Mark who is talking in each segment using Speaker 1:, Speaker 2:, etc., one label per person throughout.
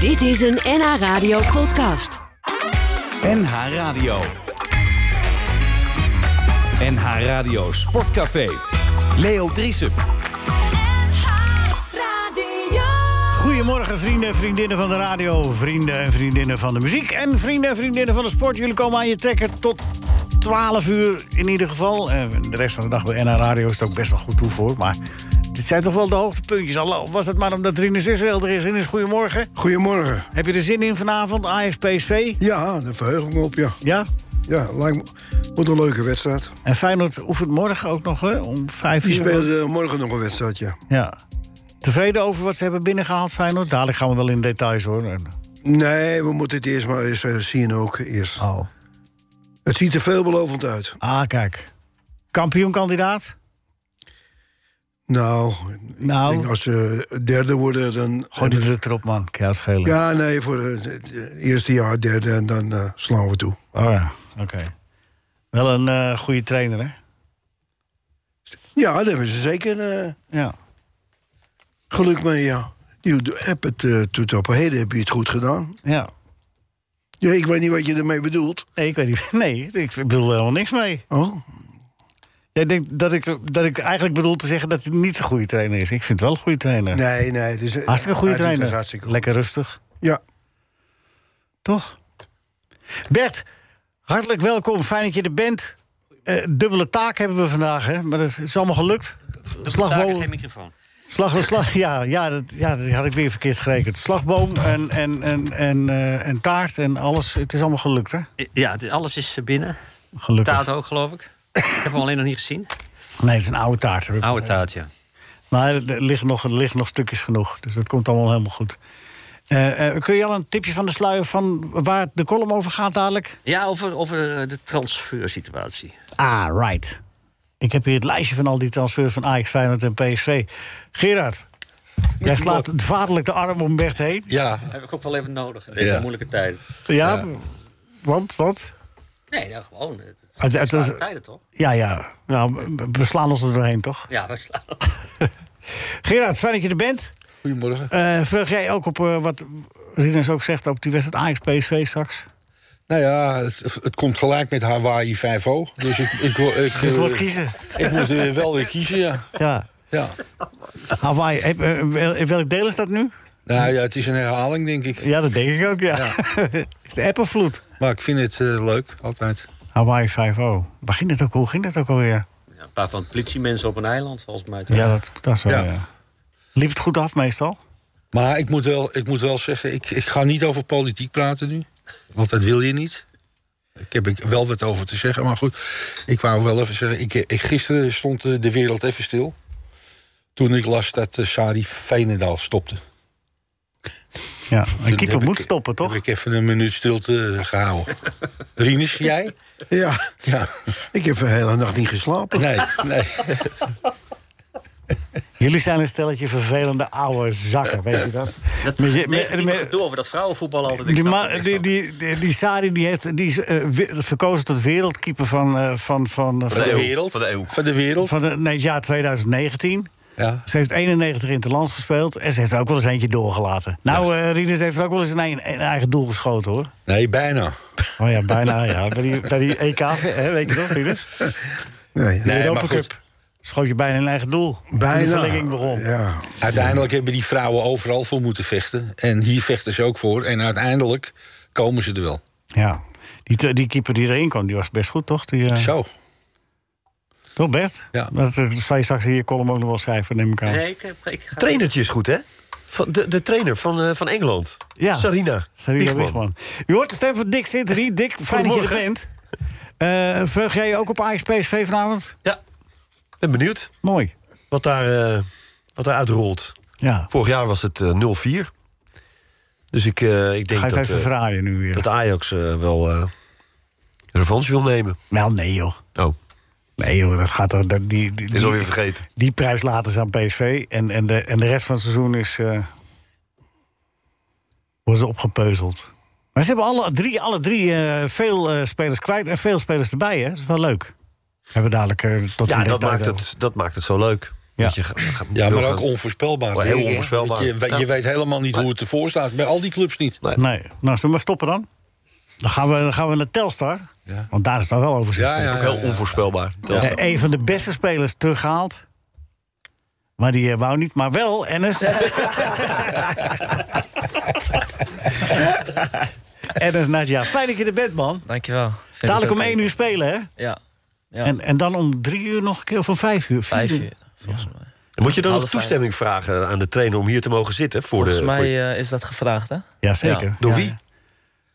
Speaker 1: Dit is een NH Radio podcast.
Speaker 2: NH Radio. NH Radio Sportcafé. Leo Driessen.
Speaker 3: Goedemorgen, vrienden en vriendinnen van de radio, vrienden en vriendinnen van de muziek en vrienden en vriendinnen van de sport. Jullie komen aan je trekken tot 12 uur in ieder geval. En de rest van de dag bij NH Radio is het ook best wel goed toe voor. Maar dit zijn toch wel de hoogtepuntjes. Al was het maar omdat Rinus Israël er is. Rinus, goedemorgen.
Speaker 4: Goedemorgen.
Speaker 3: Heb je er zin in vanavond, Ajax PSV?
Speaker 4: Ja, daar verheug ik me op, ja.
Speaker 3: Ja?
Speaker 4: Ja, lijkt me, wordt een leuke wedstrijd.
Speaker 3: En Feyenoord oefent morgen ook nog hè? om 5 uur.
Speaker 4: Die speelt eh, morgen nog een wedstrijd, ja.
Speaker 3: Ja. Tevreden over wat ze hebben binnengehaald, Feyenoord? Dadelijk gaan we wel in details hoor. En-
Speaker 4: Nee, we moeten het eerst maar eens eh, zien ook eerst.
Speaker 3: Oh.
Speaker 4: Het ziet er veelbelovend uit.
Speaker 3: Ah, kijk. Kampioenkandidaat?
Speaker 4: Nou,
Speaker 3: Nou.
Speaker 4: ik denk als ze derde worden, dan...
Speaker 3: Gooi die druk erop, man. Kan jou schelen.
Speaker 4: Ja, nee, voor eh, het eerste jaar derde en dan eh, slaan we toe.
Speaker 3: Oh ja, oké. Wel een eh, goede trainer, hè?
Speaker 4: Ja, daar hebben ze zeker eh,
Speaker 3: Ja.
Speaker 4: geluk mee, ja. Je do- hebt het eh, tot op heden heb je het goed gedaan.
Speaker 3: ja.
Speaker 4: Ja, ik weet niet wat je ermee bedoelt.
Speaker 3: Nee, ik weet niet. Nee, ik bedoel er helemaal niks mee.
Speaker 4: Oh,
Speaker 3: Jij denkt dat ik, dat ik eigenlijk bedoel te zeggen dat hij niet de goede trainer is. Ik vind het wel een goede trainer.
Speaker 4: nee, nee. Het is, eh,
Speaker 3: Hartstikke
Speaker 4: hij doet
Speaker 3: goede
Speaker 4: het
Speaker 3: trainer.
Speaker 4: Hartstikke goed.
Speaker 3: Lekker rustig.
Speaker 4: Ja,
Speaker 3: Toch? Bert, hartelijk welkom. Fijn dat je er bent. Eh, dubbele taak hebben we vandaag, hè? Maar dat is allemaal gelukt.
Speaker 5: Daar
Speaker 3: Slagboom,
Speaker 5: is geen microfoon.
Speaker 3: slag, slag, ja, ja, dat, ja, dat had ik weer verkeerd gerekend. Slagboom en, en, en, en, eh, en taart en alles. Het is allemaal gelukt, hè?
Speaker 5: I- Ja, het is- alles is eh, binnen.
Speaker 3: Gelukkig.
Speaker 5: Taart ook, geloof ik. Ik heb hem alleen nog niet gezien.
Speaker 3: Nee, het is een oude taart. heb ik.
Speaker 5: Oude taart, ja.
Speaker 3: Maar er liggen nog, er liggen nog stukjes genoeg. Dus dat komt allemaal helemaal goed. Eh, eh, kun je al een tipje van de sluier van waar de column over gaat dadelijk?
Speaker 5: Ja, over, over eh, de transfersituatie.
Speaker 3: Ah, right. Ik heb hier het lijstje van al die transfers van Ajax, Feyenoord en PSV. Gerard, jij slaat vaderlijk de arm om Bert heen.
Speaker 6: Ja,
Speaker 5: Heb ik ook wel even nodig in deze
Speaker 6: Ja.
Speaker 5: moeilijke tijden.
Speaker 3: Ja, want wat?
Speaker 5: Nee, nou, gewoon. Het, het,
Speaker 3: Het- het
Speaker 5: zware
Speaker 3: is-
Speaker 5: tijden, toch?
Speaker 3: Ja, ja. Nou, we- we slaan ons er doorheen, toch?
Speaker 5: Ja, we slaan.
Speaker 3: Gerard, fijn dat je er bent.
Speaker 6: goedemorgen.
Speaker 3: Eh vreug jij ook op eh, wat Rinus ook zegt, op die wedstrijd Ajax-PSV straks?
Speaker 6: Nou ja, het, het komt gelijk met Hawaii 5-0. Dus ik, ik, wil- ik,
Speaker 3: Het
Speaker 6: eh,
Speaker 3: wordt kiezen.
Speaker 6: ik moet eh, wel weer kiezen, ja.
Speaker 3: Ja.
Speaker 6: ja.
Speaker 3: Hawaii, heb- eh, wel- in welk deel is dat nu?
Speaker 6: Nou ja, het is een herhaling, denk ik.
Speaker 3: Ja, dat denk ik ook, ja. is de Apple-vloed.
Speaker 6: Maar ik vind het eh, leuk, altijd.
Speaker 3: Hawaii 5-0. Waar ging dat ook, hoe ging dat ook alweer?
Speaker 5: Ja, een paar van de politiemensen op een eiland, volgens mij. toch?
Speaker 3: Ja, dat, dat is wel,
Speaker 6: Ja.
Speaker 3: ja. Liep het goed af meestal?
Speaker 6: Maar ik moet wel, ik moet wel zeggen, ik, ik ga niet over politiek praten nu. Want dat wil je niet. Ik heb ik wel wat over te zeggen, maar goed. Ik wou wel even zeggen, ik, ik- gisteren stond eh, de wereld even stil. Toen ik las dat eh, Sari Veenendaal stopte.
Speaker 3: Ja, een
Speaker 6: Toen
Speaker 3: keeper
Speaker 6: heb
Speaker 3: moet
Speaker 6: ik-
Speaker 3: stoppen, toch?
Speaker 6: Heb ik even een minuut stilte eh, gehouden. Rinus, jij?
Speaker 4: ja.
Speaker 6: Ja.
Speaker 4: Ik heb de hele nacht niet geslapen.
Speaker 6: Nee, nee.
Speaker 3: Jullie zijn een stelletje vervelende oude zakken, weet je dat?
Speaker 5: Dat
Speaker 3: Met je-
Speaker 5: je,
Speaker 3: met- met-
Speaker 5: door over dat vrouwenvoetbal altijd. Ik
Speaker 3: Die,
Speaker 5: snap
Speaker 3: ma-
Speaker 5: er niks
Speaker 3: die,
Speaker 5: van.
Speaker 3: die, die, die Sari die heeft, die is eh, we- verkozen tot wereldkeeper van, eh, van, van,
Speaker 6: Van de
Speaker 3: van,
Speaker 6: wereld. Van de E eeuw. Van de wereld.
Speaker 3: van de- nee, het jaar 2019.
Speaker 6: Ja.
Speaker 3: Ze heeft 91 in het land gespeeld en ze heeft er ook wel eens eentje doorgelaten. Nou, eh Rieders heeft er ook wel eens een, ei- een eigen doel geschoten, hoor.
Speaker 6: Nee, bijna.
Speaker 3: Oh ja, bijna, ja. Bij die, bij die EK, hè, weet je nog, Rieders?
Speaker 4: Nee,
Speaker 6: Nee,
Speaker 3: Europa
Speaker 6: maar goed.
Speaker 3: Cup. Schoot je bijna een eigen doel. Toen De
Speaker 4: bijna.
Speaker 3: verlenging begon.
Speaker 4: Ja.
Speaker 6: Uiteindelijk hebben die vrouwen overal voor moeten vechten. En hier vechten ze ook voor. En uiteindelijk komen ze er wel.
Speaker 3: Ja. Die, te- die keeper die erin kwam, die was best goed, toch? Die, eh,
Speaker 6: Zo.
Speaker 3: Toch, Bert?
Speaker 6: Ja.
Speaker 3: Dat eh, zal je straks in je column ook nog wel schrijven, neem ik aan.
Speaker 5: Nee, ik, ik ga...
Speaker 7: Trainertje is goed, hè? Van de, de trainer van, eh, van Engeland.
Speaker 3: Ja.
Speaker 7: Sarina.
Speaker 3: Sarina
Speaker 7: Wiegman.
Speaker 3: Wiegman. U hoort de stem van Dick Sinterie. Dick, fijn dat je er bent. Eh verheug jij je ook op Ajax PSV vanavond?
Speaker 7: Ja. Ben benieuwd
Speaker 3: Mooi.
Speaker 7: wat daar, eh, wat daar uitrolt.
Speaker 3: Ja.
Speaker 7: Vorig jaar was het eh, 0-4. Dus ik, eh, ik denk
Speaker 3: Ga je het
Speaker 7: dat,
Speaker 3: even
Speaker 7: eh,
Speaker 3: verraaien nu weer?
Speaker 7: dat Ajax eh, wel eh revanche wil nemen.
Speaker 3: Wel, nee joh.
Speaker 7: Oh,
Speaker 3: Nee joh, dat gaat toch... Dat, die, die,
Speaker 7: is
Speaker 3: die,
Speaker 7: alweer vergeten.
Speaker 3: die prijs laten ze aan PSV. En, en, de, en de rest van het seizoen is... eh worden ze opgepeuzeld. Maar ze hebben alle drie, alle drie eh, veel eh, spelers kwijt en veel spelers erbij. Hè? Dat is wel leuk. Hebben we dadelijk eh, tot
Speaker 7: Ja,
Speaker 3: in
Speaker 7: dat
Speaker 3: detail
Speaker 7: maakt, eh,
Speaker 3: over.
Speaker 7: het, dat maakt het zo leuk.
Speaker 3: Ja.
Speaker 7: Dat je ge- ge-
Speaker 6: Ja,
Speaker 7: wil
Speaker 6: maar ook
Speaker 7: gaan-
Speaker 6: onvoorspelbaar.
Speaker 7: Heel
Speaker 6: denk ik, hè.
Speaker 7: onvoorspelbaar.
Speaker 6: Dat Je, we-
Speaker 7: Ja.
Speaker 6: je weet helemaal niet hoe het ervoor staat. Bij al die clubs niet.
Speaker 3: Nee, nou, zullen we maar stoppen dan? Dan gaan we, dan gaan we naar Telstar.
Speaker 6: Ja.
Speaker 3: Want daar is het dan wel over.
Speaker 6: Ja, ja, ja,
Speaker 7: ook heel
Speaker 6: ja.
Speaker 7: onvoorspelbaar. Telstra.
Speaker 3: Eh, een van de beste spelers teruggehaald. Maar die eh, wou niet, maar wel Ennis. Ennis Nadja, fijn dat je er bent, man.
Speaker 8: Dankjewel. Vind het
Speaker 3: Dadelijk
Speaker 8: ook
Speaker 3: om één
Speaker 8: leuk.
Speaker 3: uur spelen, hè?
Speaker 8: Ja, ja.
Speaker 3: En, en dan om drie uur nog een keer, of om vijf uur?
Speaker 8: vijf uur, volgens mij.
Speaker 7: Moet je dan nog
Speaker 8: Half vijf.
Speaker 7: toestemming vragen aan de trainer om hier te mogen zitten? Voor
Speaker 8: Volgens
Speaker 7: de,
Speaker 8: mij
Speaker 7: voor je-
Speaker 8: eh, is dat gevraagd, hè?
Speaker 3: Ja, zeker.
Speaker 8: Ja.
Speaker 7: Door
Speaker 3: Ja,
Speaker 7: wie?
Speaker 3: ja.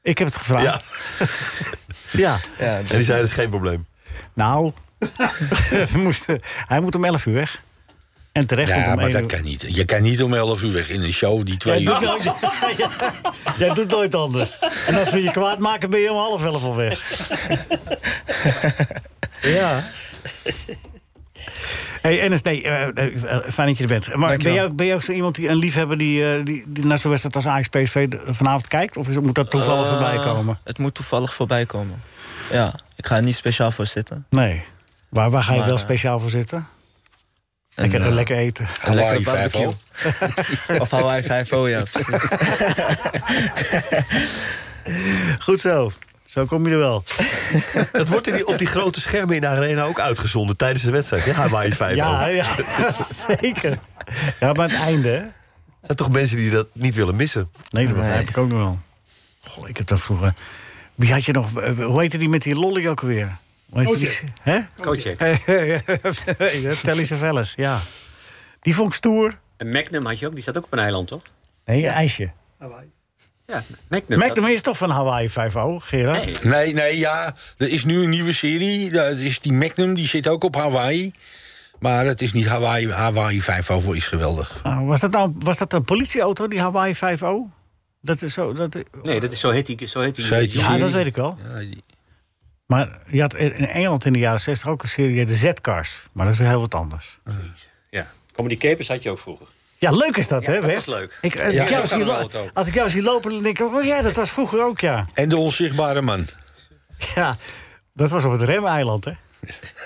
Speaker 3: Ik heb het
Speaker 7: Ja.
Speaker 3: gevraagd. Ja.
Speaker 8: Ja,
Speaker 7: En die zei, dat is geen probleem.
Speaker 3: Nou, we moesten, hij moet om elf uur weg. En terecht want
Speaker 6: Ja,
Speaker 3: om
Speaker 6: maar
Speaker 3: één
Speaker 6: dat
Speaker 3: uur.
Speaker 6: kan niet. Je kan niet om 11 uur weg in een show die twee
Speaker 3: Jij
Speaker 6: uur.
Speaker 3: doet, nooit, jij doet nooit anders. En als we je kwaad maken, ben je om half elf al weg. ja. Hey, Ennis, nee, eh, eh, fijn dat je er bent. Maar ben
Speaker 8: Dankjewel.
Speaker 3: jij, ben jij ook zo iemand die een liefhebber die, eh, die, die naar zo'n wedstrijd als Ajax PSV de- eh, vanavond kijkt? Of is, moet dat toevallig
Speaker 8: Eh,
Speaker 3: voorbij komen?
Speaker 8: Het moet toevallig voorbij komen. Ja, ik ga er niet speciaal voor zitten.
Speaker 3: Nee. Waar, waar ga je
Speaker 8: Maar,
Speaker 3: wel
Speaker 8: eh,
Speaker 3: speciaal voor zitten?
Speaker 8: En,
Speaker 3: Lekker,
Speaker 8: eh,
Speaker 3: lekker eten.
Speaker 8: een lekkere
Speaker 6: Hawaii
Speaker 8: barbecue. of Hawaii 5 ja. precies.
Speaker 3: Goed zo. Zo kom je er wel.
Speaker 7: Dat wordt in die- op die grote schermen in de arena ook uitgezonden tijdens de wedstrijd. Ja, Hawaii 5
Speaker 3: Ja,
Speaker 7: ook.
Speaker 3: ja, zeker. Ja, maar het einde, hè?
Speaker 7: Er zijn toch mensen die dat niet willen missen?
Speaker 3: Nee, dat
Speaker 8: Nee.
Speaker 3: begrijp ik ook nog wel. Goh, ik heb dat vroeger... Wie had je nog... eh, Hoe heette die met die lolly ook weer? Hoe heette die? Hè?
Speaker 5: Kotje.
Speaker 3: Telly Savalas, ja. Die vond ik stoer.
Speaker 5: En Magnum had je ook, die zat ook op een eiland, toch?
Speaker 3: Nee, een ijsje.
Speaker 5: Ja, Magnum.
Speaker 3: Magnum
Speaker 5: dat-
Speaker 3: is toch van Hawaii 5-0, Gerard?
Speaker 5: Nee.
Speaker 6: Nee, nee, ja. Er is nu een nieuwe serie. Dat is die Magnum, die zit ook op Hawaii. Maar het is niet Hawaii. Hawaii 5 over is geweldig.
Speaker 3: Ah, was, dat nou, was dat een politieauto, die Hawaii 5-0? Dat is zo... Dat,
Speaker 5: Nee, dat is zo heet die. Zo heet die,
Speaker 6: Zo heet die
Speaker 5: Ja,
Speaker 3: ja,
Speaker 6: serie.
Speaker 3: dat weet ik wel.
Speaker 6: Ja, die-
Speaker 3: Maar je had in in Engeland in de jaren 60 ook een serie, de Z-cars. Maar dat is weer heel wat anders.
Speaker 5: ja. Comedy Capers had je ook vroeger.
Speaker 3: Ja, leuk is dat,
Speaker 5: Ja,
Speaker 3: hè,
Speaker 5: dat
Speaker 3: Bert?
Speaker 5: was leuk.
Speaker 3: Ik, als,
Speaker 6: Ja,
Speaker 3: ik
Speaker 6: dat
Speaker 3: jou
Speaker 5: was
Speaker 3: zie
Speaker 5: wel
Speaker 3: lo-
Speaker 5: wat ook.
Speaker 3: als ik jou zie lopen, dan denk ik... Oh ja, dat was vroeger ook, ja.
Speaker 6: En de onzichtbare man.
Speaker 3: Ja, dat was op het Remeiland, hè?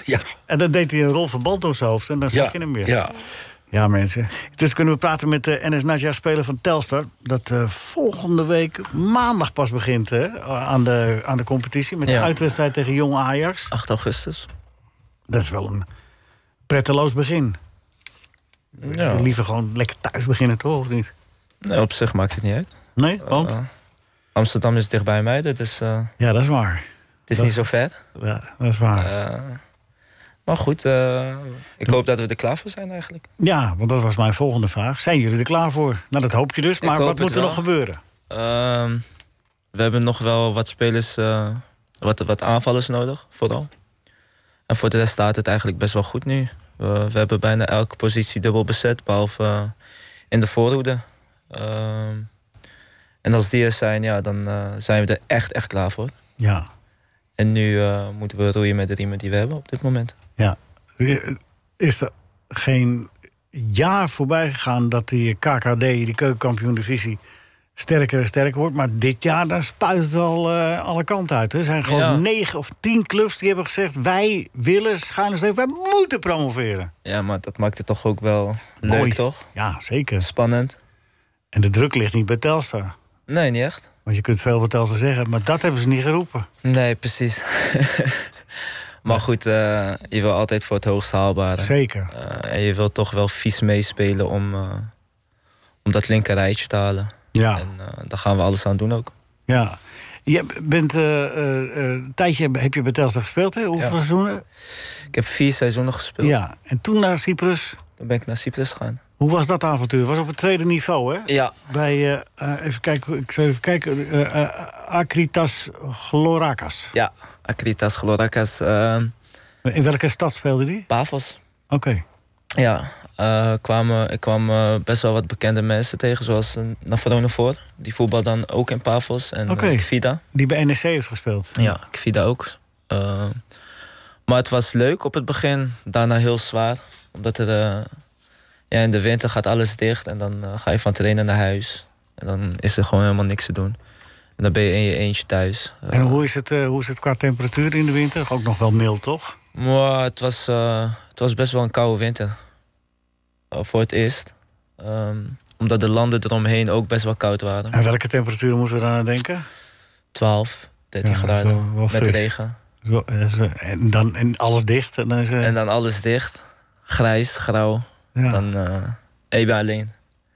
Speaker 6: Ja,
Speaker 3: En dan deed hij een rol verband om zijn hoofd en dan zag
Speaker 6: ja,
Speaker 3: je hem weer.
Speaker 6: ja.
Speaker 3: Ja, mensen. Dus kunnen we praten met de NS Naja speler van Telstar. Dat eh, volgende week maandag pas begint hè, aan, de, aan de competitie. Met de
Speaker 8: Ja.
Speaker 3: uitwedstrijd tegen Jong Ajax.
Speaker 8: 8 augustus.
Speaker 3: Dat is wel een pretteloos begin.
Speaker 8: Ja.
Speaker 3: Liever gewoon lekker thuis beginnen, toch? Of niet?
Speaker 8: Nee, op zich maakt het niet uit.
Speaker 3: Nee, want?
Speaker 8: Eh, Amsterdam is dichtbij mij, dus eh,
Speaker 3: Ja, dat is waar.
Speaker 8: het is
Speaker 3: Dat-
Speaker 8: niet zo ver.
Speaker 3: Ja, dat is waar.
Speaker 8: Eh, maar goed, eh, ik hoop dat we er klaar voor zijn eigenlijk.
Speaker 3: Ja, want dat was mijn volgende vraag. Zijn jullie er klaar voor? Nou, dat hoop je dus. Maar
Speaker 8: hoop
Speaker 3: wat
Speaker 8: het
Speaker 3: moet er
Speaker 8: wel.
Speaker 3: nog gebeuren?
Speaker 8: Ehm, we hebben nog wel wat spelers, eh, wat, wat aanvallers nodig, vooral. En voor de rest staat het eigenlijk best wel goed nu. We, we hebben bijna elke positie dubbel bezet, behalve eh, in de voorhoede. Ehm, en als die er zijn, ja, dan eh, zijn we er echt, echt klaar voor.
Speaker 3: Ja.
Speaker 8: En nu eh, moeten we roeien met de riemen die we hebben op dit moment.
Speaker 3: Ja. Eh, Is er geen jaar voorbij gegaan dat die KKD, die keukenkampioen divisie, sterker en sterker wordt. Maar dit jaar, daar spuit het wel eh, alle kanten uit. hè. Er zijn gewoon
Speaker 8: Ja.
Speaker 3: negen of tien clubs die hebben gezegd... wij willen schuin wij moeten promoveren.
Speaker 8: Ja, maar dat maakt het toch ook wel
Speaker 3: Mooi.
Speaker 8: leuk, toch?
Speaker 3: Ja, zeker.
Speaker 8: Spannend.
Speaker 3: En de druk ligt niet bij Telstar.
Speaker 8: Nee, niet echt.
Speaker 3: Want je kunt veel van Telstar zeggen, maar dat hebben ze niet geroepen.
Speaker 8: Nee, precies. maar goed, eh, je wil altijd voor het hoogst haalbare.
Speaker 3: Zeker.
Speaker 8: Eh, en je wil toch wel vies meespelen om, eh, om dat linker rijtje te halen.
Speaker 3: Ja.
Speaker 8: En eh, daar gaan we alles aan doen ook.
Speaker 3: Ja. Je bent, eh, eh, eh, een tijdje heb je bij Telstar gespeeld, hè? Hoeveel
Speaker 8: Ja.
Speaker 3: seizoenen?
Speaker 8: Ik heb vier seizoenen gespeeld.
Speaker 3: Ja. En toen naar Cyprus.
Speaker 8: Toen ben ik naar Cyprus gegaan.
Speaker 3: Hoe was dat avontuur? Was op het tweede niveau, hè?
Speaker 8: Ja.
Speaker 3: Bij, eh, eh, even kijken, ik zou even kijken. eh, eh, Akritas Glorakas.
Speaker 8: Ja, Akritas, Gloracas, eh,
Speaker 3: In welke stad speelde die?
Speaker 8: Pavos.
Speaker 3: Oké.
Speaker 8: Ja, eh, kwamen, ik kwam eh, best wel wat bekende mensen tegen, zoals eh, Navarone voor. Die voetbal dan ook in Pavos en
Speaker 3: Oké.
Speaker 8: eh, Kvida.
Speaker 3: Die bij NEC heeft gespeeld.
Speaker 8: Ja, Kvida ook. Eh, maar het was leuk op het begin, daarna heel zwaar. Omdat er, eh, ja, in de winter gaat alles dicht en dan eh, ga je van trainen naar huis. En dan is er gewoon helemaal niks te doen. En dan ben je in je eentje thuis. Eh,
Speaker 3: En hoe is, het, eh, hoe is het qua temperatuur in de winter? Ook nog wel mild, toch?
Speaker 8: Maar het was, eh, het was best wel een koude winter. eh, voor het eerst. Ehm, omdat de landen eromheen ook best wel koud waren.
Speaker 3: En welke temperaturen moeten we daar aan denken?
Speaker 8: 12, 13
Speaker 3: Ja, dat is
Speaker 8: graden.
Speaker 3: wel- wel
Speaker 8: met
Speaker 3: fris.
Speaker 8: regen.
Speaker 3: Zo, eh, zo, En, dan, en alles dicht. En dan is, eh,
Speaker 8: En dan alles dicht. Grijs, grauw.
Speaker 3: ja,
Speaker 8: Dan eh even alleen.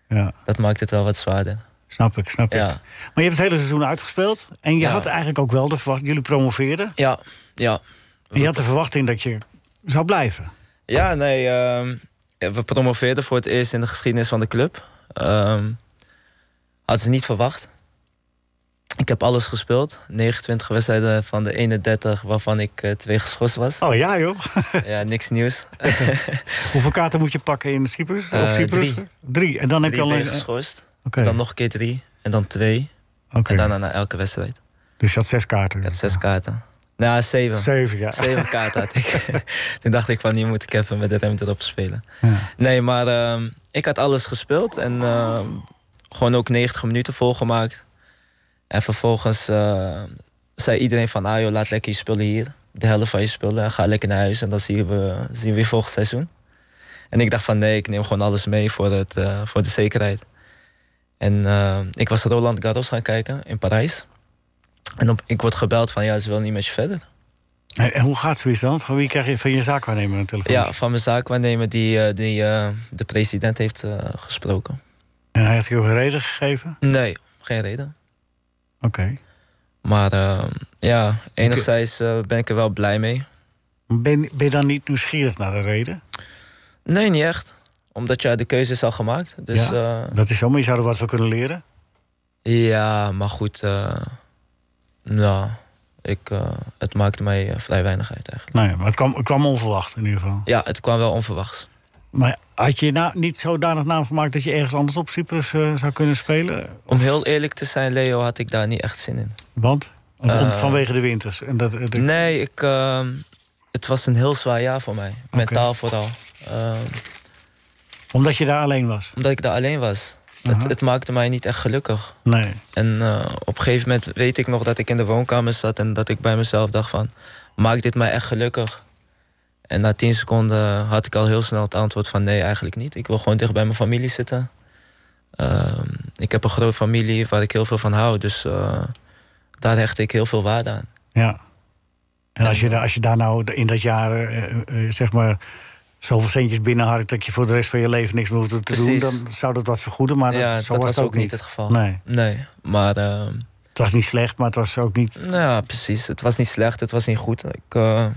Speaker 3: ja,
Speaker 8: Dat maakt het wel wat zwaarder.
Speaker 3: snap ik, snap ik.
Speaker 8: Ja,
Speaker 3: Maar je hebt het hele seizoen uitgespeeld. En je
Speaker 8: Ja.
Speaker 3: had eigenlijk ook wel de verwachting... Jullie promoveerden.
Speaker 8: ja, ja.
Speaker 3: En je had de verwachting dat je zou blijven.
Speaker 8: Ja, nee. ehm, we promoveerden voor het eerst in de geschiedenis van de club. Ehm had ze niet verwacht. Ik heb alles gespeeld. 29 wedstrijden van de 31 waarvan ik eh, twee geschorst was.
Speaker 3: Oh ja, joh.
Speaker 8: Ja, niks nieuws.
Speaker 3: Hoeveel kaarten moet je pakken in Cyprus?
Speaker 8: Eh,
Speaker 3: of Cyprus?
Speaker 8: drie.
Speaker 3: Drie. En dan heb
Speaker 8: Drie
Speaker 3: je al
Speaker 8: ben
Speaker 3: een...
Speaker 8: geschorst.
Speaker 3: Oké.
Speaker 8: Dan nog een keer drie. En dan twee.
Speaker 3: Oké.
Speaker 8: En daarna naar elke wedstrijd.
Speaker 3: Dus je had zes kaarten.
Speaker 8: Ik had zes kaarten. Nou, zeven.
Speaker 3: Zeven, ja.
Speaker 8: Zeven kaarten had ik. Toen dacht ik van, nu moet ik even met de rem erop spelen.
Speaker 3: Ja.
Speaker 8: Nee, maar ehm, ik had alles gespeeld. En ehm, gewoon ook 90 minuten volgemaakt. En vervolgens eh, zei iedereen van, ah joh, laat lekker je spullen hier. De helft van je spullen. En ga lekker naar huis. En dan zien we, zien we je volgend seizoen. En ik dacht van, nee, ik neem gewoon alles mee voor, het, eh, voor de zekerheid. En ehm, ik was Roland Garros gaan kijken in Parijs. En op, ik word gebeld van, ja, ze wil niet met je verder.
Speaker 3: En en hoe gaat zoiets dan? Van wie krijg je van je zaakwaarnemer een telefoon?
Speaker 8: Ja, van mijn zaakwaarnemer die, eh, die eh, de president heeft eh, gesproken.
Speaker 3: En hij heeft je ook een reden gegeven?
Speaker 8: Nee, geen reden.
Speaker 3: Oké.
Speaker 8: Maar eh, ja, enerzijds eh, ben ik er wel blij mee.
Speaker 3: Ben, ben je dan niet nieuwsgierig naar de reden?
Speaker 8: Nee, niet echt. Omdat ja, de keuze is al gemaakt. Dus ja,
Speaker 3: Dat is zo, maar je zou er wat van kunnen leren.
Speaker 8: ja maar goed. eh, nou, ik, eh, het maakte mij eh, vrij weinig uit eigenlijk.
Speaker 3: Nou ja, maar het kwam, het kwam onverwacht in ieder geval.
Speaker 8: Ja, het kwam wel onverwachts.
Speaker 3: Maar had je nou niet zodanig naam gemaakt dat je ergens anders op Cyprus eh, zou kunnen spelen?
Speaker 8: Om heel eerlijk te zijn, Leo, had ik daar niet echt zin in.
Speaker 3: Want? Om- om-
Speaker 8: Eh,
Speaker 3: vanwege de winters. En dat, eh, dat-
Speaker 8: Nee, ik, ehm, het was een heel zwaar jaar voor mij. Mentaal vooral. Ehm,
Speaker 3: Omdat je daar alleen was?
Speaker 8: Omdat ik daar alleen was.
Speaker 3: Aha.
Speaker 8: Het, het maakte mij niet echt gelukkig.
Speaker 3: Nee.
Speaker 8: En eh, op een gegeven moment weet ik nog dat ik in de woonkamer zat... en dat ik bij mezelf dacht van, maakt dit mij echt gelukkig? En na tien seconden had ik al heel snel het antwoord van... nee, eigenlijk niet. Ik wil gewoon dicht bij mijn familie zitten. Ehm, ik heb een grote familie waar ik heel veel van hou. Dus eh, daar hecht ik heel veel waarde aan.
Speaker 3: Ja. En als je, daar- als je daar nou in dat jaar, eh, eh, zeg maar, zoveel centjes binnenharkt... dat je voor de rest van je leven niks meer hoeft te
Speaker 8: Precies.
Speaker 3: doen... dan zou dat wat vergoeden, maar dat,
Speaker 8: ja,
Speaker 3: zo
Speaker 8: dat
Speaker 3: was
Speaker 8: was
Speaker 3: het ook,
Speaker 8: ook niet
Speaker 3: niet.
Speaker 8: het geval.
Speaker 3: Nee,
Speaker 8: Nee, maar... ehm,
Speaker 3: het was niet slecht, maar het was ook niet...
Speaker 8: Nou ja, precies. Het was niet slecht, het was niet goed. Ik, eh,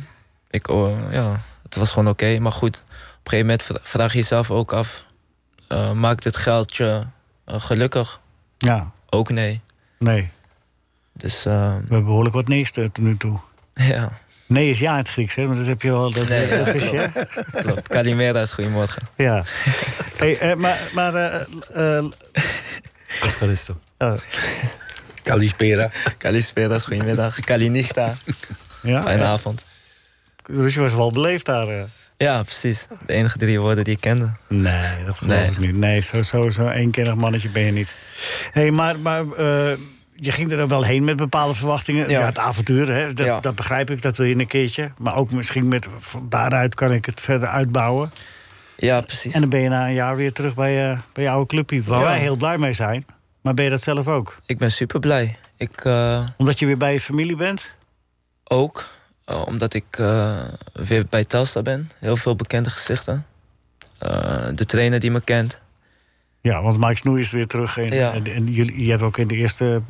Speaker 8: ik, oh, ja, het was gewoon oké. Maar goed, op een gegeven moment vra- vraag je jezelf ook af... eh, maakt het geldje eh, gelukkig?
Speaker 3: Ja,
Speaker 8: Ook nee.
Speaker 3: nee,
Speaker 8: Dus eh,
Speaker 3: we hebben behoorlijk wat nee's tot nu toe.
Speaker 8: ja,
Speaker 3: Nee is ja in het Grieks, hè? Maar dat heb je wel... Dat,
Speaker 8: Nee,
Speaker 3: dat
Speaker 8: ja,
Speaker 3: is je.
Speaker 8: klopt. Calimera is goedemorgen.
Speaker 3: Ja. Hey, eh, maar maar eh, eh,
Speaker 7: Rustig.
Speaker 8: Oh.
Speaker 6: Calispera.
Speaker 8: Calispera is goedemiddag. Calinichta,
Speaker 3: ja,
Speaker 8: fijne
Speaker 3: ja.
Speaker 8: avond.
Speaker 3: dus je was wel beleefd daar. eh.
Speaker 8: Ja, precies. De enige drie woorden die ik kende.
Speaker 3: Nee, dat geloof
Speaker 8: Nee.
Speaker 3: ik niet. Nee, zo'n zo, zo eenkennig mannetje ben je niet. Hé, hey, maar, maar eh, je ging er wel heen met bepaalde verwachtingen. Ja,
Speaker 8: Ja.
Speaker 3: het avontuur, hè, dat,
Speaker 8: Ja.
Speaker 3: dat begrijp ik, dat wil je een keertje. Maar ook misschien met, van daaruit kan ik het verder uitbouwen.
Speaker 8: Ja, precies.
Speaker 3: En dan ben je na een jaar weer terug bij, eh, bij je oude clubje. Waar
Speaker 8: Ja.
Speaker 3: wij heel blij mee zijn. Maar ben je dat zelf ook?
Speaker 8: Ik ben super blij. Ik... eh,
Speaker 3: Omdat je weer bij je familie bent?
Speaker 8: Ook eh, omdat ik eh, weer bij Telstar ben. Heel veel bekende gezichten. Eh, de trainer die me kent.
Speaker 3: Ja, want Mike Snoei is weer terug. En,
Speaker 8: Ja.
Speaker 3: en, en jullie, je hebt ook in de eerste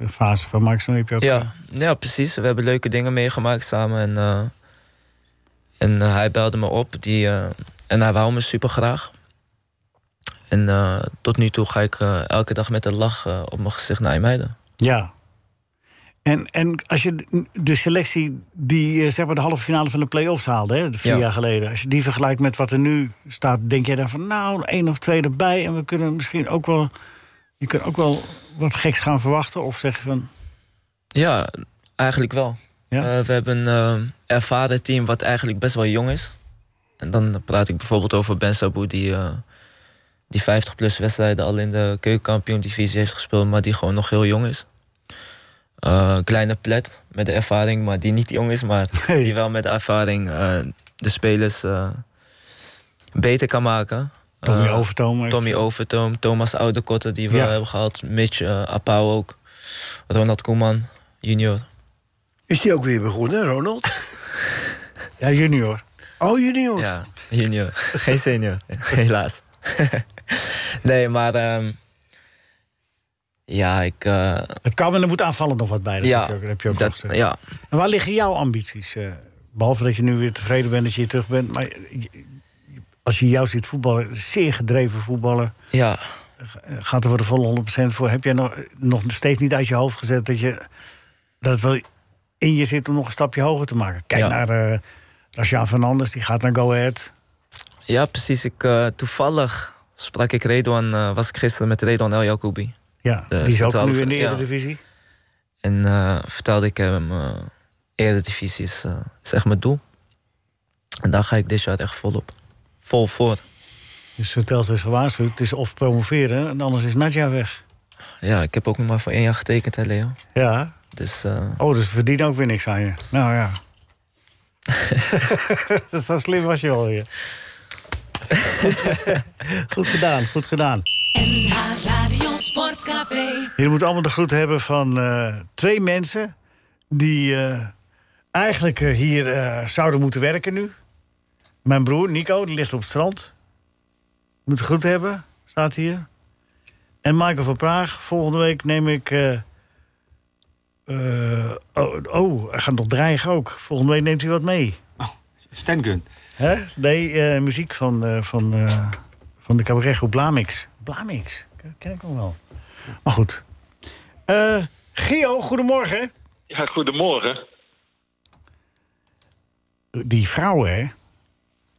Speaker 3: eh, fase van Mike Snoei... Heb je ook,
Speaker 8: Ja, ja, precies. We hebben leuke dingen meegemaakt samen. En, eh, en eh, hij belde me op. Die, eh, en hij wou me super graag. En eh, tot nu toe ga ik eh, elke dag met een lach eh, op mijn gezicht naar IJmuiden.
Speaker 3: Ja. En, en als je de selectie die eh, zeg maar, de halve finale van de play-offs haalde, hè, vier
Speaker 8: Ja.
Speaker 3: jaar geleden, als je die vergelijkt met wat er nu staat, denk jij dan van nou, één of twee erbij en we kunnen misschien ook wel, je kunt ook wel wat geks gaan verwachten? Of zeg je van
Speaker 8: Ja, eigenlijk wel.
Speaker 3: Ja?
Speaker 8: Eh, we hebben een ervaren team wat eigenlijk best wel jong is. En dan praat ik bijvoorbeeld over Ben Sabu, die, eh, die 50 plus wedstrijden al in de keukenkampioen divisie heeft gespeeld, maar die gewoon nog heel jong is. Eh, kleine plet met de ervaring, maar die niet jong is, maar
Speaker 3: Nee.
Speaker 8: die wel met de ervaring eh, de spelers eh, beter kan maken.
Speaker 3: Tommy
Speaker 8: Eh,
Speaker 3: Overtoom. heeft-
Speaker 8: Tommy Overtoom, Thomas Oudekotte die we
Speaker 3: Ja.
Speaker 8: hebben gehad. Mitch eh Apau ook. Ronald Koeman, junior.
Speaker 4: Is die ook weer begonnen, Ronald?
Speaker 3: Ja, junior.
Speaker 4: Oh, junior.
Speaker 8: Ja, junior. Geen senior, helaas. nee, maar... ehm, ja, ik... eh,
Speaker 3: Het kan, maar er moet aanvallend nog wat bij. Dat
Speaker 8: ja,
Speaker 3: heb je ook, dat heb je ook al
Speaker 8: dat,
Speaker 3: gezegd.
Speaker 8: ja,
Speaker 3: En waar liggen jouw ambities? eh, behalve dat je nu weer tevreden bent dat je hier terug bent. Maar je- je- als je jou ziet voetballen, zeer gedreven voetballer...
Speaker 8: ja,
Speaker 3: eh, gaat er voor de volle 100% voor. Heb jij nog, nog steeds niet uit je hoofd gezet dat, je, dat het wel in je zit om nog een stapje hoger te maken? Kijk
Speaker 8: Ja.
Speaker 3: naar eh Rashaan Fernandes, die gaat naar Go Ahead.
Speaker 8: ja, precies. Ik, eh, toevallig sprak ik Redwan, eh, was ik gisteren met Redwan El Jacoubi.
Speaker 3: Ja,
Speaker 8: De
Speaker 3: die is ook
Speaker 8: centrale
Speaker 3: nu in de
Speaker 8: ver- ja.
Speaker 3: Eredivisie.
Speaker 8: En eh, vertelde ik hem, eh eredivisie is, eh, is echt mijn doel. En daar ga ik dit jaar echt volop. Vol voor.
Speaker 3: Dus Hotels is gewaarschuwd. Het is of promoveren, en anders is Nadja weg.
Speaker 8: Ja, ik heb ook nog maar voor één jaar getekend, hè, Leo.
Speaker 3: Ja.
Speaker 8: Dus eh,
Speaker 3: Oh, dus we verdienen ook weer niks aan je. Nou ja. Zo slim was je wel weer. Goed, goed gedaan, goed gedaan.
Speaker 1: NH Radio Sportcafé.
Speaker 3: Jullie moeten allemaal de groet hebben van eh, twee mensen die eh, eigenlijk eh, hier eh, zouden moeten werken nu. Mijn broer Nico, die ligt op het strand. Moet de groet hebben, staat hier. En Michael van Praag, volgende week neem ik. eh, eh, oh, oh, hij gaat nog dreigen ook. Volgende week neemt hij wat mee.
Speaker 5: Stengun.
Speaker 3: Hè? Nee, eh, muziek van, eh, van, eh, van de cabaretgroep Blamix. Blamix, ken- ken ik nog wel. Maar goed. Eh Gio, goedemorgen.
Speaker 9: Ja, goedemorgen.
Speaker 3: Die vrouwen, hè?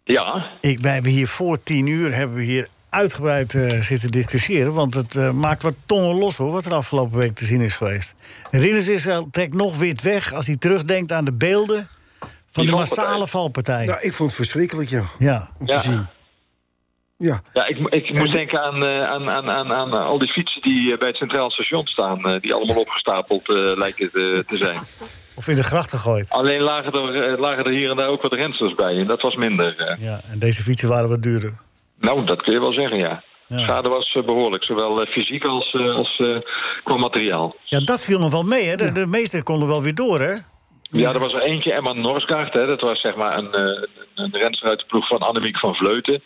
Speaker 9: Ja,
Speaker 3: Ik, wij hebben hier voor tien uur hebben we hier uitgebreid eh, zitten discussiëren. Want het eh, maakt wat tongen los hoor, wat er afgelopen week te zien is geweest. Ridders Israël trekt nog wit weg als hij terugdenkt aan de beelden van de
Speaker 9: Die
Speaker 3: massale
Speaker 9: valpartij.
Speaker 3: valpartij.
Speaker 4: Nou, ik vond het verschrikkelijk, ja.
Speaker 3: Ja,
Speaker 4: Om
Speaker 9: Ja.
Speaker 4: te zien. Ja.
Speaker 9: ja ik, ik moest denken aan, eh, aan, aan, aan, aan al die fietsen die eh, bij het Centraal Station staan. eh, die allemaal opgestapeld eh, lijken te, te zijn.
Speaker 3: of in de gracht gegooid.
Speaker 9: Alleen lagen er, eh, lagen er hier en daar ook wat rensters bij. En dat was minder. eh.
Speaker 3: Ja, en deze fietsen waren wat duurder.
Speaker 9: Nou, dat kun je wel zeggen, ja.
Speaker 3: Ja.
Speaker 9: Schade was eh, behoorlijk, zowel eh, fysiek als, eh, als eh, qua materiaal.
Speaker 3: Ja, dat viel nog wel mee, hè? De, de meesten konden wel weer door, hè?
Speaker 9: Ja, er was er eentje, Emma Norsgaard. Hè, dat was zeg maar een, eh, een renster uit de ploeg van Annemiek van Vleuten.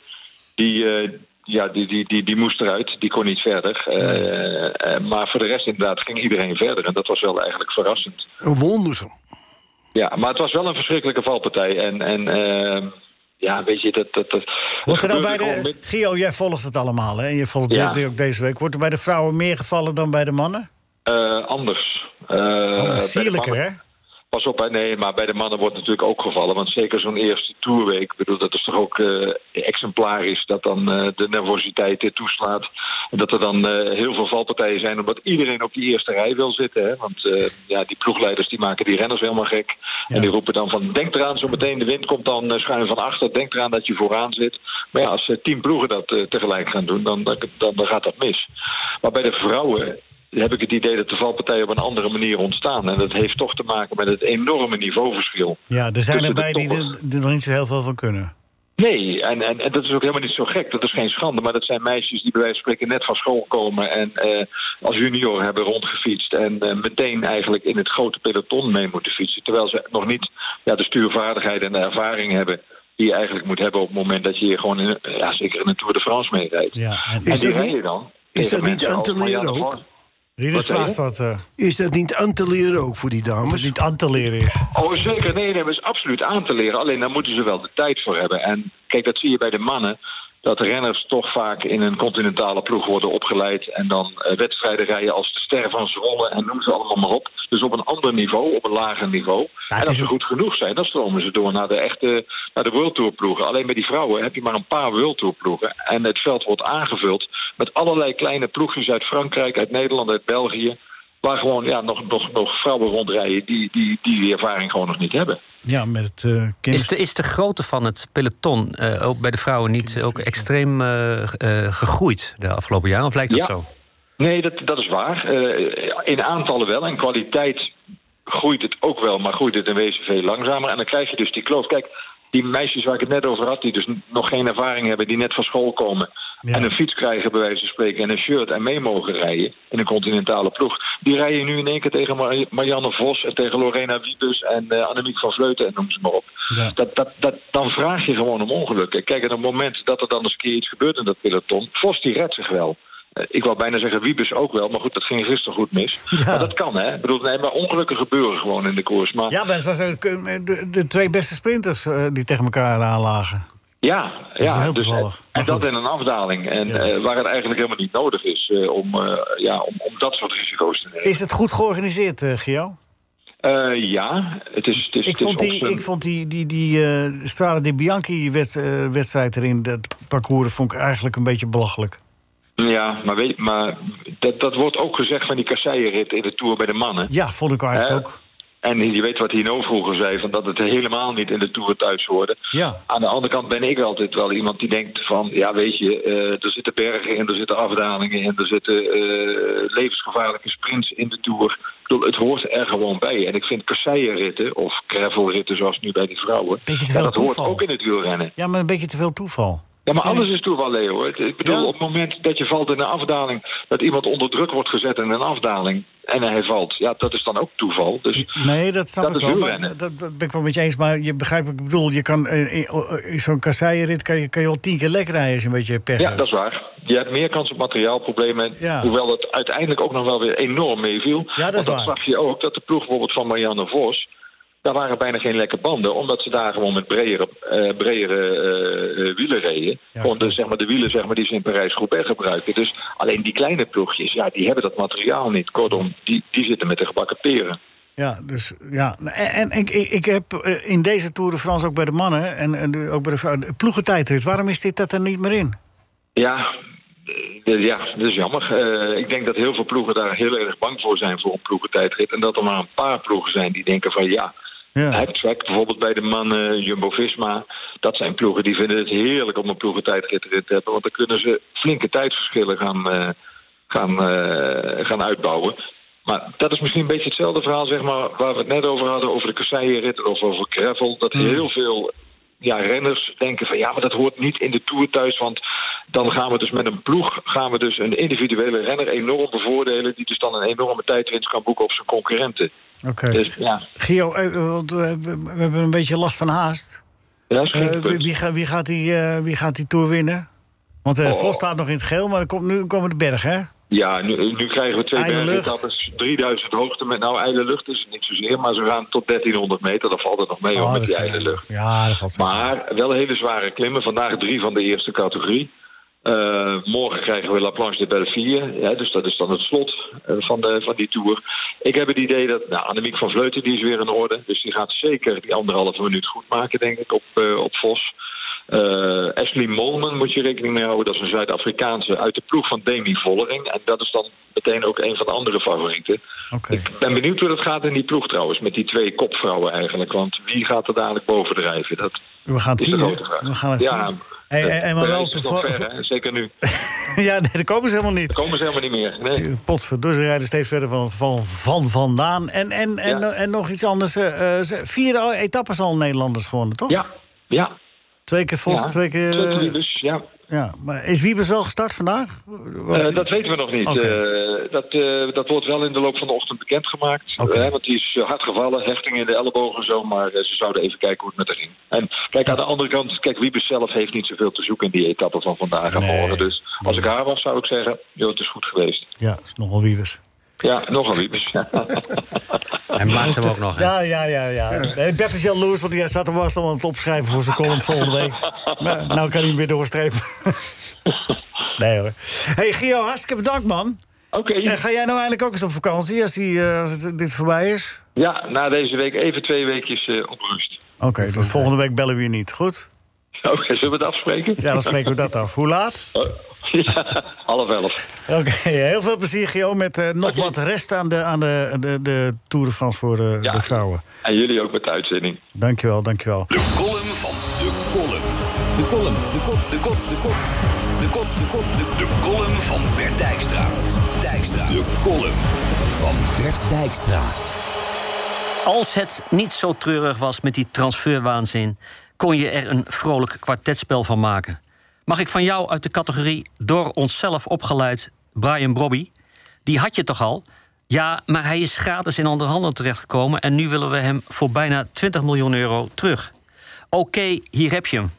Speaker 9: Die, eh, ja, die, die, die, die moest eruit, die kon niet verder. Eh, eh, maar voor de rest inderdaad ging iedereen verder. En dat was wel eigenlijk verrassend.
Speaker 4: Een wonder.
Speaker 9: Ja, maar het was wel een verschrikkelijke valpartij. En, en eh, ja, weet je, dat... dat, dat
Speaker 3: Wordt er nou bij
Speaker 9: gebeurde gewoon
Speaker 3: de...
Speaker 9: met-
Speaker 3: Gio, jij volgt het allemaal, hè? En je volgt
Speaker 9: Ja.
Speaker 3: dit ook deze week. Wordt er bij de vrouwen meer gevallen dan bij de mannen?
Speaker 9: eh, anders. Eh, bij de
Speaker 3: Anders sierlijker,
Speaker 9: mannen-
Speaker 3: hè?
Speaker 9: Pas op, hè, nee, maar bij de mannen wordt natuurlijk ook gevallen. Want zeker zo'n eerste toerweek, ik bedoel, dat is toch ook eh, exemplarisch... dat dan eh, de nervositeit eh, toeslaat. En dat er dan eh, heel veel valpartijen zijn... omdat iedereen op die eerste rij wil zitten. Hè? Want eh, ja, die ploegleiders die maken die renners helemaal gek.
Speaker 3: Ja.
Speaker 9: En die roepen dan van, denk eraan, zo meteen de wind komt dan eh, schuin van achter. Denk eraan dat je vooraan zit. Maar ja, als eh, tien ploegen dat eh, tegelijk gaan doen, dan, dan, dan gaat dat mis. Maar bij de vrouwen heb ik het idee dat de valpartijen op een andere manier ontstaan. En dat heeft toch te maken met het enorme niveauverschil.
Speaker 3: Ja, er zijn
Speaker 9: Tussen
Speaker 3: erbij
Speaker 9: de
Speaker 3: die er,
Speaker 9: toppers.
Speaker 3: er nog niet zo heel veel van kunnen.
Speaker 9: Nee, en, en, en dat is ook helemaal niet zo gek. Dat is geen schande. Maar dat zijn meisjes die bij wijze van spreken net van school komen... en eh, als junior hebben rondgefietst... en eh, meteen eigenlijk in het grote peloton mee moeten fietsen. Terwijl ze nog niet ja, de stuurvaardigheid en de ervaring hebben... die je eigenlijk moet hebben op het moment dat je hier gewoon... In, een- ja, zeker in een Tour de France meerijdt.
Speaker 3: Ja, en
Speaker 9: En
Speaker 4: Is
Speaker 9: die
Speaker 4: dat
Speaker 9: rij
Speaker 4: niet-
Speaker 9: je dan.
Speaker 4: is
Speaker 9: tegen
Speaker 4: dat niet
Speaker 9: mensen
Speaker 4: aan te
Speaker 9: als Marianne
Speaker 4: leren ook?
Speaker 9: Vos.
Speaker 3: Rieders
Speaker 9: Wat zei
Speaker 3: vraagt wat, eh,
Speaker 4: Is dat niet aan te leren ook voor die
Speaker 3: of het
Speaker 4: dames?
Speaker 3: niet aan te leren is.
Speaker 9: Oh, zeker. Nee, nee, dat is absoluut aan te leren. Alleen daar moeten ze wel de tijd voor hebben. En kijk, dat zie je bij de mannen. Dat de renners toch vaak in een continentale ploeg worden opgeleid. En dan eh, wedstrijden rijden als de ster van Zwolle en noem ze allemaal maar op. Dus op een ander niveau, op een lager niveau.
Speaker 3: Ja, het
Speaker 9: en
Speaker 3: is
Speaker 9: als ze
Speaker 3: ook-
Speaker 9: goed genoeg zijn, dan stromen ze door naar de echte naar de World Tour ploegen. Alleen bij die vrouwen heb je maar een paar World Tour ploegen. En het veld wordt aangevuld met allerlei kleine ploegjes uit Frankrijk, uit Nederland, uit België. Waar gewoon ja, nog, nog, nog vrouwen rondrijden die, die die die ervaring gewoon nog niet hebben.
Speaker 3: Ja, met het eh
Speaker 10: Is
Speaker 3: kind.
Speaker 10: de, is de grootte van het peloton eh, ook bij de vrouwen niet ook extreem eh, g- eh, gegroeid de afgelopen jaren? Of lijkt dat
Speaker 9: Ja.
Speaker 10: zo?
Speaker 9: Nee, dat, dat is waar. Eh, in aantallen wel. En kwaliteit groeit het ook wel, maar groeit het in wezen veel langzamer. En dan krijg je dus die kloof. Kijk, die meisjes waar ik het net over had, die dus n- nog geen ervaring hebben, die net van school komen. En een fiets krijgen, bij wijze van spreken, en een shirt en mee mogen rijden in een continentale ploeg. Die rijden nu in één keer tegen Mar- Marianne Vos en tegen Lorena Wiebes en eh, Annemiek van Vleuten en noem ze maar op. Dat, dat, dat, dan vraag je gewoon om ongelukken. Kijk, en op het moment dat er dan eens een keer iets gebeurt in dat peloton, Vos die redt zich wel. Eh, Ik wou bijna zeggen Wiebes ook wel, maar goed, dat ging gisteren goed mis. Maar dat kan, hè? Ik bedoel, nee, maar ongelukken gebeuren gewoon in de koers. Maar
Speaker 3: Ja, maar het was ook, eh, de, de twee beste sprinters eh, die tegen elkaar aanlagen.
Speaker 9: Ja,
Speaker 3: Dat is
Speaker 9: ja.
Speaker 3: heel
Speaker 9: dus,
Speaker 3: toevallig.
Speaker 9: en dat in een afdaling. En eh, waar het eigenlijk helemaal niet nodig is eh, om, eh, ja, om, om dat soort risico's te nemen.
Speaker 3: Is het goed georganiseerd, eh Gio?
Speaker 9: Eh, ja, het is. Het is
Speaker 3: Ik
Speaker 9: het is
Speaker 3: vond die,
Speaker 9: op zijn-
Speaker 3: ik vond die, die, die eh Strade di Bianchi-wedstrijd erin, dat parcours, vond ik eigenlijk een beetje belachelijk.
Speaker 9: Ja, maar, weet, maar dat, dat wordt ook gezegd van die kasseienrit in de Tour bij de mannen.
Speaker 3: Ja, vond ik eigenlijk
Speaker 9: Hè?
Speaker 3: ook.
Speaker 9: En je weet wat Hino vroeger zei, van dat het helemaal niet in de Tour thuis hoorde.
Speaker 3: Ja.
Speaker 9: Aan de andere kant ben ik altijd wel iemand die denkt van... ja, weet je, eh, er zitten bergen in, er zitten afdalingen in... er zitten eh, levensgevaarlijke sprints in de Tour. Ik bedoel, het hoort er gewoon bij. En ik vind kasseienritten, of gravelritten zoals nu bij die vrouwen...
Speaker 3: Beetje te
Speaker 9: ja,
Speaker 3: veel
Speaker 9: dat hoort
Speaker 3: toeval.
Speaker 9: ook in het wielrennen.
Speaker 3: Ja, maar een beetje te veel toeval.
Speaker 9: Ja, maar alles is toeval, Leo. hoor. Ik bedoel, op het moment dat je valt in een afdaling... dat iemand onder druk wordt gezet in een afdaling... en hij valt, ja, dat is dan ook toeval. Dus
Speaker 3: Nee, dat snap
Speaker 9: Dat
Speaker 3: ik
Speaker 9: is
Speaker 3: wel. maar
Speaker 9: wielrennen.
Speaker 3: dat, dat ben ik wel met je eens, maar je begrijpt wat ik bedoel. Je kan, eh, in- in zo'n kasseienrit kan je, kan je wel tien keer lek rijden als je een beetje pech
Speaker 9: Ja,
Speaker 3: hebt.
Speaker 9: dat is waar. Je hebt meer kans op materiaalproblemen.
Speaker 3: Ja.
Speaker 9: Hoewel het uiteindelijk ook nog wel weer enorm meeviel.
Speaker 3: Ja, dat is
Speaker 9: Want dan
Speaker 3: waar.
Speaker 9: zag je ook dat de ploeg bijvoorbeeld van Marianne Vos... daar waren bijna geen lekke banden. Omdat ze daar gewoon met bredere, eh, bredere eh, eh, wielen reden. gewoon de, zeg maar, de wielen zeg maar, die ze in Parijs-Roubaix gebruiken. Dus alleen die kleine ploegjes, ja, die hebben dat materiaal niet. Kortom, die, die zitten met de gebakken peren.
Speaker 3: Ja, dus ja. En, en ik, ik, ik heb eh, in deze Tour de France ook bij de mannen en, en de- ook bij de vrouwen. de ploegentijdrit, waarom is dit dat er niet meer in?
Speaker 9: Ja, eh, ja, dat is jammer. Eh, ik denk dat heel veel ploegen daar heel erg bang voor zijn voor een ploegentijdrit. En dat er maar een paar ploegen zijn die denken van ja, Hektrek bijvoorbeeld bij de mannen, Jumbo-Visma. Dat zijn ploegen die vinden het heerlijk om een ploegentijdrit te hebben. Want dan kunnen ze flinke tijdsverschillen gaan, eh, gaan, eh, gaan uitbouwen. Maar dat is misschien een beetje hetzelfde verhaal zeg maar, waar we het net over hadden. Over de kasseienrit of over gravel. Dat heel veel ja, renners denken van ja, maar dat hoort niet in de Tour thuis. Want dan gaan we dus met een ploeg gaan we dus een individuele renner enorm bevoordelen. Die dus dan een enorme tijdwinst kan boeken op zijn concurrenten.
Speaker 3: Oké.
Speaker 9: Dus ja,
Speaker 3: Gio, eh, want eh, we, we hebben een beetje last van haast.
Speaker 9: ja dat is geen
Speaker 3: Eh, wie,
Speaker 9: punt.
Speaker 3: wie, gaat- wie, gaat die, eh, wie gaat die Tour winnen? Want eh
Speaker 9: Oh.
Speaker 3: Vos staat nog in het geel, maar er komt, nu komen de bergen, hè?
Speaker 9: Ja, nu, nu krijgen we twee
Speaker 3: Ijle
Speaker 9: bergetappes, 3000 hoogte. Met, nou, ijle lucht is het niet zozeer, maar ze gaan tot 1300 meter. Dat valt er nog
Speaker 3: Oh,
Speaker 9: mee hoor, met die ijle lucht.
Speaker 3: Ja, dat valt
Speaker 9: Maar wel hele zware klimmen. Vandaag drie van de eerste categorie. Eh, morgen krijgen we La Planche de Belleville. Ja, dus dat is dan het slot eh, van, de, van die tour. Ik heb het idee dat nou, Annemiek van Vleuten die is weer in orde. Dus die gaat zeker die anderhalve minuut goed maken, denk ik, op, eh, op Vos. Eh Ashley Molman moet je rekening mee houden. Dat is een Zuid-Afrikaanse uit de ploeg van Demi Vollering. En dat is dan meteen ook een van de andere favorieten. Ik ben benieuwd hoe dat gaat in die ploeg trouwens. Met die twee kopvrouwen eigenlijk. Want wie gaat er dadelijk bovendrijven? Dat
Speaker 3: We gaan het
Speaker 9: is de
Speaker 3: zien, hè?
Speaker 9: grote vraag.
Speaker 3: We gaan het
Speaker 9: ja,
Speaker 3: zien. Hey, hey, hey, maar
Speaker 9: Parijs
Speaker 3: wel
Speaker 9: is nog
Speaker 3: toevallig-
Speaker 9: ver, hè? Zeker nu.
Speaker 3: ja, nee, daar komen ze helemaal niet.
Speaker 9: Komen ze helemaal niet meer. Nee.
Speaker 3: Potverdorie, ze rijden steeds verder van, van, van vandaan. En, en, en,
Speaker 9: Ja.
Speaker 3: en nog iets anders. eh, eh, ze- vier etappes al Nederlanders gewonnen, toch?
Speaker 9: Ja, ja.
Speaker 3: Twee keer Vos,
Speaker 9: Ja.
Speaker 3: twee keer...
Speaker 9: Twee
Speaker 3: eh,
Speaker 9: keer Wiebes, ja.
Speaker 3: ja. Maar is Wiebes wel gestart vandaag?
Speaker 9: Eh,
Speaker 3: Want-
Speaker 9: dat weten we nog niet.
Speaker 3: Oké.
Speaker 9: Eh, dat, eh, dat wordt wel in de loop van de ochtend bekendgemaakt. Eh, want die is eh, hard gevallen, hechting in de elleboog en zo. Maar eh, ze zouden even kijken hoe het met haar ging. En kijk, aan de andere kant, kijk, Wiebes zelf heeft niet zoveel te zoeken in die etappe van vandaag en morgen. Dus als ik haar was, zou ik zeggen, joh, het is goed geweest.
Speaker 3: Ja, is nogal Wiebes.
Speaker 9: Ja, nogal Wiebes. Ja.
Speaker 10: Hij maakt hem ook nog. hè.
Speaker 3: Ja, ja, ja, ja. Nee, Bert is jaloers, want hij zat er was al aan het opschrijven voor zijn column volgende week. Maar, nou kan hij hem weer doorstrepen. nee hoor. hey, Gio, hartstikke bedankt man.
Speaker 9: Oké.
Speaker 3: En ga jij nou eindelijk ook eens op vakantie als, die, eh, als het- dit voorbij is?
Speaker 9: Ja, na deze week even twee weekjes eh, op rust.
Speaker 3: Oké, dus
Speaker 4: eh,
Speaker 3: volgende week bellen we je niet. Goed?
Speaker 9: Oké, zullen we het afspreken? Oh,
Speaker 3: Ja, dan spreken we dat af. Hoe laat?
Speaker 9: ja, half elf.
Speaker 3: Oké, heel veel plezier Gio met eh, nog wat rest aan de, aan de, de, de Tour de France voor de, de vrouwen.
Speaker 9: En jullie ook met de uitzending.
Speaker 3: Dankjewel, dankjewel.
Speaker 2: De column van de column. De column, de kop, de kop, de kop. De kop, de kop, de De column van Bert Dijkstra. Dijkstra. De column van Bert Dijkstra.
Speaker 10: Als het niet zo treurig was met die transferwaanzin... kon je er een vrolijk kwartetspel van maken. Mag ik van jou uit de categorie door onszelf opgeleid Brian Brobby? Die had je toch al? Ja, maar hij is gratis in onderhandel terechtgekomen en nu willen we hem voor bijna 20 miljoen euro terug. Oké, hier heb je hem.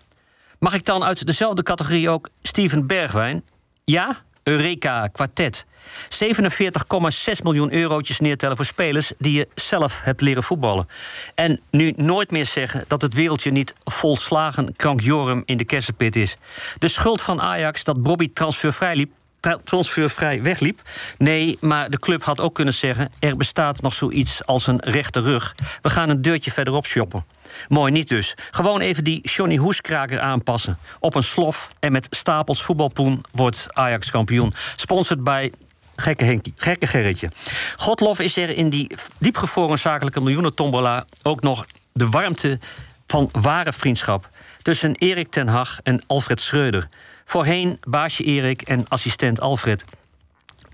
Speaker 10: Mag ik dan uit dezelfde categorie ook Steven Bergwijn? Ja, Eureka Quartet. 47,6 miljoen eurotjes neertellen voor spelers die je zelf hebt leren voetballen. En nu nooit meer zeggen dat het wereldje niet volslagen krankjorum in de kersenpit is. De schuld van Ajax dat Bobby transfervrij liep, tra- transfervrij wegliep. Nee, maar de club had ook kunnen zeggen... er bestaat nog zoiets als een rechte rug. We gaan een deurtje verderop shoppen. Mooi niet dus. Gewoon even die Johnny Hoeskraker aanpassen. Op een slof en met stapels voetbalpoen wordt Ajax kampioen. Sponsored bij... Gekke, Henkie, gekke Gerritje. Godlof is er in die diepgevroren zakelijke miljoenen-tombola... ook nog de warmte van ware vriendschap... tussen Erik ten Hag en Alfred Schreuder. Voorheen baasje Erik en assistent Alfred.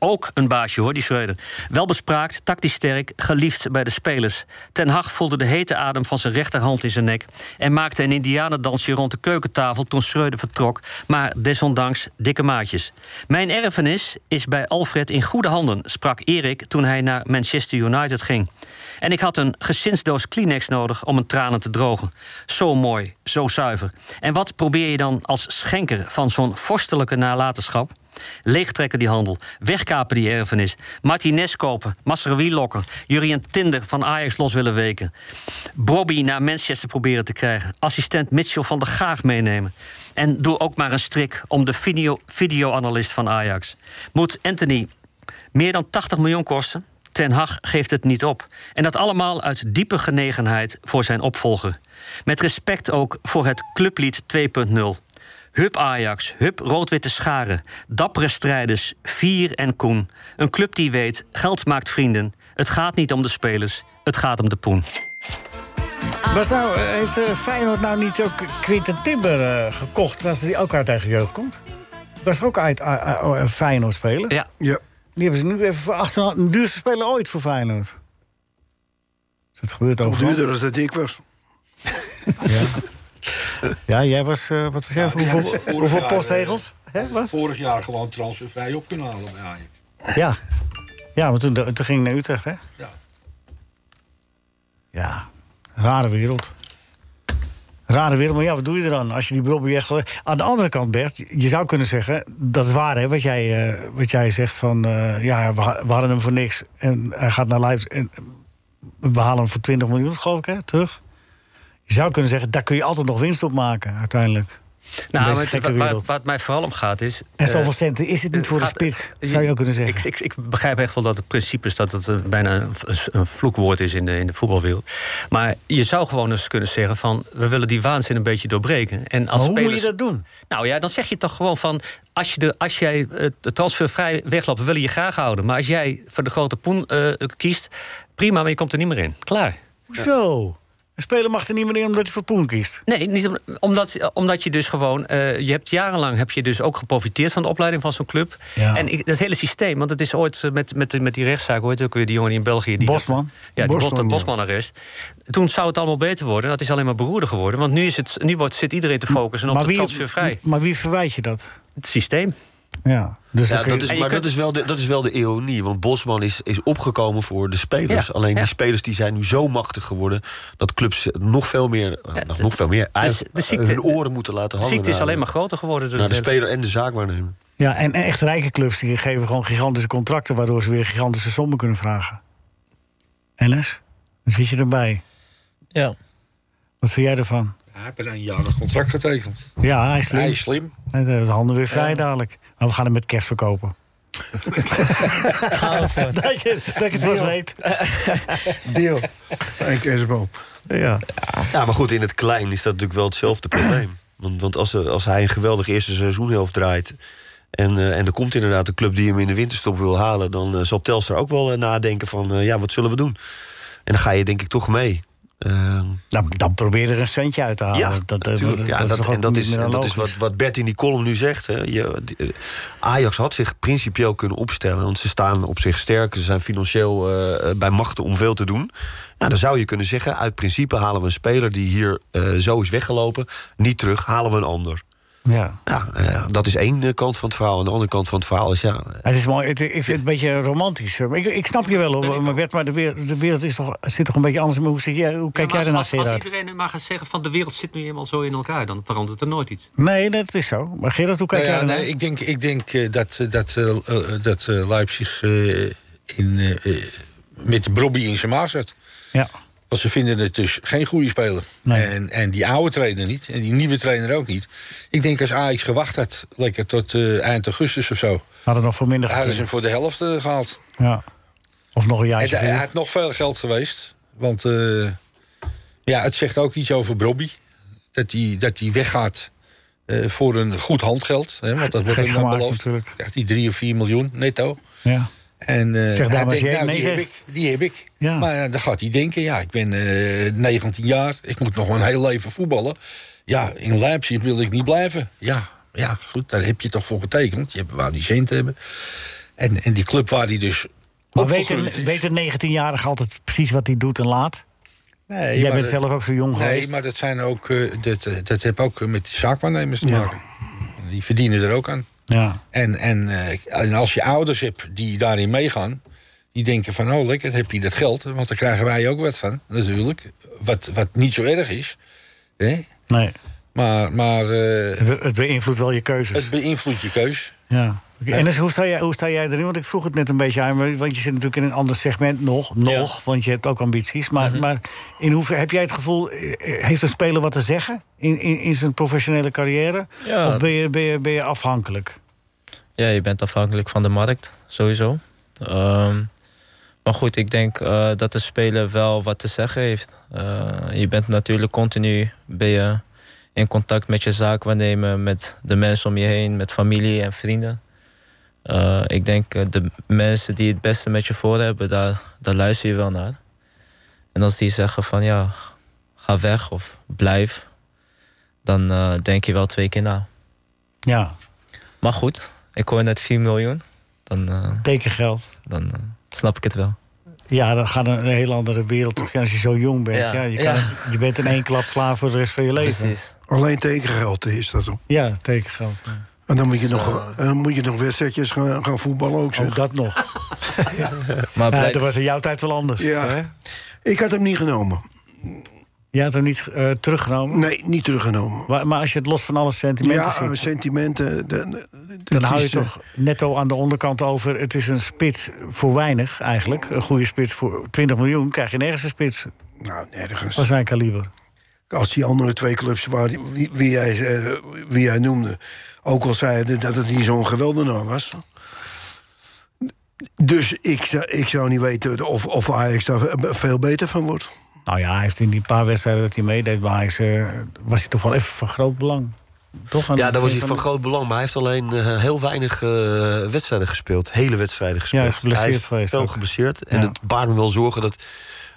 Speaker 10: Ook een baasje hoor, die Schreuder. Welbespraakt, tactisch sterk, geliefd bij de spelers. Ten Hag voelde de hete adem van zijn rechterhand in zijn nek... en maakte een indianendansje rond de keukentafel toen Schreuder vertrok... maar desondanks dikke maatjes. Mijn erfenis is bij Alfred in goede handen... sprak Erik toen hij naar Manchester United ging. En ik had een gezinsdoos Kleenex nodig om mijn tranen te drogen. Zo mooi, zo zuiver. En wat probeer je dan als schenker van zo'n vorstelijke nalatenschap? Leegtrekken die handel, wegkapen die erfenis... Martinez kopen, Masraoui lokken... jullie een Tinder van Ajax los willen weken... Bobby naar Manchester proberen te krijgen... assistent Mitchell van der Gaag meenemen... en doe ook maar een strik om de video- video-analyst van Ajax. Moet Anthony meer dan 80 miljoen kosten? Ten Hag geeft het niet op. En dat allemaal uit diepe genegenheid voor zijn opvolger. Met respect ook voor het clublied 2.0. Hup Ajax, hup rood-witte scharen, dappere strijders, Vier en Koen. Een club die weet, geld maakt vrienden. Het gaat niet om de spelers, het gaat om de poen.
Speaker 3: Was nou, eh, heeft eh, Feyenoord nou niet ook Quinten Timber eh, gekocht... als die ook uit eigen jeugd komt? Was er ook uit eh, a- a- a- Feyenoord spelen?
Speaker 10: Ja.
Speaker 4: ja.
Speaker 3: Die hebben ze nu even voor achterhand... een duurste speler ooit voor Feyenoord. Dus het gebeurt
Speaker 4: Nog
Speaker 3: overal.
Speaker 4: duurder als dat ik was.
Speaker 3: Ja, jij was... eh, wat was jij? voor hoeveel
Speaker 6: Vorig
Speaker 3: hoeveel
Speaker 6: jaar,
Speaker 3: postzegels?
Speaker 6: eh, Vorig jaar gewoon transfervrij op kunnen halen bij Ajax.
Speaker 3: Ja. Ja, want toen, toen ging ik naar Utrecht, hè?
Speaker 6: Ja.
Speaker 3: Ja, rare wereld. Rare wereld, maar ja, wat doe je er dan als je die Bobby echt... Aan de andere kant, Bert, je zou kunnen zeggen... dat is waar, hè, wat jij, eh, wat jij zegt van... eh, ja, we, ha- we hadden hem voor niks en hij gaat naar Leipzig... en we halen hem voor 20 miljoen, geloof ik, hè, terug. Je zou kunnen zeggen, daar kun je altijd nog winst op maken, uiteindelijk.
Speaker 10: Nou,
Speaker 3: deze
Speaker 10: maar
Speaker 3: gekke
Speaker 10: wa- wa-
Speaker 3: wereld.
Speaker 10: waar het mij vooral om gaat is...
Speaker 3: En zoveel
Speaker 10: eh,
Speaker 3: centen is het niet
Speaker 10: het
Speaker 3: voor
Speaker 10: gaat- eh,
Speaker 3: de spits, zou je ook kunnen zeggen.
Speaker 10: Ik, ik, ik begrijp echt wel dat het principe is dat het eh, bijna een, v- een vloekwoord is in de, in de voetbalwereld. Maar je zou gewoon eens kunnen zeggen van we willen die waanzin een beetje doorbreken. En als
Speaker 3: Maar hoe
Speaker 10: spelers,
Speaker 3: moet je dat doen?
Speaker 10: Nou ja, dan zeg je toch gewoon van als, je de, als jij het de transfervrij wegloopt, we willen je graag houden. Maar als jij voor de grote poen eh, kiest, prima, maar je komt er niet meer in. Klaar.
Speaker 3: Hoezo? Een speler mag er niet meer in omdat hij voor Poen kiest.
Speaker 10: Nee, niet om- omdat, omdat je dus gewoon... eh, je hebt jarenlang heb je dus ook geprofiteerd van de opleiding van zo'n club.
Speaker 3: Ja.
Speaker 10: En ik, dat hele systeem, want het is ooit eh, met, met, met die rechtszaak... hoort ook weer die jongen die in België... Die
Speaker 3: Bosman.
Speaker 10: ja, die
Speaker 4: Bosman,
Speaker 10: Bosman,
Speaker 4: ja.
Speaker 10: Bosman-arrest. Toen zou het allemaal beter worden. Dat is alleen maar beroerder geworden. Want nu, is het, nu wordt, zit iedereen te focussen op de transfervrij.
Speaker 3: maar wie verwijt je dat?
Speaker 10: Het systeem.
Speaker 3: Ja, dus
Speaker 7: Ja,
Speaker 3: dan kun je-
Speaker 7: dat is,
Speaker 10: En je
Speaker 7: maar
Speaker 10: kunt-
Speaker 7: dat, is wel de, dat is wel de ironie. Want Bosman is, is opgekomen voor de spelers.
Speaker 10: Ja,
Speaker 7: Alleen
Speaker 10: ja.
Speaker 7: die spelers die zijn nu zo machtig geworden... dat clubs nog veel meer, eh,
Speaker 10: Ja,
Speaker 7: nou,
Speaker 10: de-
Speaker 7: nog veel meer uit,
Speaker 10: de ziekte-
Speaker 7: hun oren moeten laten
Speaker 10: De
Speaker 7: hangen.
Speaker 10: ziekte is
Speaker 7: naar-
Speaker 10: alleen maar groter geworden. door
Speaker 7: naar de
Speaker 10: het hele-
Speaker 7: speler en de zaakwaarnemer.
Speaker 3: ja, en en echt rijke clubs die geven gewoon gigantische contracten... waardoor ze weer gigantische sommen kunnen vragen. Ellis, dan zit je erbij.
Speaker 8: Ja.
Speaker 3: Wat vind jij ervan?
Speaker 6: Hij heeft bijna een jarig contract getekend.
Speaker 3: Ja, hij is slim.
Speaker 6: Hij is slim.
Speaker 3: Hij heeft de handen weer vrij dadelijk. Maar we gaan hem met kerst verkopen. dat, je, dat ik het vast weet.
Speaker 4: Deal. En kerstboom.
Speaker 3: Ja.
Speaker 7: Ja, maar goed, in het klein is dat natuurlijk wel hetzelfde probleem. Want, want als, er- als hij een geweldig eerste seizoenhelft draait... En, eh, en er komt inderdaad een club die hem in de winterstop wil halen... dan eh, zal Telstra ook wel eh, nadenken van, eh, ja, wat zullen we doen? En dan ga je denk ik toch mee.
Speaker 3: nou, dan probeer er een centje uit te halen.
Speaker 7: Ja,
Speaker 3: dat, eh,
Speaker 7: natuurlijk. Ja,
Speaker 3: dat is
Speaker 7: dat-
Speaker 3: toch ook
Speaker 7: en dat
Speaker 3: niet
Speaker 7: is,
Speaker 3: meer
Speaker 7: en dat is
Speaker 3: logisch?
Speaker 7: wat, wat Bert in die column nu zegt. Hè. Je, die- eh, Ajax had zich principieel kunnen opstellen. Want ze staan op zich sterk. Ze zijn financieel eh, bij machten om veel te doen. Nou, dan zou je kunnen zeggen... uit principe halen we een speler die hier eh, zo is weggelopen... niet terug, halen we een ander.
Speaker 3: Ja.
Speaker 7: Ja, eh, dat is één eh, kant van het verhaal. En de andere kant van het verhaal is... ja,
Speaker 3: Het is mooi. Het, ik vind het een beetje romantisch. Maar Ik, ik snap je wel, hoor, maar, Bert, maar de wereld, de wereld is toch, zit toch een beetje anders. Maar hoe, zit jij, hoe kijk
Speaker 5: Ja, maar
Speaker 3: jij ernaar,
Speaker 5: als, als, als
Speaker 3: Gerard?
Speaker 5: iedereen nu maar gaat zeggen van de wereld zit nu eenmaal zo in elkaar... dan verandert er nooit iets.
Speaker 3: Nee, dat is zo. Maar Gerard, hoe kijk
Speaker 6: Nou
Speaker 3: jij
Speaker 6: ja,
Speaker 3: ernaar?
Speaker 6: nee, ik denk, ik denk eh, dat, eh, dat, eh, eh, dat eh, Leipzig eh, in, eh, eh, met de Brobby in zijn maag zat.
Speaker 3: Ja.
Speaker 6: Want ze vinden het dus geen goede speler.
Speaker 3: Nee.
Speaker 6: En, en die oude trainer niet. En die nieuwe trainer ook niet. Ik denk als Ajax gewacht had, lekker tot eh, eind augustus of zo...
Speaker 3: Hadden nog voor minder
Speaker 6: hadden ze hem
Speaker 3: gekund.
Speaker 6: voor de helft eh, gehaald.
Speaker 3: Ja. Of nog een
Speaker 6: Het,
Speaker 3: jaartje.
Speaker 6: hij
Speaker 3: gehuurd.
Speaker 6: had nog veel geld geweest. Want eh, ja, het zegt ook iets over Bobby. Dat hij dat die weggaat eh, voor een goed handgeld. Hè, want dat wordt
Speaker 3: Gek
Speaker 6: hem dan
Speaker 3: gemaakt
Speaker 6: beloofd.
Speaker 3: natuurlijk.
Speaker 6: Krijgt hij 3 of 4 miljoen netto.
Speaker 3: Ja.
Speaker 6: En eh,
Speaker 3: Zeg
Speaker 6: hij denkt,
Speaker 3: dames, jij
Speaker 6: nou, die
Speaker 3: negen.
Speaker 6: heb ik. Die heb ik.
Speaker 3: Ja.
Speaker 6: Maar ja, dan gaat hij denken, ja, ik ben eh 19 jaar. Ik moet nog een heel leven voetballen. Ja, in Leipzig wil ik niet blijven. Ja, ja goed, daar heb je toch voor getekend. Je hebt waar die zin te hebben. En, en die club waar hij dus
Speaker 3: Maar weet
Speaker 6: opgegroeid
Speaker 3: een,
Speaker 6: is.
Speaker 3: weet een 19-jarige altijd precies wat hij doet en laat?
Speaker 6: Nee,
Speaker 3: jij
Speaker 6: maar
Speaker 3: bent
Speaker 6: dat-
Speaker 3: zelf ook zo jong
Speaker 6: Nee,
Speaker 3: geweest.
Speaker 6: maar dat, zijn ook, eh, dat, eh, dat heeft ook met zaakwaarnemers te maken. Die verdienen er ook aan.
Speaker 3: Ja.
Speaker 6: En, en, eh, en als je ouders hebt die daarin meegaan... die denken van, oh lekker, heb je dat geld. Want daar krijgen wij ook wat van, natuurlijk. Wat, wat niet zo erg is. Hè?
Speaker 3: Nee.
Speaker 6: Maar, maar eh,
Speaker 3: We- Het beïnvloedt wel je keuzes.
Speaker 6: het beïnvloedt je keus.
Speaker 3: Ja. Oké, En dus, hoe, sta jij, hoe sta jij erin? Want ik vroeg het net een beetje aan, maar- want je zit natuurlijk in een ander segment nog, nog want je hebt ook ambities. Maar,
Speaker 8: Mhm.
Speaker 3: maar in hoeverre heb jij het gevoel, eh, eh, heeft een speler wat te zeggen in, in, in zijn professionele carrière?
Speaker 8: Ja.
Speaker 3: Of ben je, ben, je, ben je afhankelijk?
Speaker 8: Ja, je bent afhankelijk van de markt, sowieso. Ehm, maar goed, ik denk eh, dat de speler wel wat te zeggen heeft. Eh, je bent natuurlijk continu ben je in contact met je zaakwaarnemer, met de mensen om je heen, met familie en vrienden. Eh, ik denk eh, de mensen die het beste met je voor hebben, daar, daar luister je wel naar. En als die zeggen van ja, ga weg of blijf, dan eh, denk je wel twee keer na.
Speaker 3: Ja,
Speaker 8: Maar goed, ik hoor net 4 miljoen. Dan, eh,
Speaker 3: tekengeld.
Speaker 8: dan eh, snap ik het wel.
Speaker 3: Ja, dan gaat een, een hele andere wereld toch als je zo jong bent. Ja,
Speaker 8: Ja,
Speaker 3: je,
Speaker 8: ja.
Speaker 3: kan- je bent in één klap klaar voor de rest van je leven.
Speaker 8: Precies.
Speaker 4: Alleen tekengeld is dat. hoor.
Speaker 3: Ja, tekengeld. ja.
Speaker 4: En dan moet je,
Speaker 8: Zo.
Speaker 4: nog, dan moet je nog wedstrijdjes gaan, gaan voetballen ook.
Speaker 3: Ook
Speaker 4: Zeg.
Speaker 3: Oh, dat nog.
Speaker 8: Maar
Speaker 3: Ja,
Speaker 8: blijk-
Speaker 3: dat was in jouw tijd wel anders.
Speaker 4: Ja.
Speaker 3: Hè?
Speaker 4: Ik had hem niet genomen.
Speaker 3: Je had hem niet eh, teruggenomen.
Speaker 4: Nee, niet teruggenomen.
Speaker 3: Maar, maar als je het los van alle sentimenten
Speaker 4: Ja,
Speaker 3: ziet...
Speaker 4: sentimenten. de- de- de-
Speaker 3: dan
Speaker 4: het
Speaker 3: hou je
Speaker 4: is, eh,
Speaker 3: toch netto aan de onderkant over... het is een spits voor weinig eigenlijk. Een goede spits voor 20 miljoen krijg je nergens een spits Oh,
Speaker 4: eh, Nou, nergens.
Speaker 3: van zijn kaliber.
Speaker 4: als die andere twee clubs waar die- wie, wie jij, eh, wie jij noemde... ook al zeiden dat het niet zo'n geweldenaar was. Dus ik, zou- ik zou niet weten of, of Ajax daar veel beter van wordt.
Speaker 3: Nou ja, hij heeft in die paar wedstrijden dat hij meedeed bij Ajax... eh, was hij toch wel even van groot belang. Toch aan
Speaker 7: ja,
Speaker 3: het
Speaker 7: daar was hij
Speaker 3: begin
Speaker 7: van groot belang. Maar hij heeft alleen eh, heel weinig eh, wedstrijden gespeeld. Hele wedstrijden gespeeld.
Speaker 3: hij is geblesseerd
Speaker 7: hij heeft
Speaker 3: geweest
Speaker 7: Veel
Speaker 3: ook.
Speaker 7: geblesseerd. En
Speaker 3: Ja.
Speaker 7: het baart me wel zorgen dat,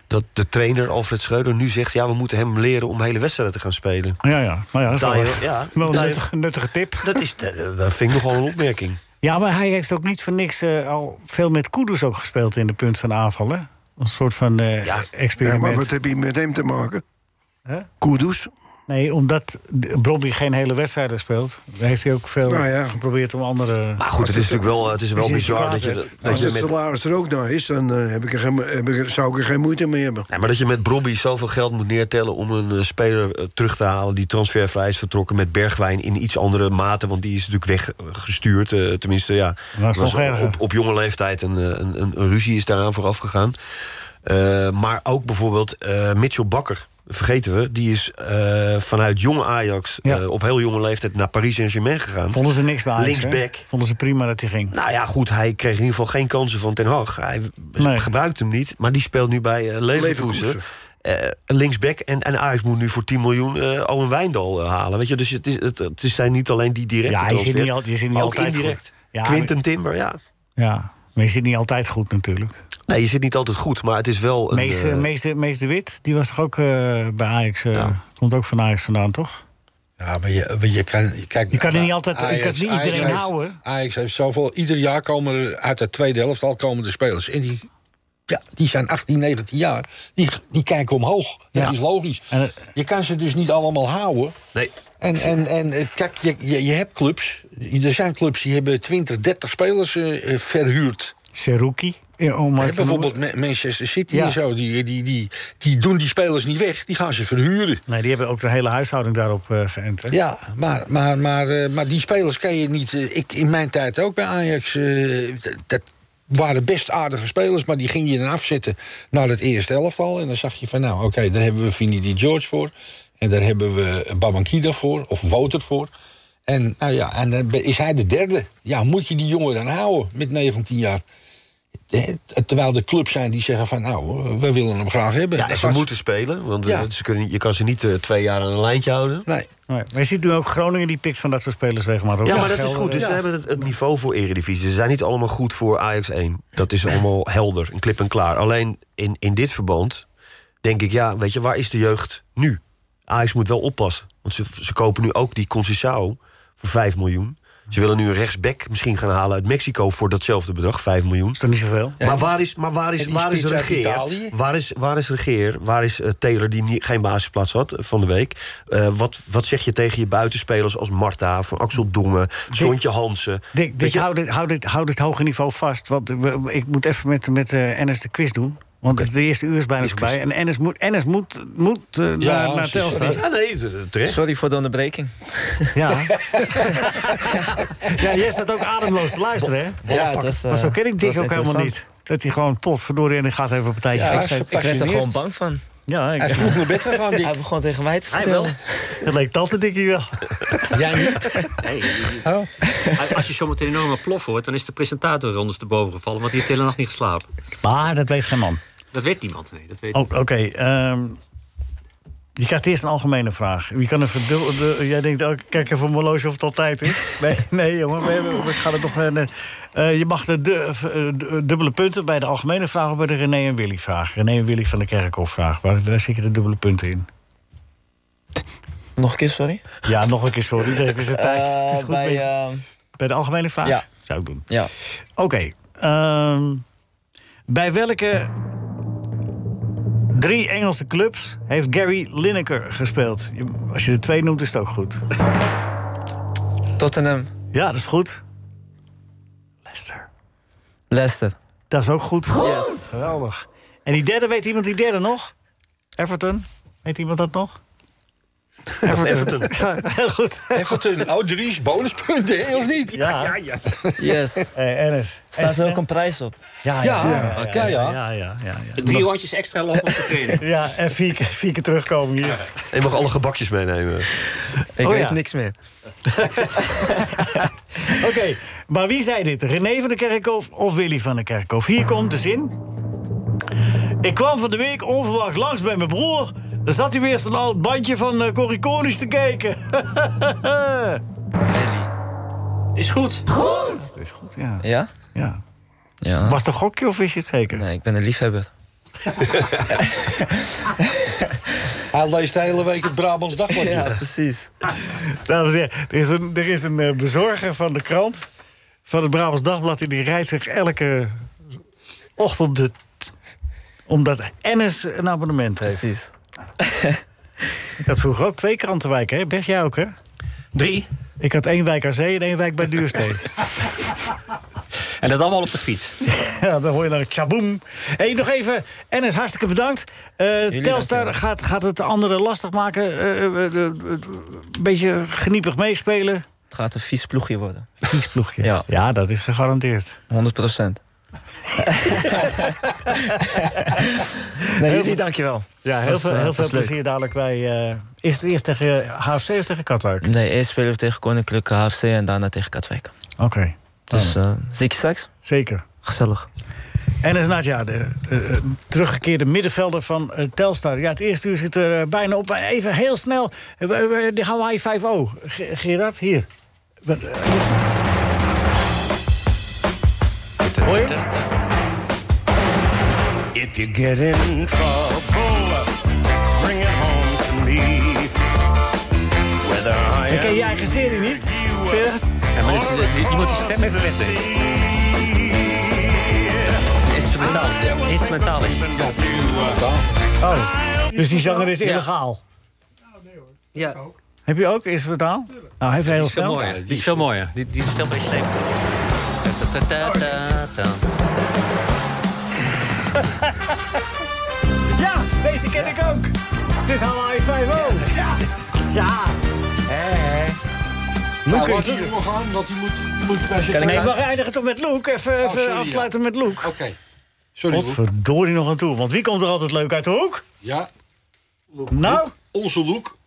Speaker 7: dat de trainer Alfred Schreuder nu zegt... ja, we moeten hem leren om hele wedstrijden te gaan spelen.
Speaker 3: Ja, ja. Nou ja, dat is wel,
Speaker 7: Daar-
Speaker 3: een-
Speaker 7: ja,
Speaker 3: wel een
Speaker 7: daar-
Speaker 3: nuttige, nuttige tip.
Speaker 7: Dat, is, dat, dat vind ik nogal een opmerking.
Speaker 3: Ja, maar hij heeft ook niet voor niks eh, al veel met Kudus ook gespeeld... in de punt van aanval, hè? Een soort van
Speaker 7: Ja.
Speaker 3: eh,
Speaker 7: Ja,
Speaker 4: Ja, maar
Speaker 3: experiment.
Speaker 4: wat heb je met hem te maken?
Speaker 3: Hè?
Speaker 4: Kudus?
Speaker 3: Nee, omdat Bobby geen hele wedstrijd speelt, heeft hij ook veel
Speaker 4: Nou ja.
Speaker 3: geprobeerd om andere.
Speaker 7: Maar goed, het is natuurlijk wel, het is wel
Speaker 3: Als je
Speaker 7: bizar dat
Speaker 3: kwaad
Speaker 7: je,
Speaker 3: werd.
Speaker 7: dat,
Speaker 4: Als
Speaker 7: je
Speaker 4: het
Speaker 7: met,
Speaker 4: salaris er ook naar is, dan eh, heb ik er geen, heb ik er- zou ik er geen moeite mee hebben.
Speaker 7: nee, maar dat je met Brobby zoveel geld moet neertellen... om een eh, speler eh, terug te halen die transfervrij is vertrokken... met Bergwijn in iets andere mate, want die is natuurlijk weggestuurd. eh, tenminste, ja,
Speaker 3: Maar dat is
Speaker 7: was
Speaker 3: nog erger.
Speaker 7: op, op jonge leeftijd een, eh, een, een, een ruzie is daaraan vooraf gegaan. Eh, maar ook bijvoorbeeld eh, Mitchell Bakker, vergeten we... die is eh, vanuit jonge Ajax
Speaker 3: Ja.
Speaker 7: eh, op heel jonge leeftijd naar Paris Saint-Germain gegaan.
Speaker 3: Vonden ze niks bij Ajax, hè?
Speaker 7: Linksback.
Speaker 3: Vonden ze prima dat hij ging.
Speaker 7: Nou ja, goed, hij kreeg in ieder geval geen kansen van Ten Hag. Hij
Speaker 3: Nee.
Speaker 7: gebruikt hem niet, maar die speelt nu bij eh, Leverkusen.
Speaker 4: Leverkusen.
Speaker 7: Eh, linksback en, en Ajax moet nu voor 10 miljoen eh, Owen Wijndal eh, halen. Weet je? Dus het, is, het, het zijn niet alleen die directe
Speaker 3: Ja, hij zit
Speaker 7: transfers,
Speaker 3: niet al- je zit niet
Speaker 7: maar ook
Speaker 3: altijd
Speaker 7: indirect.
Speaker 3: goed. Ja,
Speaker 7: Quinten Timber, ja.
Speaker 3: Ja, maar je zit niet altijd goed natuurlijk.
Speaker 7: Nee, je zit niet altijd goed, maar het is wel een...
Speaker 3: Mees,
Speaker 7: eh,
Speaker 3: meester, meester Wit, die was toch ook eh, bij Ajax? eh, Komt ook van Ajax vandaan, toch?
Speaker 6: Ja, maar je, maar je kan... Kijk,
Speaker 3: Je kan er niet
Speaker 7: eh,
Speaker 3: altijd- je kan niet iedereen
Speaker 6: heeft-
Speaker 3: houden.
Speaker 6: Ajax heeft zoveel... Ieder jaar komen er uit de tweede helft al komen de spelers. En die, ja, die zijn 18, 19 jaar. Die, die kijken omhoog. Dat
Speaker 3: Ja. eh,
Speaker 6: is logisch. je kan ze dus niet allemaal houden.
Speaker 7: Nee.
Speaker 6: En, en, en eh, kijk, je, je, je hebt clubs. Er zijn clubs die hebben 20, 30 spelers eh, eh, verhuurd.
Speaker 3: Seruki. eh, om maar
Speaker 6: Hè,
Speaker 3: te
Speaker 6: bijvoorbeeld Ma- Manchester City
Speaker 3: Ja.
Speaker 6: en zo. Die, die, die, die doen die spelers niet weg. Die gaan ze verhuren.
Speaker 3: noemen. Nee, die hebben ook de hele huishouding daarop eh geënt. hè?
Speaker 6: Ja, maar, maar, maar, eh, maar die spelers kan je niet. eh, Ik, in mijn tijd ook bij Ajax. eh, d- dat waren best aardige spelers, maar die ging je dan afzetten naar het eerste elftal. En dan zag je van, nou oké, daar hebben we Vinnie Di George voor. En daar hebben we Babankida voor, of Wouter voor. En, nou ja, en dan is hij de derde. Ja, moet je die jongen dan houden met 19 jaar? Hè, Terwijl de clubs zijn die zeggen van, nou, we willen hem graag hebben.
Speaker 7: Ja,
Speaker 6: Dat
Speaker 7: en ze
Speaker 6: was-
Speaker 7: moeten spelen, want eh,
Speaker 6: Ja.
Speaker 7: ze kunnen, je kan ze niet eh, twee jaar aan een lijntje houden.
Speaker 6: Nee.
Speaker 3: Nee, maar je ziet nu ook Groningen die pikt van dat soort spelers regelmatig.
Speaker 7: Ja,
Speaker 3: op.
Speaker 7: maar dat is
Speaker 3: Gelder-
Speaker 7: goed. Dus ze hebben het, het niveau voor Eredivisie. Ze zijn niet allemaal goed voor Ajax 1. Dat is allemaal helder, een klip en klaar. Alleen in, in dit verband denk ik, ja, weet je, waar is de jeugd nu? Ajax moet wel oppassen. Want ze, ze kopen nu ook die Concessao voor 5 miljoen. Ze willen nu een rechtsback misschien gaan halen uit Mexico voor datzelfde bedrag, 5 miljoen.
Speaker 3: Is toch niet zoveel?
Speaker 7: Maar waar is, maar waar is,
Speaker 6: En die
Speaker 7: waar is
Speaker 6: spits uit
Speaker 7: Regeer?
Speaker 6: Italië?
Speaker 7: Waar is, waar is Regeer? Waar is eh, Taylor, die nie- geen basisplaats had eh, van de week? Eh, wat, wat zeg je tegen je buitenspelers als Marta, van Axel Dongen, Zontje Hansen?
Speaker 3: Dick,
Speaker 7: Weet
Speaker 3: Dick
Speaker 7: je-
Speaker 3: hou, dit, hou, dit, hou dit hoge niveau vast. Want we- ik moet even met, met eh Ennis de quiz doen. Want de eerste uur is bijna voorbij. En Ennis moet, Ennis moet, moet eh, naar, naar
Speaker 6: precies.
Speaker 3: Telstra.
Speaker 7: Ja, nee, t- terecht.
Speaker 8: Sorry voor de onderbreking.
Speaker 3: Ja. ja, jij staat ook ademloos te luisteren, hè?
Speaker 8: Ja, het was, eh,
Speaker 3: Maar zo ken ik
Speaker 8: het
Speaker 3: Dick
Speaker 8: was
Speaker 3: ook helemaal
Speaker 8: interessant.
Speaker 3: niet. Dat hij gewoon potverdorie en hij gaat even op een tijdje
Speaker 6: Ja,
Speaker 3: ja,
Speaker 6: hij is
Speaker 8: Ik werd er gewoon
Speaker 6: Passioneerd.
Speaker 8: bang van.
Speaker 3: Ja,
Speaker 6: Hij is
Speaker 3: ik,
Speaker 6: vroeg naar bed gegaan, die.
Speaker 8: Hij begon tegen mij te
Speaker 10: Hij
Speaker 8: schreeuwen.
Speaker 10: wel.
Speaker 3: het leek tante Dickie wel.
Speaker 6: Jij niet?
Speaker 5: Nee,
Speaker 6: Oh.
Speaker 5: als je zometeen een enorme plof hoort, dan is de presentator ondersteboven gevallen, want die heeft de hele nacht niet geslapen.
Speaker 3: Maar dat weet geen man.
Speaker 5: Dat weet niemand, nee. Dat weet
Speaker 3: Oh, Oké, ehm, je krijgt eerst een algemene vraag. Je kan een verdul- de- jij denkt, oh, ik kijk even op mijn horloge of het altijd is. Nee, nee jongen, we, hebben- we gaan het nog... eh, nee. Eh, je mag de, du- eh, du- dubbele punten bij de algemene vraag... of bij de René en Willy vraag. René en Willy van de Kerkhof vraag. Waar, waar zit je de dubbele punten in?
Speaker 8: Nog een keer, sorry.
Speaker 3: Ja, nog een keer, sorry. Er is de tijd.
Speaker 8: Eh,
Speaker 3: het is goed
Speaker 8: bij,
Speaker 3: mee.
Speaker 8: eh,
Speaker 3: Bij de algemene vraag
Speaker 8: Ja.
Speaker 3: zou ik doen.
Speaker 8: ja.
Speaker 3: Oké. ehm, bij welke drie Engelse clubs heeft Gary Lineker gespeeld? Je- Als je er twee noemt, is het ook goed.
Speaker 8: Tottenham,
Speaker 3: Ja, dat is goed. Leicester.
Speaker 8: Leicester.
Speaker 3: Dat is ook goed. Yes. Geweldig. En die derde, weet iemand die derde nog? Everton? Weet iemand dat nog?
Speaker 7: Everton.
Speaker 3: Ja, heel goed.
Speaker 6: Everton, oh Dries, bonuspunten, hè, of niet? Ja,
Speaker 3: Ja, Eh, ja,
Speaker 8: Yes. Staat er ook een prijs op?
Speaker 3: Ja, ja,
Speaker 6: ja,
Speaker 3: ja.
Speaker 6: ja.
Speaker 3: Ja, ja, ja. ja, ja.
Speaker 5: Drie rondjes extra lopen op de training.
Speaker 3: Ja, en vier, keer- vier keer terugkomen hier.
Speaker 7: En je mag alle gebakjes meenemen.
Speaker 8: Ik
Speaker 3: Oh,
Speaker 8: weet
Speaker 3: ja.
Speaker 8: niks meer.
Speaker 3: Oké, maar wie zei dit? René van de Kerkhof of Willy van de Kerkhof? Hier komt de zin. Ik kwam van de week onverwacht langs bij mijn broer. Daar zat hij weer zo'n oud bandje van eh Corrie Konings te kijken.
Speaker 5: Is goed.
Speaker 3: Dat is goed, ja.
Speaker 8: Ja?
Speaker 3: ja.
Speaker 8: Ja.
Speaker 3: Was het een gokje of is je het zeker?
Speaker 8: Nee, ik ben een liefhebber.
Speaker 6: Hij leest de hele week het Brabants Dagblad.
Speaker 8: Ja, precies.
Speaker 3: Dames en heren, er is een, er is een eh, bezorger van de krant, van het Brabants Dagblad... en die rijdt zich elke ochtend de t- omdat Ennis een abonnement heeft.
Speaker 8: Precies.
Speaker 3: Ik had vroeger ook twee krantenwijken, hè? Bert, jij ook, hè?
Speaker 5: Drie.
Speaker 3: Ik had één wijk aan zee en één wijk bij Duursteen.
Speaker 5: En dat allemaal op de fiets.
Speaker 3: ja, dan hoor je dan tjaboem. hey, nog even, Ennis, hartstikke bedankt. Eh Telstar
Speaker 8: dankjewel.
Speaker 3: gaat, gaat het de anderen lastig maken. eh, eh, eh, eh, een beetje geniepig meespelen.
Speaker 8: Het gaat een vies ploegje worden.
Speaker 3: Kiesploegje. Ja.
Speaker 8: Ja.
Speaker 3: ja, dat is gegarandeerd.
Speaker 8: 100 procent. nee, jullie dankjewel.
Speaker 3: Ja,
Speaker 8: Het
Speaker 3: heel
Speaker 8: was,
Speaker 3: veel,
Speaker 8: eh,
Speaker 3: heel
Speaker 8: het
Speaker 3: veel
Speaker 8: was leuk.
Speaker 3: plezier dadelijk bij... eh, is het eerst tegen HFC of tegen Katwijk?
Speaker 8: Nee, eerst spelen we tegen Koninklijke HFC en daarna tegen Katwijk.
Speaker 3: Oké,
Speaker 8: Dus eh zie ik je straks.
Speaker 3: zeker.
Speaker 8: Gezellig.
Speaker 3: Enes Nadja, de eh, eh, teruggekeerde middenvelder van eh, Telstar. Ja, het eerste uur zit er eh, bijna op. Maar Even heel snel, eh, we- we- de Hawaii 5-0. Ge- Gerard, hier. Wat, eh, Hoor je?
Speaker 11: If you get in trouble, bring it home to me. Whether
Speaker 5: Ah,
Speaker 11: I
Speaker 3: Dan ken je
Speaker 11: am
Speaker 3: eigen serie niet?
Speaker 10: Ja, maar dus, eh, je moet die stem even wegdenken. Instrumentaal. ja. Instrumentaal is.
Speaker 3: Oh, dus die zanger is illegaal.
Speaker 10: Ja.
Speaker 3: Heb je ook instrumentaal? Nou, heeft hij heel
Speaker 10: Die is veel
Speaker 3: snel.
Speaker 10: mooier. Die is veel mooier. Die, die is veel meer sleep.
Speaker 3: Oh.
Speaker 10: Ta, ta, ta, ta, ta.
Speaker 3: Ja, deze ken ik ook. Het is Hawaii 5 -0. Ja. Ja.
Speaker 6: Nou,
Speaker 3: Eh. Loek
Speaker 6: laat
Speaker 3: is-
Speaker 6: die jongen gaan, want die moet, die moet daar zitten.
Speaker 3: Nee, we eindigen toch met Loek. Even, even
Speaker 6: sorry, ja.
Speaker 3: afsluiten met Loek.
Speaker 6: Oké. Sorry, Loek.
Speaker 3: Godverdorie nog aan toe. Want wie komt er altijd leuk uit de hoek?
Speaker 6: Ja,
Speaker 3: Nou,
Speaker 6: onze Loek.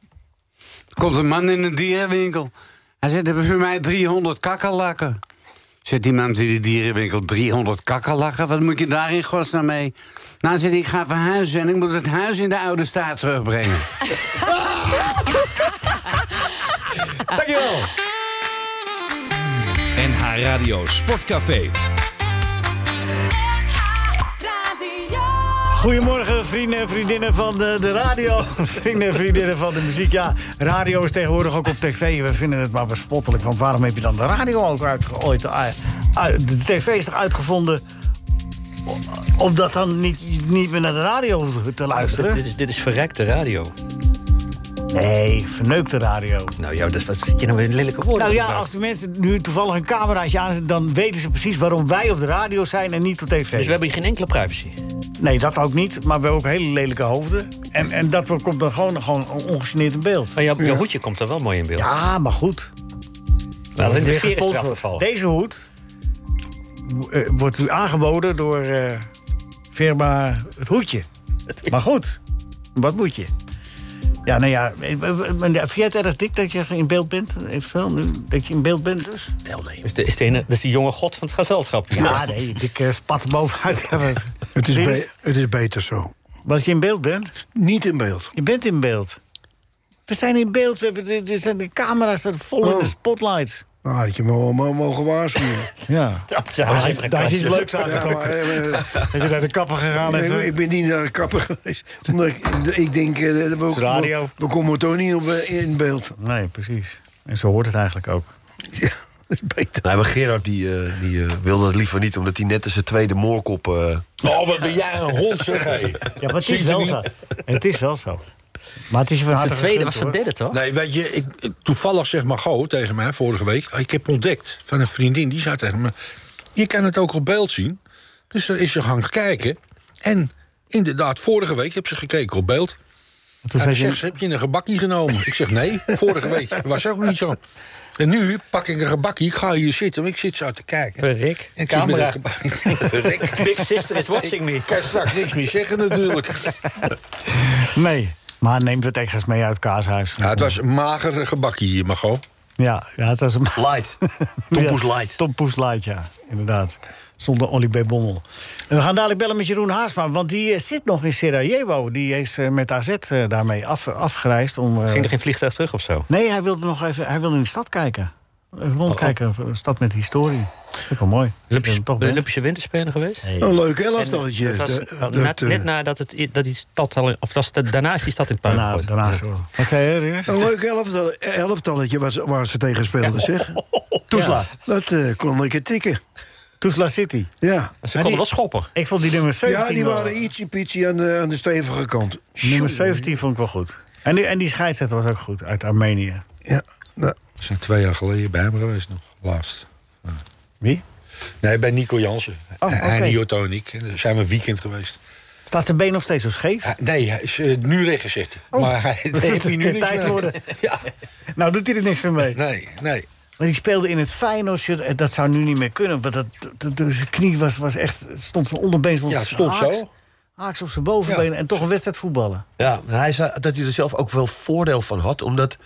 Speaker 12: Er komt een man in een dierenwinkel. Hij zegt, hebben voor mij 300 kakkerlakken. Zegt die man in die dierenwinkel, 300 kakkerlakken? Wat moet je daar in godsnaam mee? Nou, zegt hij, ik ga verhuizen en ik moet het huis in de oude staat terugbrengen.
Speaker 3: dankjewel.
Speaker 2: NH Radio Sportcafé.
Speaker 3: Goedemorgen, vrienden en vriendinnen van de, de radio. vrienden en vriendinnen van de muziek. Ja, radio is tegenwoordig ook op tv. We vinden het maar bespottelijk. Want waarom heb je dan de radio ook uit, ooit... eh, uit- de tv is toch uitgevonden... om- om dat dan niet, niet meer naar de radio te luisteren?
Speaker 5: Dit is, dit is verrekte radio.
Speaker 3: Nee, verneukte radio.
Speaker 5: Nou ja, dat is, wat zit je nou weer in lelijke woorden?
Speaker 3: Nou ja,
Speaker 5: te
Speaker 3: als de mensen nu toevallig een cameraatje aanzetten... dan weten ze precies waarom wij op de radio zijn en niet op tv.
Speaker 5: Dus we hebben hier geen enkele privacy.
Speaker 3: Nee, dat ook niet. Maar we hebben ook hele lelijke hoofden. En, en dat wordt- komt dan gewoon, gewoon ongegeneerd in beeld.
Speaker 5: Maar jouw, jouw hoedje komt er wel mooi in beeld.
Speaker 3: Ja, maar goed.
Speaker 5: Nou, alleen de
Speaker 3: Weer
Speaker 5: veer is eraf
Speaker 3: gesponsord.
Speaker 5: gevallen.
Speaker 3: Deze hoed eh, wordt u aangeboden door eh firma Het Hoedje. Maar goed, wat moet je? Ja, nou ja, eh, eh, eh, vind jij het erg dik dat je in beeld bent? Eventueel nu, dat je in beeld bent dus? Wel nee.
Speaker 5: Dus de, is de ene, dat is die jonge god van het gezelschap.
Speaker 3: Ja, nee, ik eh, spat er bovenuit.
Speaker 4: Het is,
Speaker 3: Dit
Speaker 4: be-
Speaker 3: is-
Speaker 4: het is beter zo.
Speaker 3: Wat je in beeld bent?
Speaker 4: Niet in beeld.
Speaker 3: Je bent in beeld. We zijn in beeld, we hebben, er zijn de camera's er vol in
Speaker 4: Oh.
Speaker 3: de spotlights.
Speaker 4: Nou, had je me wel mo- mogen waarschuwen.
Speaker 3: Ja.
Speaker 5: Dat is
Speaker 3: Daar is-
Speaker 5: eigenlijk
Speaker 3: daar is iets
Speaker 5: een
Speaker 3: leuks aan
Speaker 4: Ja, maar,
Speaker 3: getrokken.
Speaker 4: eh, eh,
Speaker 3: Dat je naar de kapper gegaan
Speaker 4: nee,
Speaker 3: hebt.
Speaker 4: ik ben niet naar de kapper geweest. Omdat ik, ik denk, eh, we, we,
Speaker 3: radio.
Speaker 4: we komen toch niet op, eh, in beeld.
Speaker 3: Nee, precies. En zo hoort het eigenlijk ook.
Speaker 4: Ja, dat is beter.
Speaker 7: Nee, maar Gerard die, eh, die eh, wilde dat liever niet, omdat hij net als zijn tweede moorkop... eh,
Speaker 6: Oh, wat ben jij een hond, zeg hé.
Speaker 3: Ja, maar het
Speaker 6: Zie
Speaker 3: is
Speaker 6: je
Speaker 3: wel
Speaker 6: niet?
Speaker 3: zo. Het is wel zo. Maar het is je van harte
Speaker 5: De tweede
Speaker 3: gegund,
Speaker 5: was de
Speaker 3: hoor.
Speaker 5: derde, toch?
Speaker 6: Nee, weet je, ik, toevallig zegt Margot tegen mij vorige week... ik heb ontdekt van een vriendin, die zei tegen me... je kan het ook op beeld zien. Dus dan is ze gaan kijken. En inderdaad, vorige week heb ze gekeken op beeld.
Speaker 3: En Toen
Speaker 6: En
Speaker 3: zei
Speaker 6: ze
Speaker 3: je,
Speaker 6: zegt, ze, heb je een gebakje genomen? ik zeg, nee, vorige week was ook niet zo. En nu pak ik een gebakje, ik ga hier zitten, want ik zit zo te kijken.
Speaker 5: Verrik.
Speaker 6: En ik zit met
Speaker 5: Camera.
Speaker 6: een gebakje. Verrek.
Speaker 5: Big Sister is watching me.
Speaker 6: Ik kan straks niks meer zeggen natuurlijk.
Speaker 3: nee. Maar neem wat extra's mee uit Kaashuis.
Speaker 6: Ja, Nou, het was een mager gebakje hier, Mago.
Speaker 3: ja, ja, het was een...
Speaker 7: light. Tom
Speaker 3: Ja,
Speaker 7: Poes Light.
Speaker 3: Tom Poes Light, ja. Inderdaad. Zonder Olly B. Bommel. En we gaan dadelijk bellen met Jeroen Haasma. Want die eh, zit nog in Sarajevo. Die is eh, met AZ eh, daarmee af, afgereisd. Om, eh,
Speaker 5: Ging er geen vliegtuig terug of zo?
Speaker 3: Nee, hij wilde nog even hij wilde in de stad kijken. Even rondkijken.
Speaker 6: Oh,
Speaker 3: Een stad met historie. Dat is wel mooi.
Speaker 5: Olympische,
Speaker 3: Dat
Speaker 6: eh,
Speaker 3: je er toch bent.
Speaker 5: Olympische winterspelen geweest?
Speaker 4: Een leuk elftalletje.
Speaker 5: Dat was
Speaker 4: Dat-
Speaker 5: al
Speaker 4: dat,
Speaker 5: net,
Speaker 4: eh,
Speaker 5: net nadat het, i- dat die stad al... in- Of dat is de- daarna is die stad in het puin
Speaker 3: Daarna,
Speaker 5: gegooid.
Speaker 3: daarnaast. hoor. Wat zei je, Rinus?
Speaker 4: Een leuk elftal, elftalletje waar ze, waar ze tegen speelden, zeg.
Speaker 3: Toesla.
Speaker 4: Dat eh, kon ik het tikken.
Speaker 3: Toesla City.
Speaker 5: Ze
Speaker 4: Ja.
Speaker 3: Maar
Speaker 5: konden
Speaker 3: die-
Speaker 5: wel schoppen.
Speaker 3: Ik vond die nummer 17
Speaker 4: Ja, die
Speaker 3: wel-
Speaker 4: waren ietsje pietje aan de, aan de stevige kant.
Speaker 3: Nummer 17 vond ik wel goed. En die, en die scheidsrechter was ook goed, uit Armenië.
Speaker 4: Ja. Nou,
Speaker 6: We zijn twee jaar geleden bij hem geweest nog, laatst.
Speaker 3: Wie?
Speaker 6: Nee, bij Nico Jansen.
Speaker 3: Oh,
Speaker 6: Oh,
Speaker 3: oké.
Speaker 6: Heine Jotto en ik. Daar zijn we een weekend geweest.
Speaker 3: Staat zijn been nog steeds zo scheef?
Speaker 6: Hij- Nee, hij is eh, nu recht gezet.
Speaker 3: Oh.
Speaker 6: maar hij daar heeft hij nu
Speaker 3: Geen
Speaker 6: niks
Speaker 3: tijd
Speaker 6: mee.
Speaker 3: worden.
Speaker 6: Ja,
Speaker 3: Nou, doet hij er niks meer mee.
Speaker 6: nee, nee.
Speaker 3: Maar die speelde in het Feyenoordshirt. En Dat zou nu niet meer kunnen. Want dat, dat, dat- zijn knie was, was echt, stond van onderbeen stond
Speaker 6: Ja, het stond
Speaker 3: haaks,
Speaker 6: zo.
Speaker 3: haaks op zijn bovenbeen. En toch een wedstrijd voetballen.
Speaker 7: Ja, en hij zei dat hij er zelf ook wel voordeel van had. Omdat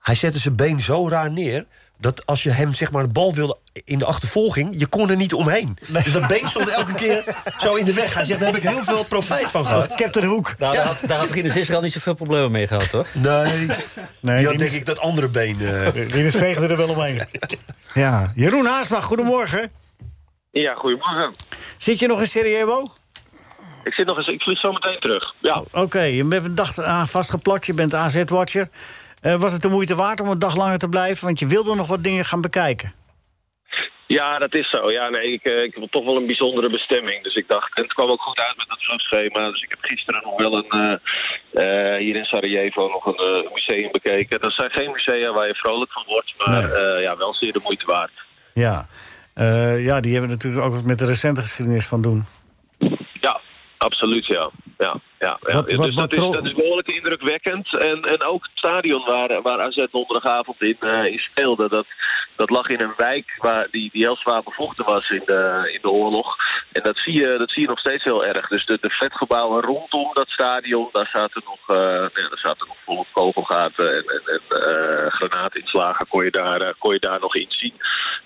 Speaker 7: hij zette zijn been zo raar neer... dat als je hem zeg maar de bal wilde in de achtervolging... je kon er niet omheen. Dus dat been stond elke keer zo in de weg. Hij zegt, daar heb ik heel veel profijt van
Speaker 3: Dat
Speaker 7: gehad.
Speaker 3: was Captain Hoek.
Speaker 5: Nou, daar, had, daar had Rinus Israël niet zoveel problemen mee gehad, hoor.
Speaker 7: Nee,
Speaker 3: Nee,
Speaker 7: die
Speaker 3: die
Speaker 7: had denk
Speaker 3: is-
Speaker 7: ik dat andere been... eh,
Speaker 3: Die veegde er wel omheen. Ja, Jeroen Haasma, goedemorgen.
Speaker 9: Ja, goedemorgen.
Speaker 3: Zit je nog in Sarajevo?
Speaker 13: Ik zit nog eens, ik vlieg zo meteen terug. Ja.
Speaker 3: Oké, je bent een dag aan vastgeplakt, je bent AZ-watcher. Eh, was het de moeite waard om een dag langer te blijven? Want je wilde nog wat dingen gaan bekijken.
Speaker 13: Ja, dat is zo. Ja, nee, ik, eh, ik wil toch wel een bijzondere bestemming. Dus ik dacht, en het kwam ook goed uit met dat vluchtschema. Dus ik heb gisteren nog wel een, eh, eh, hier in Sarajevo nog een eh, museum bekeken. Dat zijn geen musea waar je vrolijk van wordt, maar eh, ja, wel zeer de moeite waard.
Speaker 3: Ja. Eh, ja, die hebben natuurlijk ook wat met de recente geschiedenis van doen.
Speaker 13: Ja, absoluut ja. ja, ja, ja.
Speaker 3: Wat-
Speaker 13: dus
Speaker 3: wat- wat
Speaker 13: dat,
Speaker 3: tro-
Speaker 13: is, dat is behoorlijk indrukwekkend. En, en ook het stadion waar, waar AZ donderdagavond in, eh, in speelde... Dat, dat lag in een wijk waar die, die heel zwaar bevochten was in de, in de oorlog. En dat zie, je, dat zie je nog steeds heel erg. Dus de, de vetgebouwen rondom dat stadion... daar zaten nog, eh, ja, daar zaten nog volop kogelgaten en, en, en eh, granaatinslagen kon je, daar, eh, kon je daar nog in zien.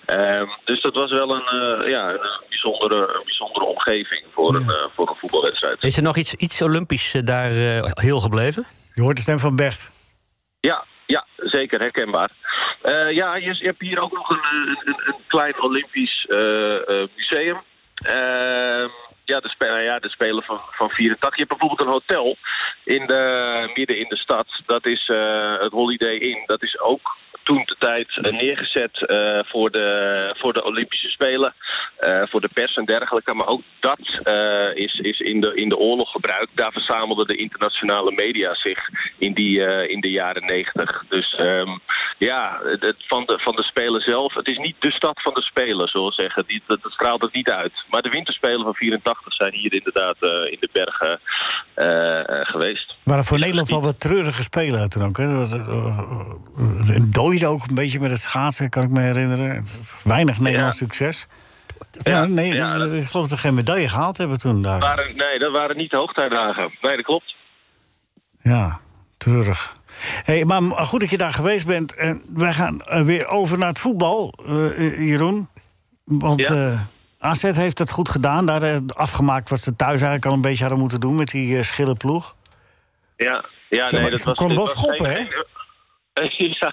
Speaker 13: Ehm, dus dat was wel een, eh, ja, een, bijzondere, een bijzondere omgeving voor, een, eh, voor een voetbalwedstrijd.
Speaker 10: Is er nog iets, iets Olympisch eh, daar eh, heel gebleven?
Speaker 3: Je hoort de stem van Bert.
Speaker 13: Ja, ja zeker herkenbaar. Eh, ja, je, je hebt hier ook nog een, eh, een, een- een klein Olympisch eh, eh, museum. Ehm, ja, de, spe- nou ja, de Spelen van, van 84. Je hebt bijvoorbeeld een hotel in de, midden in de stad. Dat is eh, het Holiday Inn. Dat is ook toen de tijd eh, neergezet eh, voor, de, voor de Olympische Spelen. eh, voor de pers en dergelijke. Maar ook dat eh, is, is in, de, in de oorlog gebruikt. Daar verzamelden de internationale media zich in, die, eh, in de jaren negentig. Dus ehm, ja, het, het van, de, van de Spelen zelf. Het is niet de stad van de Spelen, zullen we zeggen. Die, dat, dat straalt het niet uit. Maar de Winterspelen van 84 zijn hier inderdaad eh, in de bergen eh, eh, geweest.
Speaker 3: waren voor Nederland wel wat treurige spelen toen ook. Hè? Dat- dat- dat- En dooide ook een beetje met het schaatsen, kan ik me herinneren. Weinig Nederlands succes. Ja, nee, ik geloof dat we geen medaille gehaald hebben toen daar.
Speaker 13: Waren, nee, dat waren niet de hoogtijdagen. Nee, dat klopt.
Speaker 3: Ja, treurig. Hey, maar m- goed dat je daar geweest bent. En wij gaan eh, weer over naar het voetbal, eh, eh, Jeroen. Want eh, AZ heeft dat goed gedaan. Daar eh, afgemaakt wat ze thuis eigenlijk al een beetje hadden moeten doen... met die eh, schille ploeg.
Speaker 13: Ja, ja
Speaker 3: Zeg maar,
Speaker 13: nee, dat
Speaker 3: ik
Speaker 13: was...
Speaker 3: kon
Speaker 13: dit
Speaker 3: wel
Speaker 13: was
Speaker 3: schoppen,
Speaker 13: geen- Ja,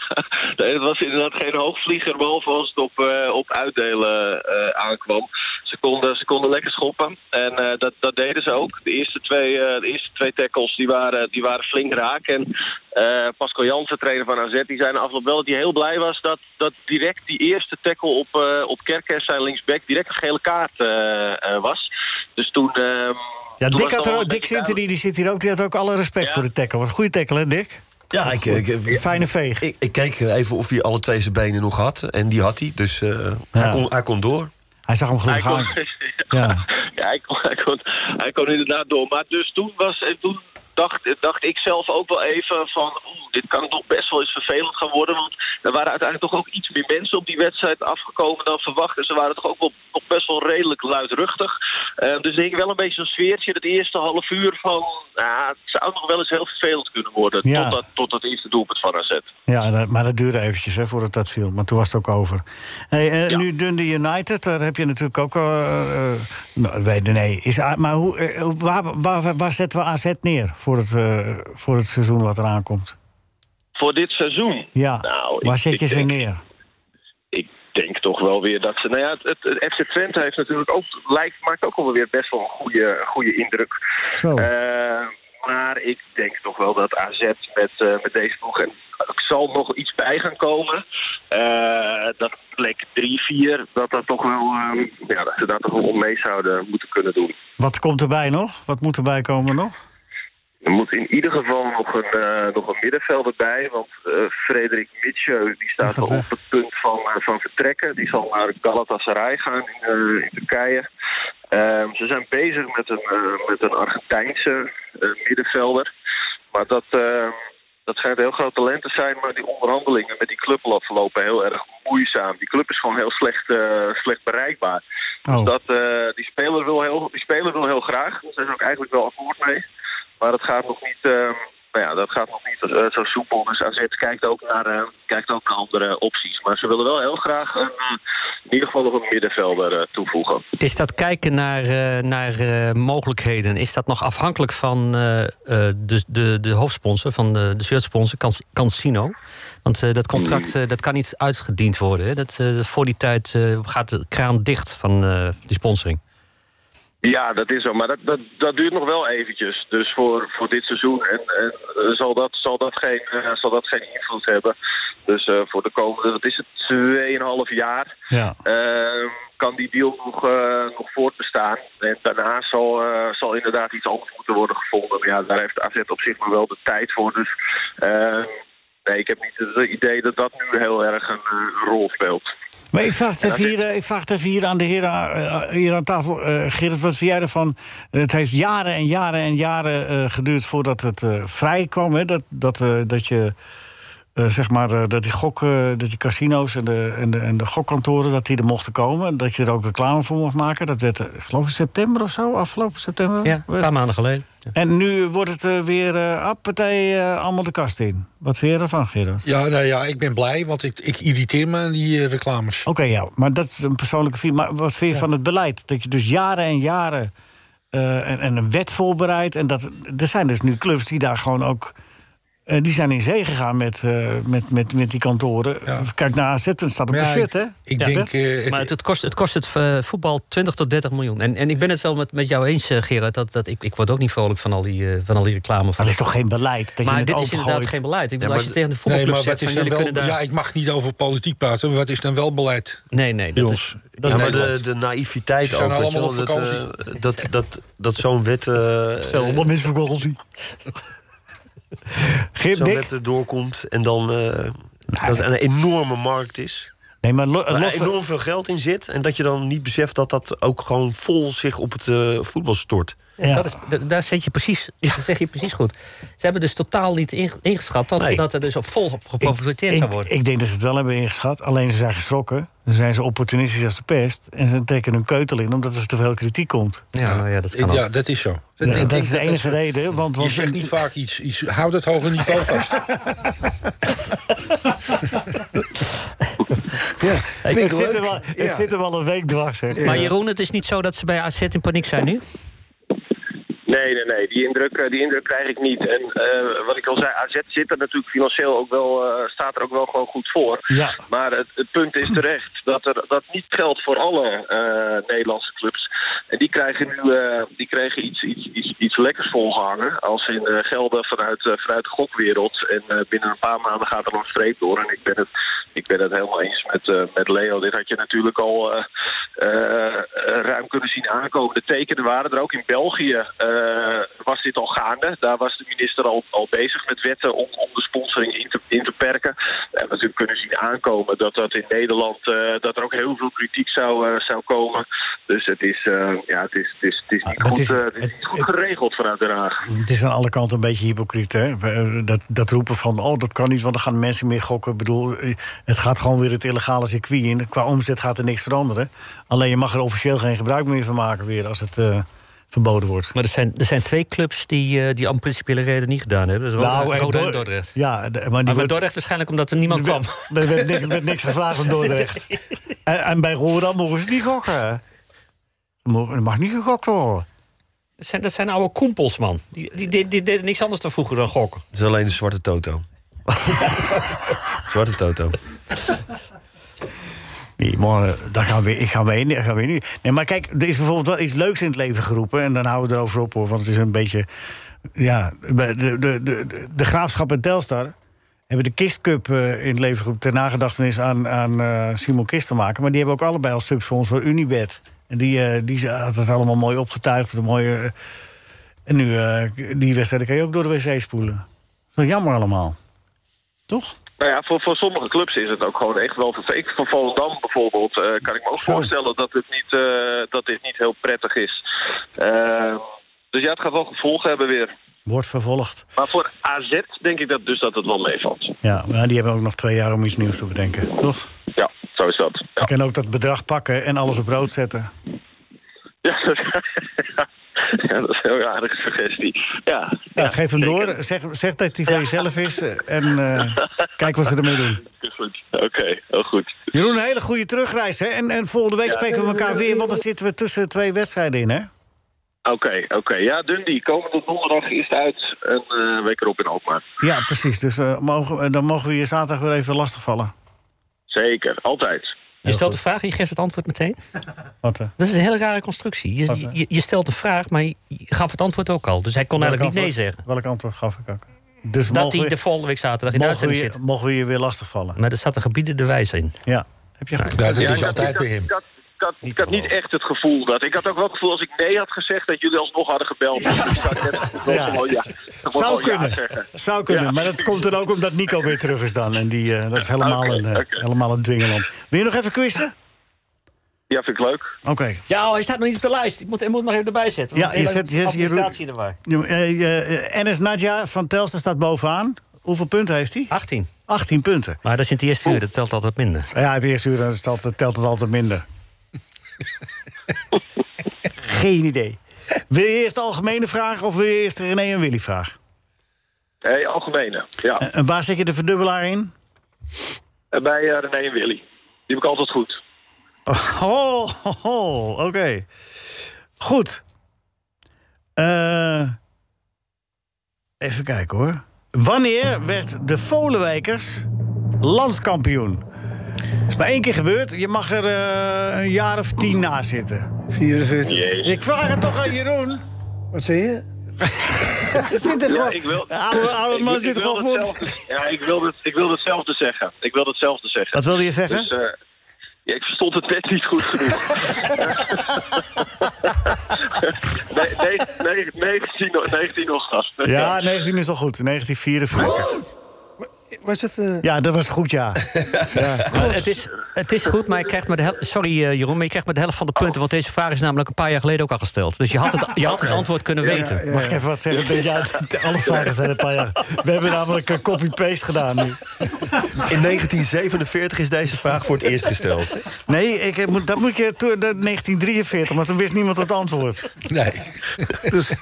Speaker 13: nee, het was inderdaad geen hoogvlieger, behalve als het op, eh, op uitdelen eh, aankwam. Ze konden, ze konden lekker schoppen en eh, dat, dat deden ze ook. De eerste twee, eh, de eerste twee tackles die waren, die waren flink raak. En eh, Pascal Jansen, trainer van AZ, die zei na afloop wel dat hij heel blij was... dat, dat direct die eerste tackle op, eh op Kerkers, zijn linksback, direct een gele kaart eh, eh, was. Dus toen... ehm,
Speaker 3: Ja,
Speaker 13: toen was
Speaker 3: Dick,
Speaker 13: het
Speaker 3: had
Speaker 13: al
Speaker 3: er
Speaker 13: een
Speaker 3: ook, Dick
Speaker 13: beetje
Speaker 3: Sinter, die, die zit hier ook. Die had ook alle respect voor de tackle. Wat een goede tackle, hè, Dick?
Speaker 7: Ja, ik, ik, ik-
Speaker 3: Fijne veeg.
Speaker 7: eh, Ik, ik keek even of hij alle twee zijn benen nog had. En die had hij, dus eh, hij, kon, hij kon door.
Speaker 3: Hij zag hem
Speaker 13: Hij
Speaker 7: gelukkig
Speaker 13: kon,
Speaker 3: ja.
Speaker 13: hij, kon, hij, kon, hij kon inderdaad door. Maar dus toen, was, en toen dacht, dacht ik zelf ook wel even van... oeh, dit kan toch best wel eens vervelend gaan worden. Want er waren uiteindelijk toch ook iets meer mensen op die wedstrijd afgekomen dan verwacht. En ze waren toch ook wel nog best wel redelijk luidruchtig. Eh, dus er hing wel een beetje een sfeertje het eerste half uur van... ah, het zou nog wel eens heel vervelend kunnen worden.
Speaker 3: Ja.
Speaker 13: Tot, dat, tot dat eerste doelpunt van AZ.
Speaker 3: Ja, dat- maar dat duurde eventjes hè, voordat dat viel. Maar toen was het ook over. Hey, eh, Nu Dundee United, daar heb je natuurlijk ook... eh, eh, nou, weet- nee, is, A- maar hoe, eh, waar, waar, waar zetten we AZ neer voor het, eh, voor het seizoen wat eraan komt?
Speaker 13: Voor dit seizoen.
Speaker 3: Ja,
Speaker 13: Nou,
Speaker 3: waar
Speaker 13: ik-
Speaker 3: zet
Speaker 13: ik
Speaker 3: je ze
Speaker 13: denk-
Speaker 3: neer?
Speaker 13: ik denk toch wel weer dat ze. Nou ja, het, het, het FC Twente heeft natuurlijk ook, lijkt, maakt ook alweer best wel een goede, goede indruk. Eh, maar ik denk toch wel dat AZ met, eh, met deze ploeg. En er zal nog iets bij gaan komen. Eh, dat plek 3-4, dat dat toch wel. eh, ja, dat ze daar toch wel om mee zouden moeten kunnen doen.
Speaker 3: Wat komt erbij nog? Wat moet erbij komen nog?
Speaker 13: Er moet in ieder geval nog een, eh, nog een middenvelder bij. Want eh, Frederik Mitscheu die staat al op het punt van, eh, van vertrekken. Die zal naar Galatasaray gaan in, eh, in Turkije. Ehm, ze zijn bezig met een, eh, met een Argentijnse eh, middenvelder. Maar dat, eh, dat schijnt een heel groot talent te zijn. Maar die onderhandelingen met die club lopen heel erg moeizaam. Die club is gewoon heel slecht, eh, slecht bereikbaar. Dus dat, eh, die, speler wil heel, die speler wil heel graag. Daar zijn ze ook eigenlijk wel akkoord mee. Maar dat gaat nog niet, ehm, nou ja, dat gaat nog niet eh, zo soepel. Dus AZ kijkt ook, naar, eh, kijkt ook naar andere opties. Maar ze willen wel heel graag een, eh, in ieder geval nog een middenvelder eh, toevoegen.
Speaker 10: Is dat kijken naar, eh, naar eh, mogelijkheden, is dat nog afhankelijk van eh, eh, de, de, de hoofdsponsor, van de, de shirtsponsor, Cans- Cansino? Want eh, dat contract eh, dat kan niet uitgediend worden. Hè? Dat, eh, voor die tijd eh, gaat de kraan dicht van eh, die sponsoring.
Speaker 13: Ja, dat is zo. Maar dat, dat, dat duurt nog wel eventjes. Dus voor, voor dit seizoen en, en, eh, zal, dat, zal, dat geen, eh, zal dat geen invloed hebben. Dus eh, voor de komende, wat is het, 2,5 jaar...
Speaker 3: Ja.
Speaker 13: eh, kan die deal nog, eh, nog voortbestaan. En daarna zal, eh, zal inderdaad iets anders moeten worden gevonden. Maar ja, daar heeft AZ op zich nog wel de tijd voor. Dus eh, nee, ik heb niet het idee dat dat nu heel erg een eh, rol speelt.
Speaker 3: Maar ik vraag het
Speaker 13: En
Speaker 3: even
Speaker 13: dan
Speaker 3: hier, eh, ik vraag het even hier aan de heren eh, hier aan tafel. Eh Gerrit, wat vind jij ervan? Het heeft jaren en jaren en jaren eh, geduurd voordat het eh, vrij kwam. Hè? Dat, dat, eh, dat je, eh, zeg maar, eh, dat die gok, eh, dat die casino's en de, en, de, en de gokkantoren, dat die er mochten komen. Dat je er ook reclame voor mocht maken. Dat werd, eh, geloof ik, september of zo, afgelopen september.
Speaker 10: Ja, een paar maanden geleden.
Speaker 3: En nu wordt het eh, weer, eh appetij, eh, allemaal de kast in. Wat vind je ervan, Gerrit?
Speaker 6: Ja, nou ja, ik ben blij, want ik, ik irriteer me aan die eh, reclames.
Speaker 3: Oké, ja, maar dat is een persoonlijke visie. Maar wat vind je van het beleid? Dat je dus jaren en jaren eh, en, en een wet voorbereidt. En dat, er zijn dus nu clubs die daar gewoon ook. eh, die zijn in zee gegaan met, eh, met, met, met die kantoren. Kijk naar AZ, dan staat op
Speaker 10: Maar
Speaker 3: een
Speaker 10: ja,
Speaker 3: shit, hè?
Speaker 10: ik- ik denk, eh, het- Maar het, het kost, het kost het eh, voetbal 20 tot 30 miljoen. En, en ik ben het wel met, met jou eens, eh, Gerard. Dat, dat ik, ik word ook niet vrolijk van al die, eh, van al die reclame. Van
Speaker 3: Dat is toch geen beleid? Dat
Speaker 10: maar
Speaker 3: je het
Speaker 10: dit is
Speaker 3: opengooit?
Speaker 10: inderdaad geen beleid. Ik bedoel, als je tegen de
Speaker 6: nee,
Speaker 10: voetbalclub
Speaker 6: maar
Speaker 10: zegt
Speaker 6: wat
Speaker 10: van
Speaker 6: is dan
Speaker 10: jullie
Speaker 6: wel,
Speaker 10: kunnen daar...
Speaker 6: Ja, ik mag niet over politiek praten, maar wat is dan wel beleid?
Speaker 10: Nee, nee.
Speaker 6: Bij
Speaker 7: dat
Speaker 6: ons.
Speaker 7: is- ja, maar de, de
Speaker 6: Ze
Speaker 7: naïviteit
Speaker 6: zijn
Speaker 7: ook. weet je
Speaker 6: allemaal
Speaker 7: wel,
Speaker 6: op
Speaker 7: dat, eh, dat, dat, dat zo'n wet... eh, eh,
Speaker 3: mensen vakantie. Geert
Speaker 7: zo'n
Speaker 3: Dik?
Speaker 7: wet er doorkomt en dan... eh, dat er een enorme markt is.
Speaker 3: Nee, maar lo-
Speaker 7: Waar
Speaker 3: los-
Speaker 7: enorm veel geld in zit. En dat je dan niet beseft dat dat ook gewoon vol zich op het eh, voetbal stort.
Speaker 10: Dat is, da- daar zet je precies, dat zeg je precies goed. Ze hebben dus totaal niet inge- ingeschat dat, dat er dus op vol op geprofiteerd zou worden.
Speaker 3: Ik denk dat ze het wel hebben ingeschat. Alleen ze zijn geschrokken. Dan zijn ze opportunistisch als de pest. En ze trekken hun keutel in omdat er te veel kritiek komt.
Speaker 10: Ja, ja, dat
Speaker 6: Ik- ja, dat is zo.
Speaker 3: Ja,
Speaker 6: Ik
Speaker 3: dat
Speaker 6: denk
Speaker 3: is de enige reden, want- want-
Speaker 6: je zegt niet vaak iets, iets. Houd het hoge niveau vast.
Speaker 3: Ik,
Speaker 10: vind het
Speaker 3: zit,
Speaker 10: leuk.
Speaker 3: er wel, ik
Speaker 10: Ja.
Speaker 3: zit er wel een week dwars, zeg.
Speaker 10: Maar Jeroen, het is niet zo dat ze bij AZ in paniek zijn nu?
Speaker 13: Nee, nee, nee. Die indruk, eh, die indruk krijg ik niet. En eh, wat ik al zei, AZ zit er natuurlijk financieel ook wel, eh, staat er ook wel gewoon goed voor.
Speaker 3: Ja.
Speaker 13: Maar het, het punt is terecht dat er, dat niet geldt voor alle eh, Nederlandse clubs. En die krijgen nu eh, die krijgen iets, iets, iets, iets lekkers volgehangen. Als in eh, gelden vanuit, eh, vanuit de gokwereld. En eh, binnen een paar maanden gaat er een streep door. En ik ben het, ik ben het helemaal eens met, eh, met Leo. Dit had je natuurlijk al eh, eh, ruim kunnen zien aankomen. De tekenen waren er ook. In België eh, was dit al gaande. Daar was de minister al, al bezig met wetten om, om de sponsoring in te, in te perken. We hebben natuurlijk kunnen zien aankomen dat dat in Nederland eh, dat er ook heel veel kritiek zou, eh, zou komen. Dus het is, eh, ja, het is, het is, het is niet goed, eh, het is niet goed geregeld vanuit Den Haag.
Speaker 3: Het is aan alle kanten een beetje hypocriet, hè? eh, Dat, dat roepen van, oh, dat kan niet, want dan gaan mensen meer gokken. Ik bedoel, eh, het gaat gewoon weer het illegale circuit in. Qua omzet gaat er niks veranderen. Alleen je mag er officieel geen gebruik meer van maken weer als het eh, verboden wordt.
Speaker 10: Maar er zijn, dus er zijn twee clubs die, eh, die om principiële reden niet gedaan hebben. Dat is Roda-
Speaker 3: en
Speaker 10: Roda en
Speaker 3: Dor-
Speaker 10: Dordrecht.
Speaker 3: Nou, eh, Ja, de-
Speaker 10: Maar,
Speaker 3: maar die
Speaker 10: met
Speaker 3: werd-
Speaker 10: Dordrecht waarschijnlijk omdat er niemand
Speaker 3: Er
Speaker 10: kwam.
Speaker 3: werd- Er werd, niks- er werd niks gevraagd van Dordrecht. En, en bij Rotterdam mogen ze niet gokken. Er mo- Er mag niet gegokt worden.
Speaker 10: Dat zijn, dat zijn oude koempels, man. Die, die, die, die deden niks anders dan vroeger dan gokken.
Speaker 7: Het is alleen de zwarte toto. zwarte toto.
Speaker 3: Nee, maar eh, daar gaan we, ik ga mee, daar gaan we niet. Nee, maar kijk, er is bijvoorbeeld wel iets leuks in het leven geroepen. En dan houden we het erover op, hoor. Want het is een beetje... Ja, de, de, de, de, de Graafschap en Telstar hebben de Kist Cup eh, in het leven geroepen... ter nagedachtenis aan, aan eh Simon Kist te maken. Maar die hebben ook allebei als subsponsor Unibet. En die, eh, die had het allemaal mooi opgetuigd. Een mooie, eh, en nu, eh, die wedstrijd kan je ook door de wc spoelen. Zo jammer allemaal. Toch?
Speaker 13: Nou ja, voor, voor sommige clubs is het ook gewoon echt wel vervelend. Voor Volendam bijvoorbeeld eh, kan ik me ook voorstellen dat, het niet, eh, dat dit niet heel prettig is. Eh, dus ja, het gaat wel gevolgen hebben weer.
Speaker 3: Wordt vervolgd.
Speaker 13: Maar voor AZ denk ik dat dus dat het wel meevalt.
Speaker 3: Ja, maar die hebben ook nog twee jaar om iets nieuws te bedenken, toch?
Speaker 13: Ja, zo is dat.
Speaker 3: Ik kan ook dat bedrag pakken en alles op rood zetten.
Speaker 13: Ja, dat, ja, dat is een heel aardige suggestie. Ja,
Speaker 3: Ja, geef hem door, zeg, zeg dat die van jezelf is eh, en eh, kijk wat ze ermee doen.
Speaker 13: goed. Oké, heel goed.
Speaker 3: Jeroen, een hele goede terugreis, hè? En, en volgende week
Speaker 13: Ja. eh,
Speaker 3: spreken we elkaar weer, want dan zitten we tussen twee wedstrijden in, hè?
Speaker 13: Oké, oké. Ja, Dundee, komende donderdag is het uit. En eh week erop in Alkmaar.
Speaker 3: Ja, precies. Dus eh, mogen, eh, dan mogen we je zaterdag weer even lastigvallen.
Speaker 13: Zeker, altijd.
Speaker 14: Je stelt de vraag en je geeft het antwoord meteen.
Speaker 3: Wat, eh?
Speaker 14: Dat is een hele rare constructie.
Speaker 3: Wat,
Speaker 14: Je,
Speaker 3: eh?
Speaker 14: je, je stelt de vraag, maar je je gaf het antwoord ook al. Dus hij kon
Speaker 3: Welk
Speaker 14: eigenlijk niet nee
Speaker 3: antwoord-
Speaker 14: zeggen.
Speaker 3: Welk antwoord gaf ik ook? Dus
Speaker 14: dat
Speaker 3: mogen
Speaker 14: hij
Speaker 3: we-
Speaker 14: de volgende week zaterdag in de
Speaker 3: mogen we
Speaker 14: uitzending
Speaker 3: je-
Speaker 14: zit.
Speaker 3: Mogen we je weer lastigvallen?
Speaker 14: Maar er zat een gebieden de wijs in.
Speaker 3: Ja. Heb je goed
Speaker 6: Ja, dat
Speaker 14: Ja,
Speaker 6: is
Speaker 14: ik-
Speaker 6: altijd bij hem.
Speaker 13: Ik had, ik had, ik had niet echt het gevoel dat. Ik had ook wel het gevoel als ik nee had gezegd dat jullie alsnog hadden gebeld. Dus ik zou net als ik wel
Speaker 3: Ja.
Speaker 13: gewoon ja. gewoon
Speaker 3: Zou
Speaker 13: gewoon ja
Speaker 3: kunnen.
Speaker 13: zeggen.
Speaker 3: Zou kunnen, maar dat komt dan ook omdat Nico weer terug is dan. En die, eh, dat is helemaal, een, eh, helemaal een dwingeland. Wil je nog even quizzen?
Speaker 13: Ja, vind ik leuk.
Speaker 3: Oké.
Speaker 14: Ja, oh, hij staat nog niet op de lijst. Ik moet hem nog even erbij zetten.
Speaker 3: Ja, je zet, je zet je
Speaker 14: administratie erbij.
Speaker 3: Ja, maar, eh, eh, NS Nadja van Telstra staat bovenaan. Hoeveel punten heeft hij?
Speaker 14: 18.
Speaker 3: 18 punten.
Speaker 14: Maar dat is in het eerste uur, dat telt altijd minder.
Speaker 3: Ja, het eerste uur dan is het altijd- telt het altijd minder. Geen idee. Wil je eerst de algemene vraag of wil je eerst de René en Willy vraag?
Speaker 13: Hey, algemene. Ja.
Speaker 3: En waar zet je de verdubbelaar in?
Speaker 13: En Bij eh, René en Willy. Die heb ik altijd goed.
Speaker 3: Oh, oh, oh, oké. Goed. Eh, even kijken hoor. Wanneer werd de Volenwijkers landskampioen? Het is maar één keer gebeurd. Je mag er eh, een jaar of tien na zitten.
Speaker 4: 44.
Speaker 3: Ik vraag het toch aan Jeroen.
Speaker 4: Wat zei je?
Speaker 3: Zit er gewoon...
Speaker 13: ik wil,
Speaker 3: De oude- oude
Speaker 13: ik-
Speaker 3: man
Speaker 13: ik
Speaker 3: zit er
Speaker 13: wil
Speaker 3: gewoon
Speaker 13: datzelfde- Ja, ik wil, dat, ik wil datzelfde zeggen. Ik wil datzelfde zeggen.
Speaker 3: Wat wilde je zeggen?
Speaker 13: Dus, eh, ja, ik verstond het net niet goed genoeg. nee, nee, nee, 19 nog- 19 nog, gast.
Speaker 3: Ja, 19 is al goed. 1944.
Speaker 4: Was het... eh?
Speaker 3: Ja, dat was een goed jaar. Ja.
Speaker 14: Maar Het is, het is goed, maar je krijgt maar de helft... Sorry eh, Jeroen, maar je krijgt maar de helft van de punten... want deze vraag is namelijk een paar jaar geleden ook al gesteld. Dus je had het, je had het antwoord kunnen weten.
Speaker 3: Mag ik even wat zeggen? Ben jij- alle vragen zijn een paar jaar. We hebben namelijk een copy-paste gedaan nu.
Speaker 7: In 1947 is deze vraag voor het eerst gesteld.
Speaker 3: Nee, ik, moet- dat moet je toe- dat- 1943, want toen wist niemand het antwoord.
Speaker 6: Nee.
Speaker 3: Dus.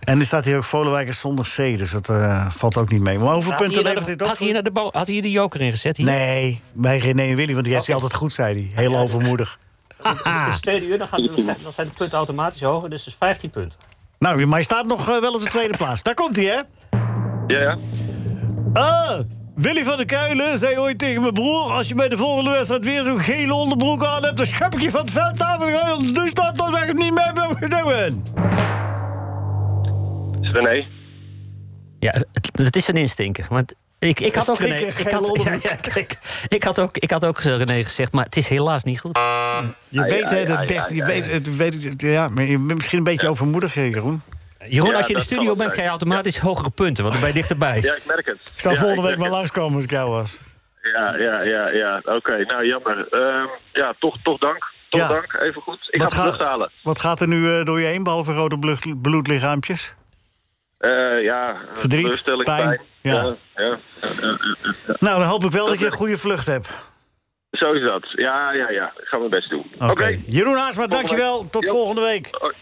Speaker 3: En er staat hier ook Volenwijkers zonder C, dus dat eh, valt ook niet mee. Maar hoeveel
Speaker 14: Had
Speaker 3: punten
Speaker 14: hij
Speaker 3: levert
Speaker 14: hier nou de- Had
Speaker 3: dit op?
Speaker 14: hij, hier nou de bo- had hij hier de joker in gezet? Hier?
Speaker 3: Nee, bij René en Willy, want die heeft
Speaker 14: Oh.
Speaker 3: hij altijd goed, zei hij. Heel overmoedig.
Speaker 14: Dus het tweede uur, dan, gaat het, dan zijn de punten automatisch hoger. Dus het is 15 punten.
Speaker 3: Nou, maar hij staat nog eh, wel op de tweede plaats. Daar komt hij, hè?
Speaker 13: Ja, ja.
Speaker 3: Ah, Willy van der Kuilen zei ooit tegen mijn broer... als je bij de volgende wedstrijd weer zo'n gele onderbroek aan hebt... dan schep ik je van het veld af en ga je dus dat dan zeg ik niet mee ben gedaan.
Speaker 13: René.
Speaker 14: Ja, het, het is een instinker. Want ik, ik had ook
Speaker 3: Strikken,
Speaker 14: René. Ik
Speaker 3: gele
Speaker 14: had, ja,
Speaker 3: onderbroek.
Speaker 14: ja, kijk, ik, had ook, ik had ook eh, René gezegd, maar het is helaas niet goed.
Speaker 3: Je weet het, het beste. Je weet het, weet het, ja, maar je bent misschien een beetje overmoedig, hè, Jeroen.
Speaker 14: Jeroen, als je in de studio bent, krijg je automatisch hogere punten. Want dan ben je dichterbij.
Speaker 13: Ja, ik merk het.
Speaker 3: Ik zou
Speaker 13: Ja,
Speaker 3: volgende
Speaker 13: ik
Speaker 3: week maar
Speaker 13: merk
Speaker 3: langskomen als ik jou was.
Speaker 13: het. Ja, ja, ja, ja. Oké, nou jammer. Ehm, ja, toch, toch dank. Toch
Speaker 3: Ja.
Speaker 13: dank. Even goed. Ik
Speaker 3: Wat
Speaker 13: ga het terughalen.
Speaker 3: Wat gaat er nu eh, door je heen, behalve rode bloed- bloedlichaampjes?
Speaker 13: Eh, ja,
Speaker 3: Verdriet,
Speaker 13: teleurstelling,
Speaker 3: pijn, ja.
Speaker 13: ja, ja, ja, ja, ja, ja.
Speaker 3: Nou, dan hoop ik wel dat je een goede vlucht hebt.
Speaker 13: Zo is dat. Ja, ja, ja. Ik ga mijn best doen. Oké.
Speaker 3: Oké. Jeroen Haarsma, dankjewel. Tot volgende week.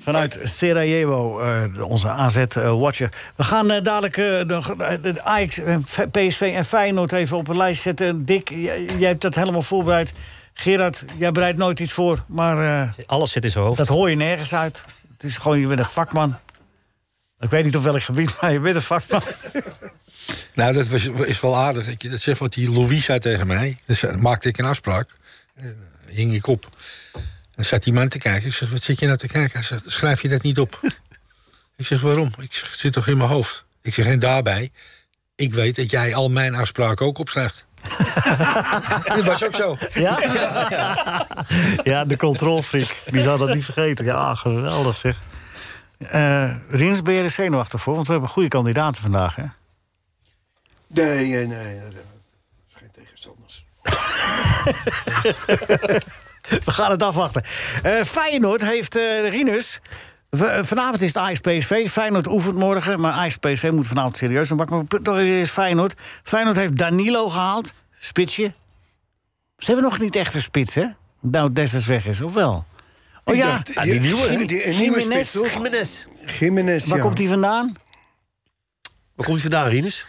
Speaker 3: Vanuit Sarajevo, eh, onze AZ-watcher. We gaan eh, dadelijk eh, de, de Ajax, en F- PSV en Feyenoord even op een lijst zetten. Dick, jij, jij hebt dat helemaal voorbereid. Gerard, jij bereidt nooit iets voor, maar... eh,
Speaker 14: Alles zit in zijn hoofd.
Speaker 3: Dat hoor je nergens uit. Het is gewoon, je bent een vakman. Ik weet niet op welk gebied, maar je bent een vakman.
Speaker 6: Nou, dat was, is wel aardig. dat je dat zegt wat die Louis zei tegen mij. Dus eh, maakte ik een afspraak. En, eh, hing ik op. En zat die man te kijken. Ik zeg, wat zit je nou te kijken? Hij zegt, schrijf je dat niet op? ik zeg, waarom? Ik zeg, het zit toch in mijn hoofd? Ik zeg, en daarbij, ik weet dat jij al mijn afspraken ook opschrijft. dat was ook zo.
Speaker 3: Ja? Ja, de controlfreak. Die zal dat niet vergeten. Ja, geweldig zeg. Eh Rins, ben je er zenuwachtig voor? Want we hebben goede kandidaten vandaag, hè?
Speaker 4: Nee, nee, nee. Dat is geen tegenstanders.
Speaker 3: We gaan het afwachten. Eh, Feyenoord heeft eh Rinus. v- eh, Vanavond is het ASPSV. Feyenoord oefent morgen, maar ASPSV moet vanavond serieus. Maar pak- toch is Feyenoord. Feyenoord heeft Danilo gehaald. Spitsje. Ze hebben nog niet echt een spits, hè? Nou, Dessers weg is, of wel? Oh
Speaker 4: Ik
Speaker 3: ja,
Speaker 4: dacht, Ah, die je- nieuwe, hè? die- die- een nieuwe spits, toch?
Speaker 3: Jiménez.
Speaker 4: Jiménez,
Speaker 3: Waar
Speaker 4: ja.
Speaker 3: komt die vandaan?
Speaker 7: Waar komt hij vandaan, Rinus?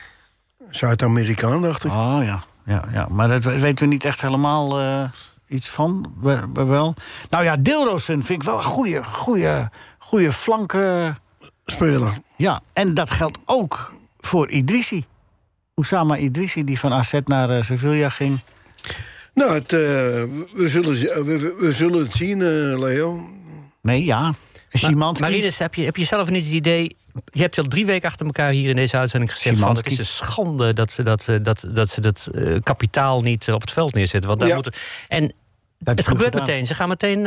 Speaker 4: Zuid-Amerikaan, dacht ik.
Speaker 3: Oh ja. Ja, ja, maar dat we- weten we niet echt helemaal eh, iets van. We, we wel. Nou ja, Dilrosen vind ik wel een goede, goede, goede flanken.
Speaker 4: Speler.
Speaker 3: Ja, en dat geldt ook voor Idrissi. Oussama Idrissi, die van AZ naar eh, Sevilla ging.
Speaker 4: Nou, het, eh, we, zullen, zi- we, we- we zullen het zien, eh, Leo.
Speaker 3: Nee, ja. Szymanski.
Speaker 14: Marinus, heb je, heb je zelf niet het idee... Je hebt al drie weken achter elkaar hier in deze uitzending gezegd... Van, het
Speaker 3: Szymanski.
Speaker 14: is een schande dat ze dat, eh, dat, dat, ze dat eh, kapitaal niet eh, op het veld neerzetten. Want daar
Speaker 3: Ja.
Speaker 14: moeten, en
Speaker 3: je
Speaker 14: het
Speaker 3: goed
Speaker 14: gebeurt
Speaker 3: gedaan.
Speaker 14: meteen. Ze gaan meteen eh,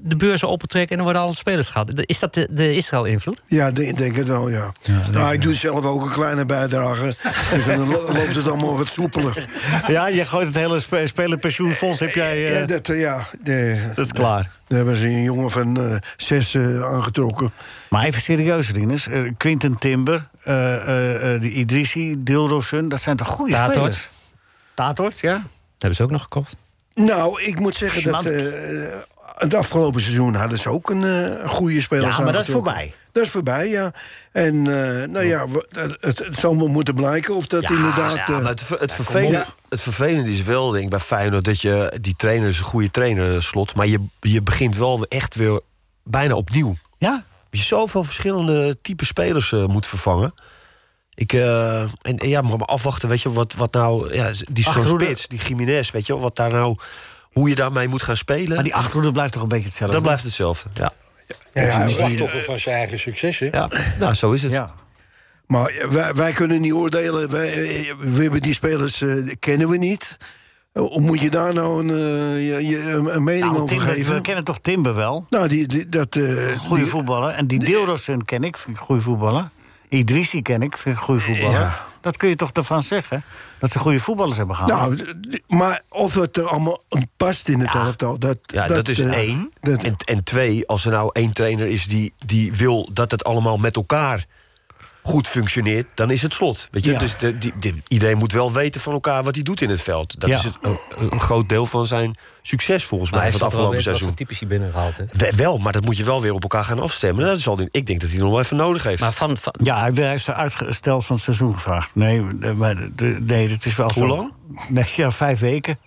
Speaker 14: de beurzen opentrekken... en dan worden alle spelers gehaald. Is dat de, de Israël-invloed?
Speaker 4: Ja, ik denk, denk het wel, ja. nou, ik doe zelf ook een kleine bijdrage. dus dan lo- loopt het allemaal wat soepeler.
Speaker 3: Ja, je gooit het hele spe- spelerpensioenfonds, heb jij... eh,
Speaker 4: Ja, dat, eh, ja, de-
Speaker 3: Dat is klaar.
Speaker 4: Daar hebben ze een jongen van eh, zes eh, aangetrokken.
Speaker 3: Maar even serieus, Rinus. Eh, Quinten Timber, eh eh eh, die Idrissi, Dilrosun, dat zijn toch goede
Speaker 14: Tatort.
Speaker 3: spelers? Tatort, ja.
Speaker 14: Dat hebben ze ook nog gekocht.
Speaker 4: Nou, ik moet zeggen dat...
Speaker 3: Szymanski.
Speaker 4: eh, het afgelopen seizoen hadden ze ook een eh, goede speler.
Speaker 3: Ja, maar dat is
Speaker 4: aangetrokken.
Speaker 3: voorbij.
Speaker 4: Dat is voorbij, ja. En eh, nou ja, we- het, het, het zal wel moeten blijken of dat inderdaad...
Speaker 7: ja,
Speaker 4: eh,
Speaker 7: maar het, ver- het,
Speaker 4: ja, kom op.
Speaker 7: vervelende,
Speaker 4: Ja.
Speaker 7: het vervelende is wel, denk ik, bij Feyenoord... dat je die trainer is een goede trainer, eh, Slot... maar je, je begint wel echt weer bijna opnieuw.
Speaker 3: Ja.
Speaker 7: Je zoveel verschillende type spelers eh, moet vervangen. Ik, eh, en, en ja, maar maar afwachten, weet je, wat, wat nou... Ja, die zo'n
Speaker 3: Achterhoede.
Speaker 7: spits, die Jiménez, weet je, wel, wat daar nou... Hoe je daarmee moet gaan spelen. Maar
Speaker 3: die achterhoede blijft toch een beetje hetzelfde?
Speaker 7: Dat blijft hetzelfde, ja.
Speaker 6: Een slachtoffer van zijn eigen successen.
Speaker 7: Ja, nou, zo is het.
Speaker 4: Maar eh, wij, wij kunnen niet oordelen. Wij, eh, we hebben die spelers eh, kennen we niet. Eh, Hoe moet je daar nou een, eh, je- je- een- een mening
Speaker 3: Nou,
Speaker 4: over
Speaker 3: Timber, we
Speaker 4: geven?
Speaker 3: kennen toch Timber wel?
Speaker 4: Nou, die, die- dat... eh,
Speaker 3: Goede
Speaker 4: die-
Speaker 3: voetballer. En die Dilrosun ken ik, vind ik een goede voetballer. Idrissi ken ik, vind ik een goede voetballer.
Speaker 4: Ja.
Speaker 3: Dat kun je toch ervan zeggen? Dat ze goede voetballers hebben
Speaker 7: Ah.
Speaker 4: Nou,
Speaker 3: gehaald.
Speaker 4: d- d- maar of het er allemaal past in het elftal... Dat,
Speaker 7: Ja, dat, is
Speaker 4: eh,
Speaker 7: één.
Speaker 4: dat-
Speaker 7: en, en twee, als er nou één trainer is die, die wil dat het allemaal met elkaar goed functioneert, dan is het slot. Weet je?
Speaker 4: Ja.
Speaker 7: Dus de, die, die- iedereen moet wel weten van elkaar wat hij doet in het veld. Dat
Speaker 14: Ja.
Speaker 7: is het, een, een groot deel van zijn succes volgens mij van het afgelopen seizoen.
Speaker 14: typisch hier binnengehaald. Hè?
Speaker 7: We- Wel, maar dat moet je wel weer op elkaar gaan afstemmen. Dat zal die, ik denk dat hij nog wel even nodig heeft.
Speaker 14: Maar van, van-
Speaker 3: Ja, hij hij heeft er uitstel van het seizoen gevraagd. Nee, eh, maar, de- nee dat is wel
Speaker 7: Hoe
Speaker 3: zo.
Speaker 7: lang?
Speaker 3: Nee, ja, vijf weken.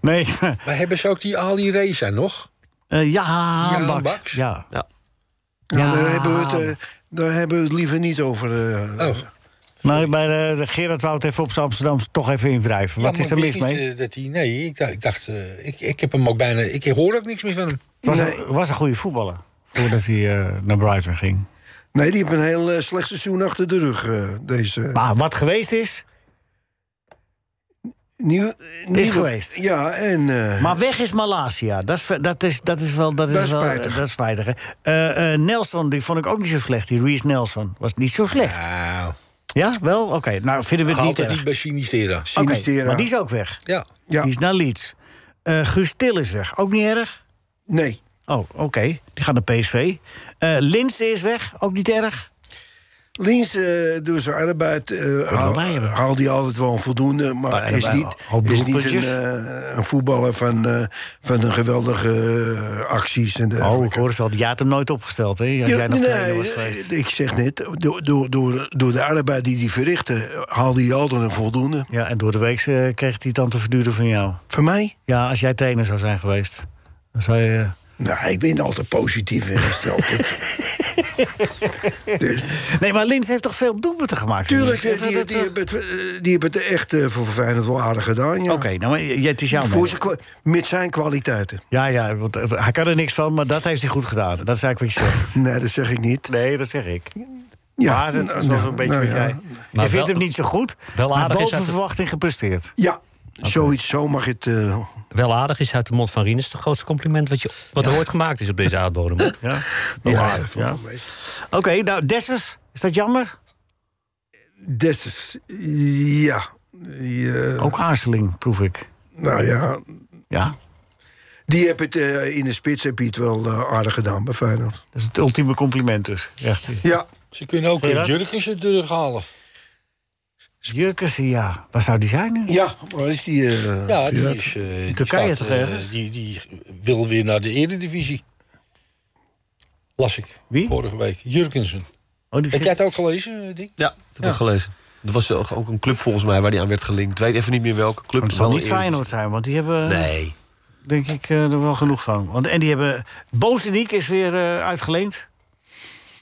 Speaker 3: Nee,
Speaker 6: Maar hebben ze ook die Ali Reza nog?
Speaker 3: eh, ja,
Speaker 6: Ja,
Speaker 3: Baks.
Speaker 6: Baks.
Speaker 3: Ja.
Speaker 7: Ja.
Speaker 4: nou, daar, hebben we het, eh, daar hebben we het liever niet over. eh.
Speaker 3: Oh. Maar bij de, de Gerard wou het even op zijn Amsterdam toch even invrijven. Wat
Speaker 6: Ja,
Speaker 3: is
Speaker 6: maar
Speaker 3: er
Speaker 6: ik
Speaker 3: mis
Speaker 6: wist
Speaker 3: mee?
Speaker 6: niet, eh, dat hij, nee, ik dacht, ik, dacht eh, ik, ik heb hem ook bijna... Ik hoor ook niks meer van hem.
Speaker 3: Het was, een, was een goede voetballer. Voordat hij eh, naar Brighton ging.
Speaker 4: Nee, die hebben een heel eh, slecht seizoen achter de rug, eh, deze.
Speaker 3: Maar wat geweest is.
Speaker 4: Nieuw, nieuwe-
Speaker 3: geweest.
Speaker 4: Ja, en... eh,
Speaker 3: Maar weg is Malasia. Dat is, ve- dat is, dat is wel. Dat is,
Speaker 4: Dat is
Speaker 3: wel,
Speaker 4: spijtig.
Speaker 3: Dat is spijtig. hè. Eh, eh, Nelson, die vond ik ook niet zo slecht. Die Reese Nelson was niet zo slecht.
Speaker 6: Nou,
Speaker 3: Ja, wel? Oké. Nou, vinden we het
Speaker 6: haalt
Speaker 3: niet
Speaker 6: het
Speaker 3: erg.
Speaker 6: niet bij Sinistera.
Speaker 3: Oké,
Speaker 4: Sinistera.
Speaker 3: maar die is ook weg.
Speaker 6: Ja.
Speaker 4: Ja.
Speaker 3: Die is naar Leeds. Eh Guus Til is weg. Ook niet erg?
Speaker 4: Nee.
Speaker 3: Oh, oké. Die gaat naar PSV. Eh Linse is weg. Ook niet erg?
Speaker 4: Links eh doet zijn arbeid. eh haal,
Speaker 3: wij hebben.
Speaker 4: haalt hij altijd wel voldoende. Maar,
Speaker 3: Maar
Speaker 4: is
Speaker 3: hebben
Speaker 4: niet,
Speaker 3: wij al
Speaker 4: is niet een,
Speaker 3: doelpuntjes?
Speaker 4: eh, een voetballer van, eh, van een geweldige eh, acties en
Speaker 3: Oh, ik
Speaker 4: dergelijke.
Speaker 3: hoor het al. Jij had hem nooit opgesteld, hè? Als jij nog trainer was geweest.
Speaker 4: eh, ik zeg net, door, door, door, door de arbeid die hij verrichtte, haalde hij altijd een voldoende.
Speaker 3: Ja, en door de week eh, kreeg hij het dan te verduren van jou.
Speaker 4: Voor mij?
Speaker 3: Ja, als jij trainer zou zijn geweest. Dan zou je...
Speaker 4: Nou, ik ben altijd positief ingesteld.
Speaker 3: Nee, maar Lins heeft toch veel doelpunten gemaakt?
Speaker 4: Dus- Tuurlijk, die,
Speaker 3: Lins?
Speaker 4: die,
Speaker 3: Dat-
Speaker 4: die, hebben het, eh, die hebben het echt eh, voor Feyenoord wel aardig gedaan. Ja.
Speaker 3: Oké, nou, maar j- het is jouw
Speaker 4: Voor
Speaker 3: mening.
Speaker 4: zijn, kwa- met zijn kwaliteiten.
Speaker 3: Ja, ja, want eh, hij kan er niks van, maar dat heeft hij goed gedaan. Dat is eigenlijk wat je zegt.
Speaker 4: Nee, dat zeg ik niet.
Speaker 3: Nee, dat zeg ik.
Speaker 4: Ja,
Speaker 3: maar dat is
Speaker 4: nou,
Speaker 3: wel
Speaker 4: nou,
Speaker 3: een beetje
Speaker 4: nou
Speaker 3: wat
Speaker 4: ja.
Speaker 3: jij...
Speaker 14: wel-
Speaker 3: je vindt hem niet zo goed,
Speaker 14: Wel
Speaker 3: maar
Speaker 14: aardig is
Speaker 3: boven
Speaker 14: dat-
Speaker 3: verwachting gepresteerd.
Speaker 4: Ja, zoiets, zo mag het. eh,
Speaker 14: Wel aardig is uit de mond van Rinus het grootste compliment wat, je, wat er ooit gemaakt is op deze aardbodem. hè?
Speaker 3: Ja.
Speaker 4: wel aardig,
Speaker 3: ja.
Speaker 4: valt wel mee.
Speaker 3: Oké, nou, Dessers, is dat jammer?
Speaker 4: Dessus, ja. eh, Ja,
Speaker 3: Ook aarzeling, proef ik.
Speaker 4: nou ja,
Speaker 3: Ja,
Speaker 4: die heb het eh, in de spits heb je het wel eh, aardig gedaan bij Feyenoord.
Speaker 3: dat is het ultieme compliment dus. Echt.
Speaker 4: Ja,
Speaker 6: Ze kunnen ook
Speaker 3: Hoor je dat?
Speaker 6: Jurkens er terughalen.
Speaker 3: Jurkensen, ja. Waar zou die zijn nu?
Speaker 4: ja, waar is die? eh,
Speaker 6: Ja, die
Speaker 4: Gerard?
Speaker 6: is... eh, die
Speaker 3: Turkije
Speaker 6: staat,
Speaker 3: toch
Speaker 6: eh,
Speaker 3: ergens?
Speaker 6: die, die wil weer naar de eredivisie. Las ik.
Speaker 3: Wie?
Speaker 6: Vorige week. Jurkensen.
Speaker 3: Oh,
Speaker 6: Heb
Speaker 3: die zit-
Speaker 6: jij het ook gelezen, eh, Dick?
Speaker 7: Ja, dat heb ik gelezen. Er was ook ook een club volgens mij waar die aan werd gelinkt. Ik weet even niet meer welke club.
Speaker 3: Het zal
Speaker 7: Wel
Speaker 3: niet
Speaker 7: eerder-
Speaker 3: Feyenoord zijn, want die hebben
Speaker 7: Nee.
Speaker 3: denk ik eh, er wel genoeg van. Want, en die hebben... Bozeniek is weer eh, uitgeleend.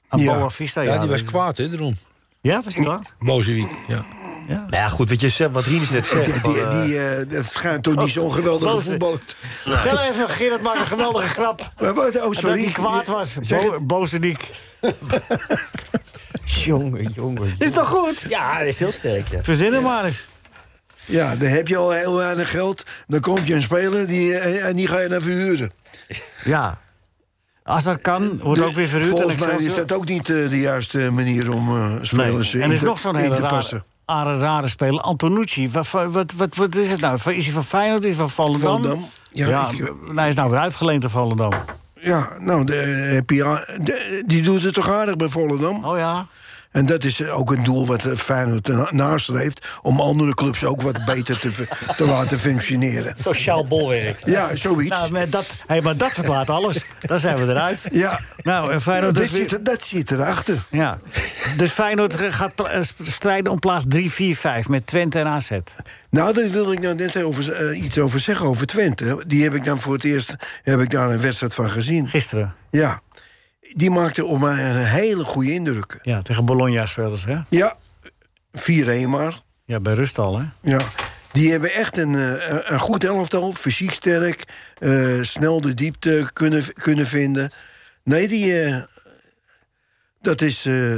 Speaker 3: Aan
Speaker 4: Ja.
Speaker 3: Boa Vista, ja.
Speaker 6: Ja, die was
Speaker 3: dat-
Speaker 6: kwaad, hè, daarom.
Speaker 3: Ja, was hij kwaad?
Speaker 6: Bozewiek, ja.
Speaker 7: Nou ja, goed, weet je, Sepp, wat Rien is net zegt.
Speaker 4: Die, die, die, eh, dat schijnt toch niet zo'n geweldige
Speaker 3: Boos-
Speaker 4: voetballer.
Speaker 3: Vertel even, Gerard maakt een geweldige grap.
Speaker 4: Maar wat- oh,
Speaker 3: Dat
Speaker 4: sorry.
Speaker 3: hij kwaad was.
Speaker 4: Zeg
Speaker 3: Bo
Speaker 4: het.
Speaker 3: Bozeniek.
Speaker 14: Jongen, jongen.
Speaker 3: Is toch goed?
Speaker 14: Ja, dat is heel sterk. Ja.
Speaker 3: Verzin hem maar eens.
Speaker 4: Ja, dan heb je al heel weinig geld. Dan komt je een speler die, eh, en die ga je naar verhuren.
Speaker 3: Ja. Als dat kan, wordt ook weer verhuurd.
Speaker 4: Volgens
Speaker 3: en
Speaker 4: mij is
Speaker 3: Excelsior.
Speaker 4: dat ook niet eh, de juiste manier om eh, spelers
Speaker 3: Nee.
Speaker 4: eh,
Speaker 3: En er is
Speaker 4: in, te-
Speaker 3: nog zo'n
Speaker 4: in
Speaker 3: hele
Speaker 4: te
Speaker 3: rare,
Speaker 4: passen.
Speaker 3: rare, rare speler, Antonucci. Wat, wat, wat, wat is het nou? Is hij van Feyenoord? Is hij van Volendam?
Speaker 4: Volendam.
Speaker 3: Ja,
Speaker 4: Ja, ik-
Speaker 3: en hij is nou weer uitgeleend aan Volendam.
Speaker 4: Ja, nou, de, heb je a- de- die doet het toch aardig bij Volendam?
Speaker 3: Oh ja.
Speaker 4: En dat is ook een doel wat eh, Feyenoord na- nastreeft... om andere clubs ook wat beter te, v- te laten functioneren.
Speaker 14: Sociaal bolwerk.
Speaker 4: Ja, zoiets.
Speaker 3: Nou, maar, dat, hey, maar dat verklaart alles. Daar zijn we eruit.
Speaker 4: Ja.
Speaker 3: Nou, en Feyenoord
Speaker 4: dat,
Speaker 3: dus weer-
Speaker 4: zit er, dat zit erachter.
Speaker 3: Ja. Dus Feyenoord gaat pla- eh, strijden om plaats 3, 4, 5 met Twente en AZ.
Speaker 4: Nou, daar wilde ik nou net over, eh, iets over zeggen, over Twente. Die heb ik dan voor het eerst heb ik daar een wedstrijd van gezien.
Speaker 3: Gisteren.
Speaker 4: Ja. Die maakte op mij een hele goede indruk.
Speaker 3: Ja, tegen Bologna speelden ze, hè?
Speaker 4: Ja, 4-1 maar.
Speaker 3: Ja, bij rust al, hè?
Speaker 4: Ja. Die hebben echt een, eh, een- een goed elftal, fysiek sterk, eh, snel de diepte kunnen, kunnen vinden. Nee, die, eh, dat is, eh,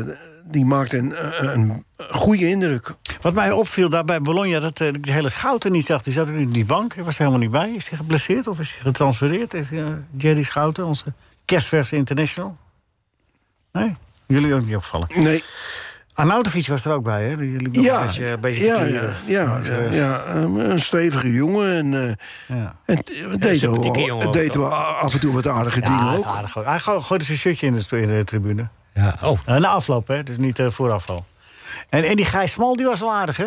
Speaker 4: die maakt een, een een goede indruk.
Speaker 3: Wat mij opviel daar bij Bologna, dat eh, ik de hele Schouten niet zag. Die zat nu in die bank, hij was er helemaal niet bij. Is hij geblesseerd of is hij getransfereerd? Is, eh, Jerry Schouten, onze kerstverse international? Nee, jullie ook niet opvallen.
Speaker 4: Nee.
Speaker 3: Arnautovic was er ook bij, hè? Jullie begonnen een beetje, een beetje te
Speaker 4: ja, ja,
Speaker 3: kleuren.
Speaker 4: ja,
Speaker 3: Dus, eh,
Speaker 4: ja, een- een stevige jongen. En, eh, en t- deden,
Speaker 3: sympathieke
Speaker 4: we,
Speaker 3: jongen ook,
Speaker 4: deden we
Speaker 3: toch?
Speaker 4: af en toe wat aardige
Speaker 3: Ja,
Speaker 4: dingen
Speaker 3: hij is
Speaker 4: ook.
Speaker 3: aardig. Hij goo- gooide zijn shirtje in de, stu- in de tribune.
Speaker 5: Ja, oh.
Speaker 3: Eh, na afloop, hè? Dus niet eh, vooraf al. En, en die Gijs Smal, die was wel aardig, hè?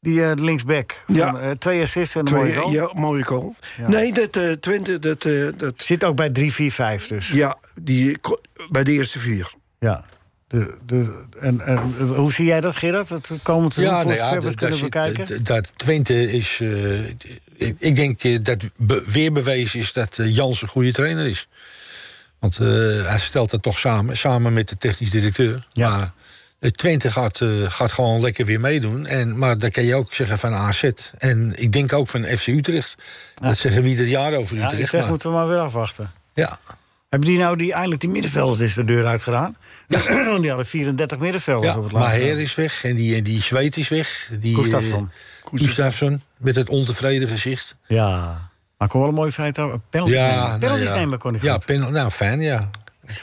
Speaker 3: Die eh linksback. Van,
Speaker 4: Ja.
Speaker 3: eh, twee assists en een
Speaker 4: Twee-
Speaker 3: mooie goal.
Speaker 4: ja, mooie goal. Nee, dat eh, Twente, dat, eh, dat...
Speaker 3: Zit ook bij 3-4-5 dus.
Speaker 4: Ja, die, ko- bij de eerste vier.
Speaker 3: Ja. De, de, en, en hoe zie jij dat, Gerard? Het komend seizoen
Speaker 6: Ja,
Speaker 3: voor
Speaker 6: nou ja,
Speaker 3: zover
Speaker 6: dat,
Speaker 3: we kunnen
Speaker 6: dat,
Speaker 3: bekijken?
Speaker 6: dat- dat Twente is... eh, ik, ik denk eh, dat be- weer bewezen is dat eh, Jans een goede trainer is. Want eh, hij stelt dat toch samen, samen met de technisch directeur. Ja. Maar eh, Twente gaat, eh, gaat gewoon lekker weer meedoen. En, maar dan kan je ook zeggen van AZ. En ik denk ook van FC Utrecht. Dat zeggen wie er jaar over
Speaker 3: ja,
Speaker 6: Utrecht.
Speaker 3: Utrecht
Speaker 6: maar-
Speaker 3: moeten we maar weer afwachten.
Speaker 6: Ja.
Speaker 3: Hebben die nou die, eindelijk die middenvelders is de deur uitgedaan? die hadden 34 middenvelders op het
Speaker 6: Maar
Speaker 3: laatste.
Speaker 6: Heer is weg en die, en die zweet is weg. Die,
Speaker 3: Gustafsson.
Speaker 6: eh, Gustafsson, met het ontevreden gezicht.
Speaker 3: Ja, maar kon wel een mooie feit hebben. Penalty nemen. Penalty nemen kon hij
Speaker 6: nou Ja, penal, nou fijn, ja.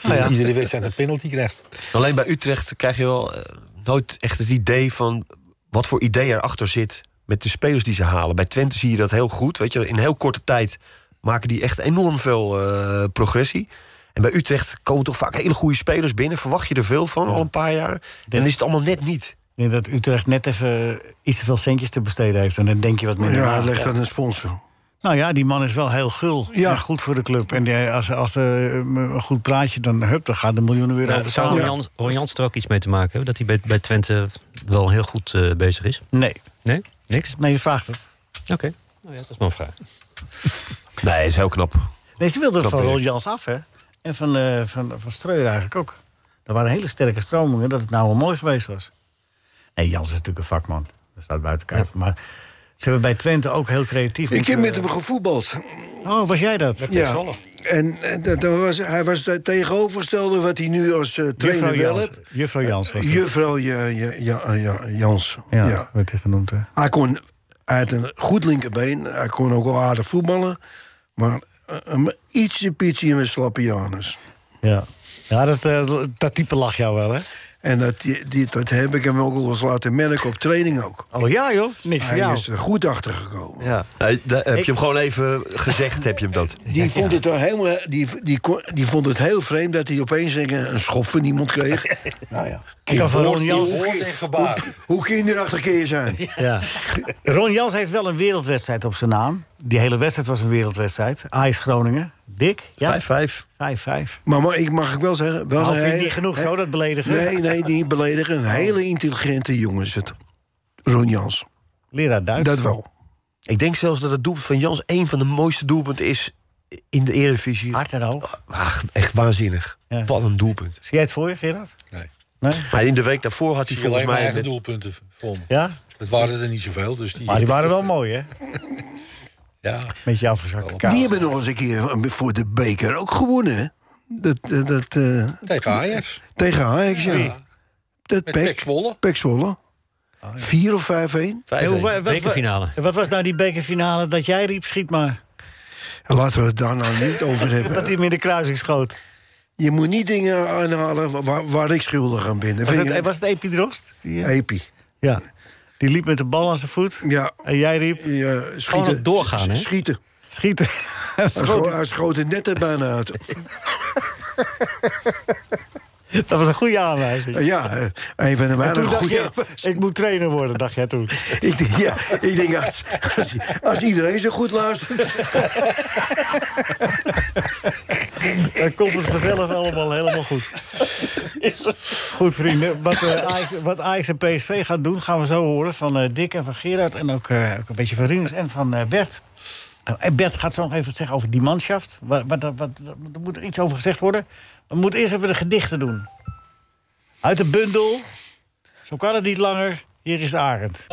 Speaker 3: Nou ja.
Speaker 6: Iedere wedstrijd een penalty krijgt.
Speaker 7: Alleen bij Utrecht krijg je wel eh, nooit echt het idee van wat voor idee erachter zit met de spelers die ze halen. Bij Twente zie je dat heel goed. Weet je, in heel korte tijd maken die echt enorm veel eh, progressie. En bij Utrecht komen toch vaak hele goede spelers binnen. Verwacht je er veel van al een paar jaar. En dan is het allemaal net niet.
Speaker 3: Ik denk dat Utrecht net even iets te veel centjes te besteden heeft. En dan denk je wat minder
Speaker 4: Ja,
Speaker 3: na.
Speaker 4: leg dat een sponsor.
Speaker 3: Nou ja, die man is wel heel gul. Ja. goed voor de club. En die- als, als er eh, een goed praatje, dan, hup, dan gaan de miljoenen weer
Speaker 10: Nou,
Speaker 3: over
Speaker 10: zou
Speaker 3: tafel.
Speaker 10: Ron Jans- Ron Jans er ook iets mee te maken hebben? Dat hij bij, bij Twente wel heel goed eh, bezig is?
Speaker 3: Nee.
Speaker 10: Nee? Niks?
Speaker 3: Nee, je vraagt het.
Speaker 10: Oké. Nou ja, dat is maar een vraag.
Speaker 7: Nee, is heel knap.
Speaker 3: Nee, ze wilden
Speaker 7: Knap
Speaker 3: van
Speaker 7: werk.
Speaker 3: Ron Jans af, hè? En van, eh van, van Streur eigenlijk ook. Er waren hele sterke stromingen dat het nou wel mooi geweest was. Nee, Jans is natuurlijk een vakman. Dat staat buiten kijf. Maar ze hebben bij Twente ook heel creatief...
Speaker 4: Ik heb
Speaker 3: moeten-
Speaker 4: met hem gevoetbald.
Speaker 3: Oh, was jij dat?
Speaker 4: Ja. En eh, dat, dat was, hij was het tegenovergestelde wat hij nu als eh, trainer
Speaker 3: Juffrouw
Speaker 4: wel hebt.
Speaker 3: Jans. Juffrouw Jans was het.
Speaker 4: Juffrouw ja, ja, ja, ja, Jans.
Speaker 3: Ja,
Speaker 4: Ja.
Speaker 3: werd hij genoemd, hè?
Speaker 4: Hij, kon, hij had een goed linkerbeen. Hij kon ook wel aardig voetballen. Maar eh, een ietsje pietje met slappe Janus.
Speaker 3: Ja, ja dat, eh, dat type lag jou wel, hè?
Speaker 4: En dat, die, die- dat heb ik hem ook al eens laten merken op training ook.
Speaker 3: Oh ja, joh. Niks voor
Speaker 4: Hij
Speaker 3: jou.
Speaker 4: is er goed achter
Speaker 3: Oh.
Speaker 4: gekomen.
Speaker 7: Ja. Nee, daar heb je
Speaker 4: Ik-
Speaker 7: hem gewoon even gezegd, heb je hem dat.
Speaker 4: Die vond, het toch helemaal, die, die, kon- die vond het heel vreemd dat hij opeens een, een schop van iemand kreeg. nou ja.
Speaker 3: Ik kan van Ron Jans-
Speaker 4: Hoe-
Speaker 3: Woord en gebaar.
Speaker 4: Hoe, hoe kinderachtig kun je zijn?
Speaker 3: Ja. Ron Jans heeft wel een wereldwedstrijd op zijn naam. Die hele wedstrijd was een wereldwedstrijd. Ajax Groningen. Dik?
Speaker 7: 5-5.
Speaker 3: Ja? 5-5.
Speaker 4: Maar, maar ik mag ik wel zeggen... Wel
Speaker 3: Nou,
Speaker 4: een
Speaker 3: vind je
Speaker 4: hele-
Speaker 3: niet genoeg
Speaker 4: hè?
Speaker 3: zo, dat beledigen? Oh.
Speaker 4: Nee, nee, niet beledigen. Een hele intelligente jongen is het. Ron Jans.
Speaker 3: Leraar Duits.
Speaker 4: Dat wel.
Speaker 7: Ik denk zelfs dat het doelpunt van Jans een van de mooiste doelpunten is in de Eredivisie.
Speaker 3: Hard en hoog.
Speaker 7: Ach, Ah, echt waanzinnig.
Speaker 3: Ja.
Speaker 7: Wat een doelpunt.
Speaker 3: Zie jij het voor je, Gerard?
Speaker 6: Nee.
Speaker 7: Maar in de week daarvoor had hij
Speaker 6: Die
Speaker 7: volgens
Speaker 6: alleen maar
Speaker 7: mij...
Speaker 6: eigen
Speaker 7: met-
Speaker 6: doelpunten vond.
Speaker 3: Ja?
Speaker 6: Het waren er niet zoveel. Dus die
Speaker 3: Maar die waren wel mooi, hè?
Speaker 6: Ja.
Speaker 3: Beetje afgezakte kaart.
Speaker 4: Die hebben nog eens een keer eh, voor de beker ook gewonnen. hè? Dat, dat, dat, eh,
Speaker 6: Tegen Ajax.
Speaker 4: Tegen Ajax, ja.
Speaker 6: Ja.
Speaker 4: Dat
Speaker 6: Met
Speaker 4: Pek-
Speaker 6: Pek Zwolle.
Speaker 4: Pek
Speaker 3: Oh,
Speaker 4: Zwolle. 4 of 5-1.
Speaker 3: Hey, hoe- wa- wa- wa- Wat was nou die bekerfinale dat jij riep, schiet maar?
Speaker 4: Laten we het daar nou niet over hebben.
Speaker 3: Dat hij hem in de kruising schoot.
Speaker 4: Je moet niet dingen aanhalen waar, waar ik schuldig aan ben. Dat
Speaker 3: Was
Speaker 4: vind
Speaker 3: het,
Speaker 4: ik-
Speaker 3: was het Epi Drost? Die, eh,
Speaker 4: Epi.
Speaker 3: Ja. Die liep met de bal aan zijn voet.
Speaker 4: Ja.
Speaker 3: En jij riep...
Speaker 4: Ja,
Speaker 3: Gewoon op doorgaan, hè?
Speaker 4: Schieten.
Speaker 3: Schieten.
Speaker 4: Hij
Speaker 3: Schoot-
Speaker 4: scho- Hij schoot het net er bijna uit.
Speaker 3: dat was een goede aanwijzing.
Speaker 4: Ja, eh, een van de
Speaker 3: En toen
Speaker 4: weinige
Speaker 3: dacht
Speaker 4: goede
Speaker 3: je, ik moet trainer worden, dacht jij toen.
Speaker 4: Ik denk, ja, ik denk als, als, als iedereen zo goed luistert.
Speaker 3: Dan komt het vanzelf allemaal helemaal goed. Goed, vrienden. Wat, eh Ajax, wat Ajax en PSV gaan doen, gaan we zo horen van eh, Dick en van Gerard. En ook, eh, ook een beetje van Rinus en van eh, Bert. Nou, En Bert gaat zo nog even wat zeggen over die manschaft. Wat, wat, wat, wat- er moet er iets over gezegd worden. We moeten eerst even de gedichten doen. Uit de bundel. Zo kan het niet langer. Hier is Arend.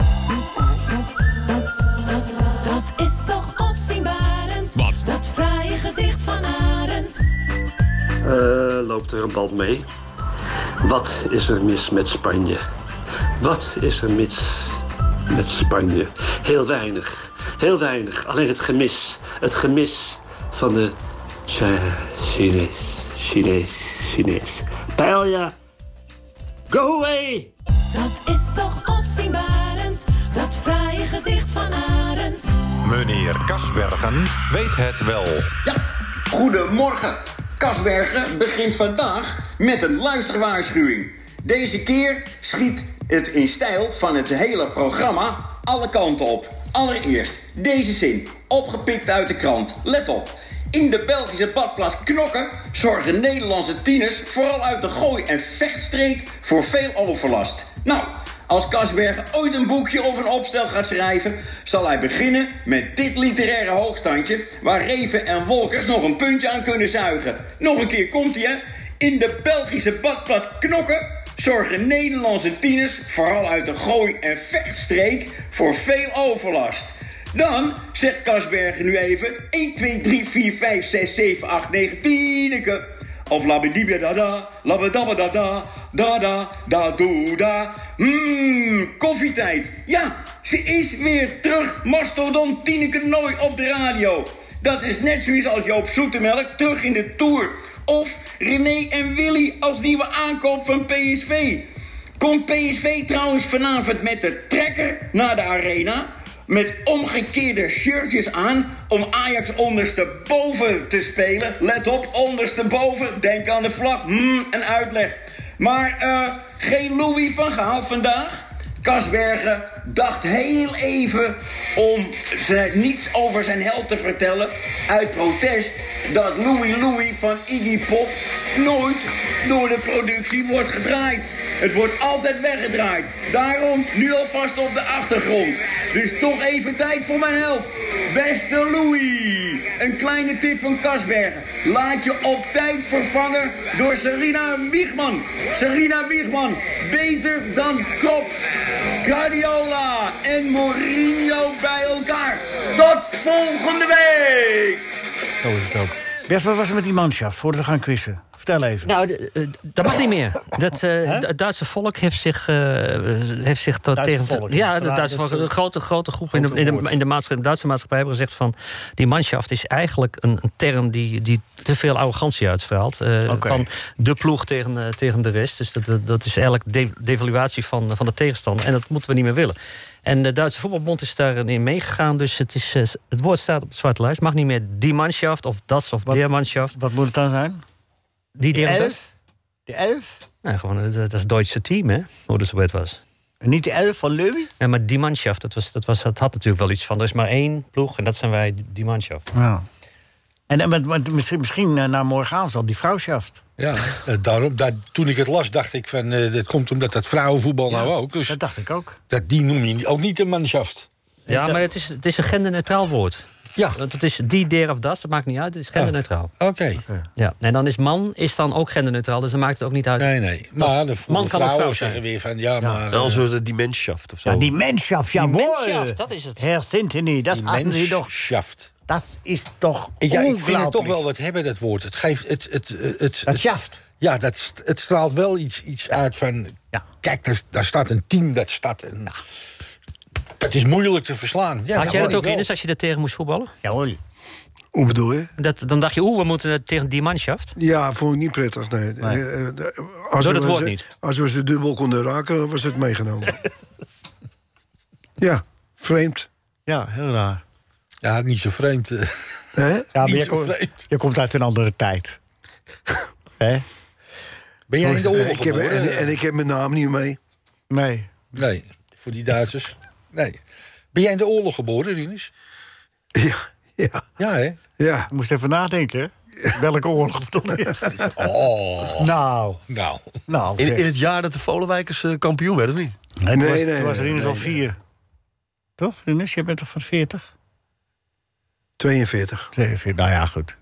Speaker 1: Dat is toch opzienbarend. Wat? Dat fraaie gedicht van Arend.
Speaker 15: Eh, loopt er een band mee? Wat is er mis met Spanje? Wat is er mis met Spanje? Heel weinig. Heel weinig. Alleen het gemis. Het gemis van de Chi- Chinees. Chinees. Chinees. Paella. Go away!
Speaker 1: Dat is toch opzienbarend. Dat fraaie gedicht van Arend.
Speaker 16: Meneer Kasbergen weet het wel.
Speaker 17: Goedemorgen. Kasbergen begint vandaag met een luisterwaarschuwing. Deze keer schiet het in stijl van het hele programma alle kanten op. Allereerst deze zin, opgepikt uit de krant. Let op. In de Belgische badplaats Knokken zorgen Nederlandse tieners, vooral uit de gooi- en vechtstreek, voor veel overlast. Nou, als Kasberg ooit een boekje of een opstel gaat schrijven, zal hij beginnen met dit literaire hoogstandje waar Reven en Wolkers nog een puntje aan kunnen zuigen. Nog een keer komt hij, hè? In de Belgische badplaats Knokken zorgen Nederlandse tieners, vooral uit de gooi- en vechtstreek, voor veel overlast. Dan zegt Kasbergen nu even 1, 2, 3, 4, 5, 6, 7, 8, 9, 10. Of labedibia da da, labedabba da da, da da, da doe da. Mmm, koffietijd. Ja, ze is weer terug. Mastodon Tineke Nooi op de radio. Dat is net zoiets als Joop Zoetemelk terug in de Tour. Of René en Willy als nieuwe aankoop van PSV. Komt PSV trouwens vanavond met de trekker naar de arena? Met omgekeerde shirtjes aan om Ajax ondersteboven te spelen. Let op, ondersteboven. Denk aan de vlag. Mm, een uitleg. Maar eh, geen Louis van Gaal vandaag. Kasbergen dacht heel even om ze niets over zijn held te vertellen... uit protest dat Louis Louis van Iggy Pop nooit door de productie wordt gedraaid. Het wordt altijd weggedraaid. Daarom nu alvast op de achtergrond. Dus toch even tijd voor mijn help. Beste Louis, een kleine tip van Kasbergen. Laat je op tijd vervangen door Serena Wiegman. Serena Wiegman, beter dan Kop, Guardiola en Mourinho bij elkaar. Tot volgende week!
Speaker 3: Zo is het ook. Bert, wat was er met die manschaft voordat we gaan quizzen? Vertel even.
Speaker 14: Nou,
Speaker 10: eh, Dat mag niet meer. Dat, eh, het Duitse volk heeft zich, eh, heeft zich tot
Speaker 14: Duitse
Speaker 10: tegen.
Speaker 14: volk,
Speaker 10: ja,
Speaker 14: vandaar
Speaker 10: het Duitse
Speaker 14: dat
Speaker 10: volk. Een
Speaker 14: ze-
Speaker 10: grote, grote groep in de, in, de, in de, maatschappij, de Duitse maatschappij hebben gezegd van. Die manschaft is eigenlijk een, een term die, die te veel arrogantie uitstraalt. eh,
Speaker 14: Oké.
Speaker 10: Van de ploeg tegen, eh, tegen de rest. Dus dat, dat, dat is eigenlijk de, devaluatie van, van de tegenstander. En dat moeten we niet meer willen. En de Duitse voetbalbond is daarin meegegaan. Dus het, is, eh, het woord staat op de zwarte lijst. Mag niet meer die manschaft of dat of der manschaft.
Speaker 3: Wat moet het dan zijn?
Speaker 10: Die, die
Speaker 18: De elf?
Speaker 10: Nee, gewoon, eh, dat dat is het Duitse team, hè? Hoe dat zo het was.
Speaker 18: Niet de elf van Leuwe?
Speaker 10: Ja, maar die manschaft, dat, was, dat, was, dat had natuurlijk wel iets van... er is maar één ploeg en dat zijn wij, die manschaft.
Speaker 3: Ja. En, en met- met- misschien, misschien eh, na morgenavond al die vrouwschaft.
Speaker 6: Ja, eh, daarom, daar, toen ik het las, dacht ik van... eh dat komt omdat dat vrouwenvoetbal nou ook. Dus
Speaker 3: dat dacht ik ook.
Speaker 6: Dat, die noem je ook niet een manschaft.
Speaker 10: Ja, maar het is, het is een genderneutraal woord.
Speaker 6: Ja.
Speaker 14: Want het is die, der of das, dat maakt niet uit. Het is genderneutraal.
Speaker 6: Oké.
Speaker 14: Ja. En dan is man is dan ook genderneutraal, dus dan maakt het ook niet uit.
Speaker 6: Nee, nee. Maar de
Speaker 14: man kan het vrouw
Speaker 6: vrouwen
Speaker 14: zijn.
Speaker 6: zeggen weer van ja, maar. eh,
Speaker 7: Dan zullen we de Dimenschaft of zo.
Speaker 18: Ja, die Menschaf, jawohl.
Speaker 14: Menschaf, dat is het.
Speaker 18: Herr Sintony, dat hatten Sie doch. Das ist doch
Speaker 6: Ik, ja, ik vind het toch
Speaker 18: unglaublich.
Speaker 6: wel wat hebben, dat woord. Het geeft. Het, het, eh, het, het,
Speaker 18: Dat schaft.
Speaker 6: Ja, dat, st- het straalt wel iets, iets uit van. Kijk, daar, daar staat een team, dat staat een. Het is moeilijk te verslaan. Ja,
Speaker 14: Had
Speaker 6: dat
Speaker 14: jij
Speaker 6: vond
Speaker 14: dat
Speaker 6: ik
Speaker 14: ook
Speaker 6: wel.
Speaker 14: in, dus als je er tegen moest voetballen?
Speaker 18: Ja hoor.
Speaker 4: Hoe bedoel je?
Speaker 14: Dat, dan dacht je, oeh, we moeten eh, tegen die manschaft.
Speaker 4: Ja, vond ik niet prettig. Nee. Eh, eh,
Speaker 14: Door dat
Speaker 4: we
Speaker 14: woord
Speaker 4: ze-
Speaker 14: niet.
Speaker 4: Als we ze dubbel konden raken, was het meegenomen. ja, vreemd.
Speaker 3: Ja, heel raar.
Speaker 6: Ja, niet zo vreemd. eh.
Speaker 4: Hè?
Speaker 3: Ja, maar
Speaker 6: Niet
Speaker 3: je,
Speaker 6: zo
Speaker 3: komt-
Speaker 6: vreemd.
Speaker 3: je komt uit een andere tijd. Hè?
Speaker 6: Ben jij in de oorlog?
Speaker 4: Oh, eh, Ik heb,
Speaker 6: geboren?
Speaker 4: en, en ik heb mijn naam niet mee.
Speaker 3: Nee.
Speaker 6: Nee, voor die Duitsers. Nee. Ben jij in de oorlog geboren, Rinus?
Speaker 4: Ja.
Speaker 6: Ja, hè?
Speaker 4: Ja.
Speaker 3: Ik moest even nadenken. hè. Welke oorlog bedoel je?
Speaker 6: Oh.
Speaker 3: Nou.
Speaker 6: Nou.
Speaker 3: Nou,
Speaker 7: In,
Speaker 3: zeg.
Speaker 7: in het jaar dat de Volenwijkers eh, kampioen werden, of niet?
Speaker 3: Het was, toen was Rinus al vier. Toch, Rinus? Je bent toch van 40?
Speaker 4: 42.
Speaker 3: 42, nou ja, goed.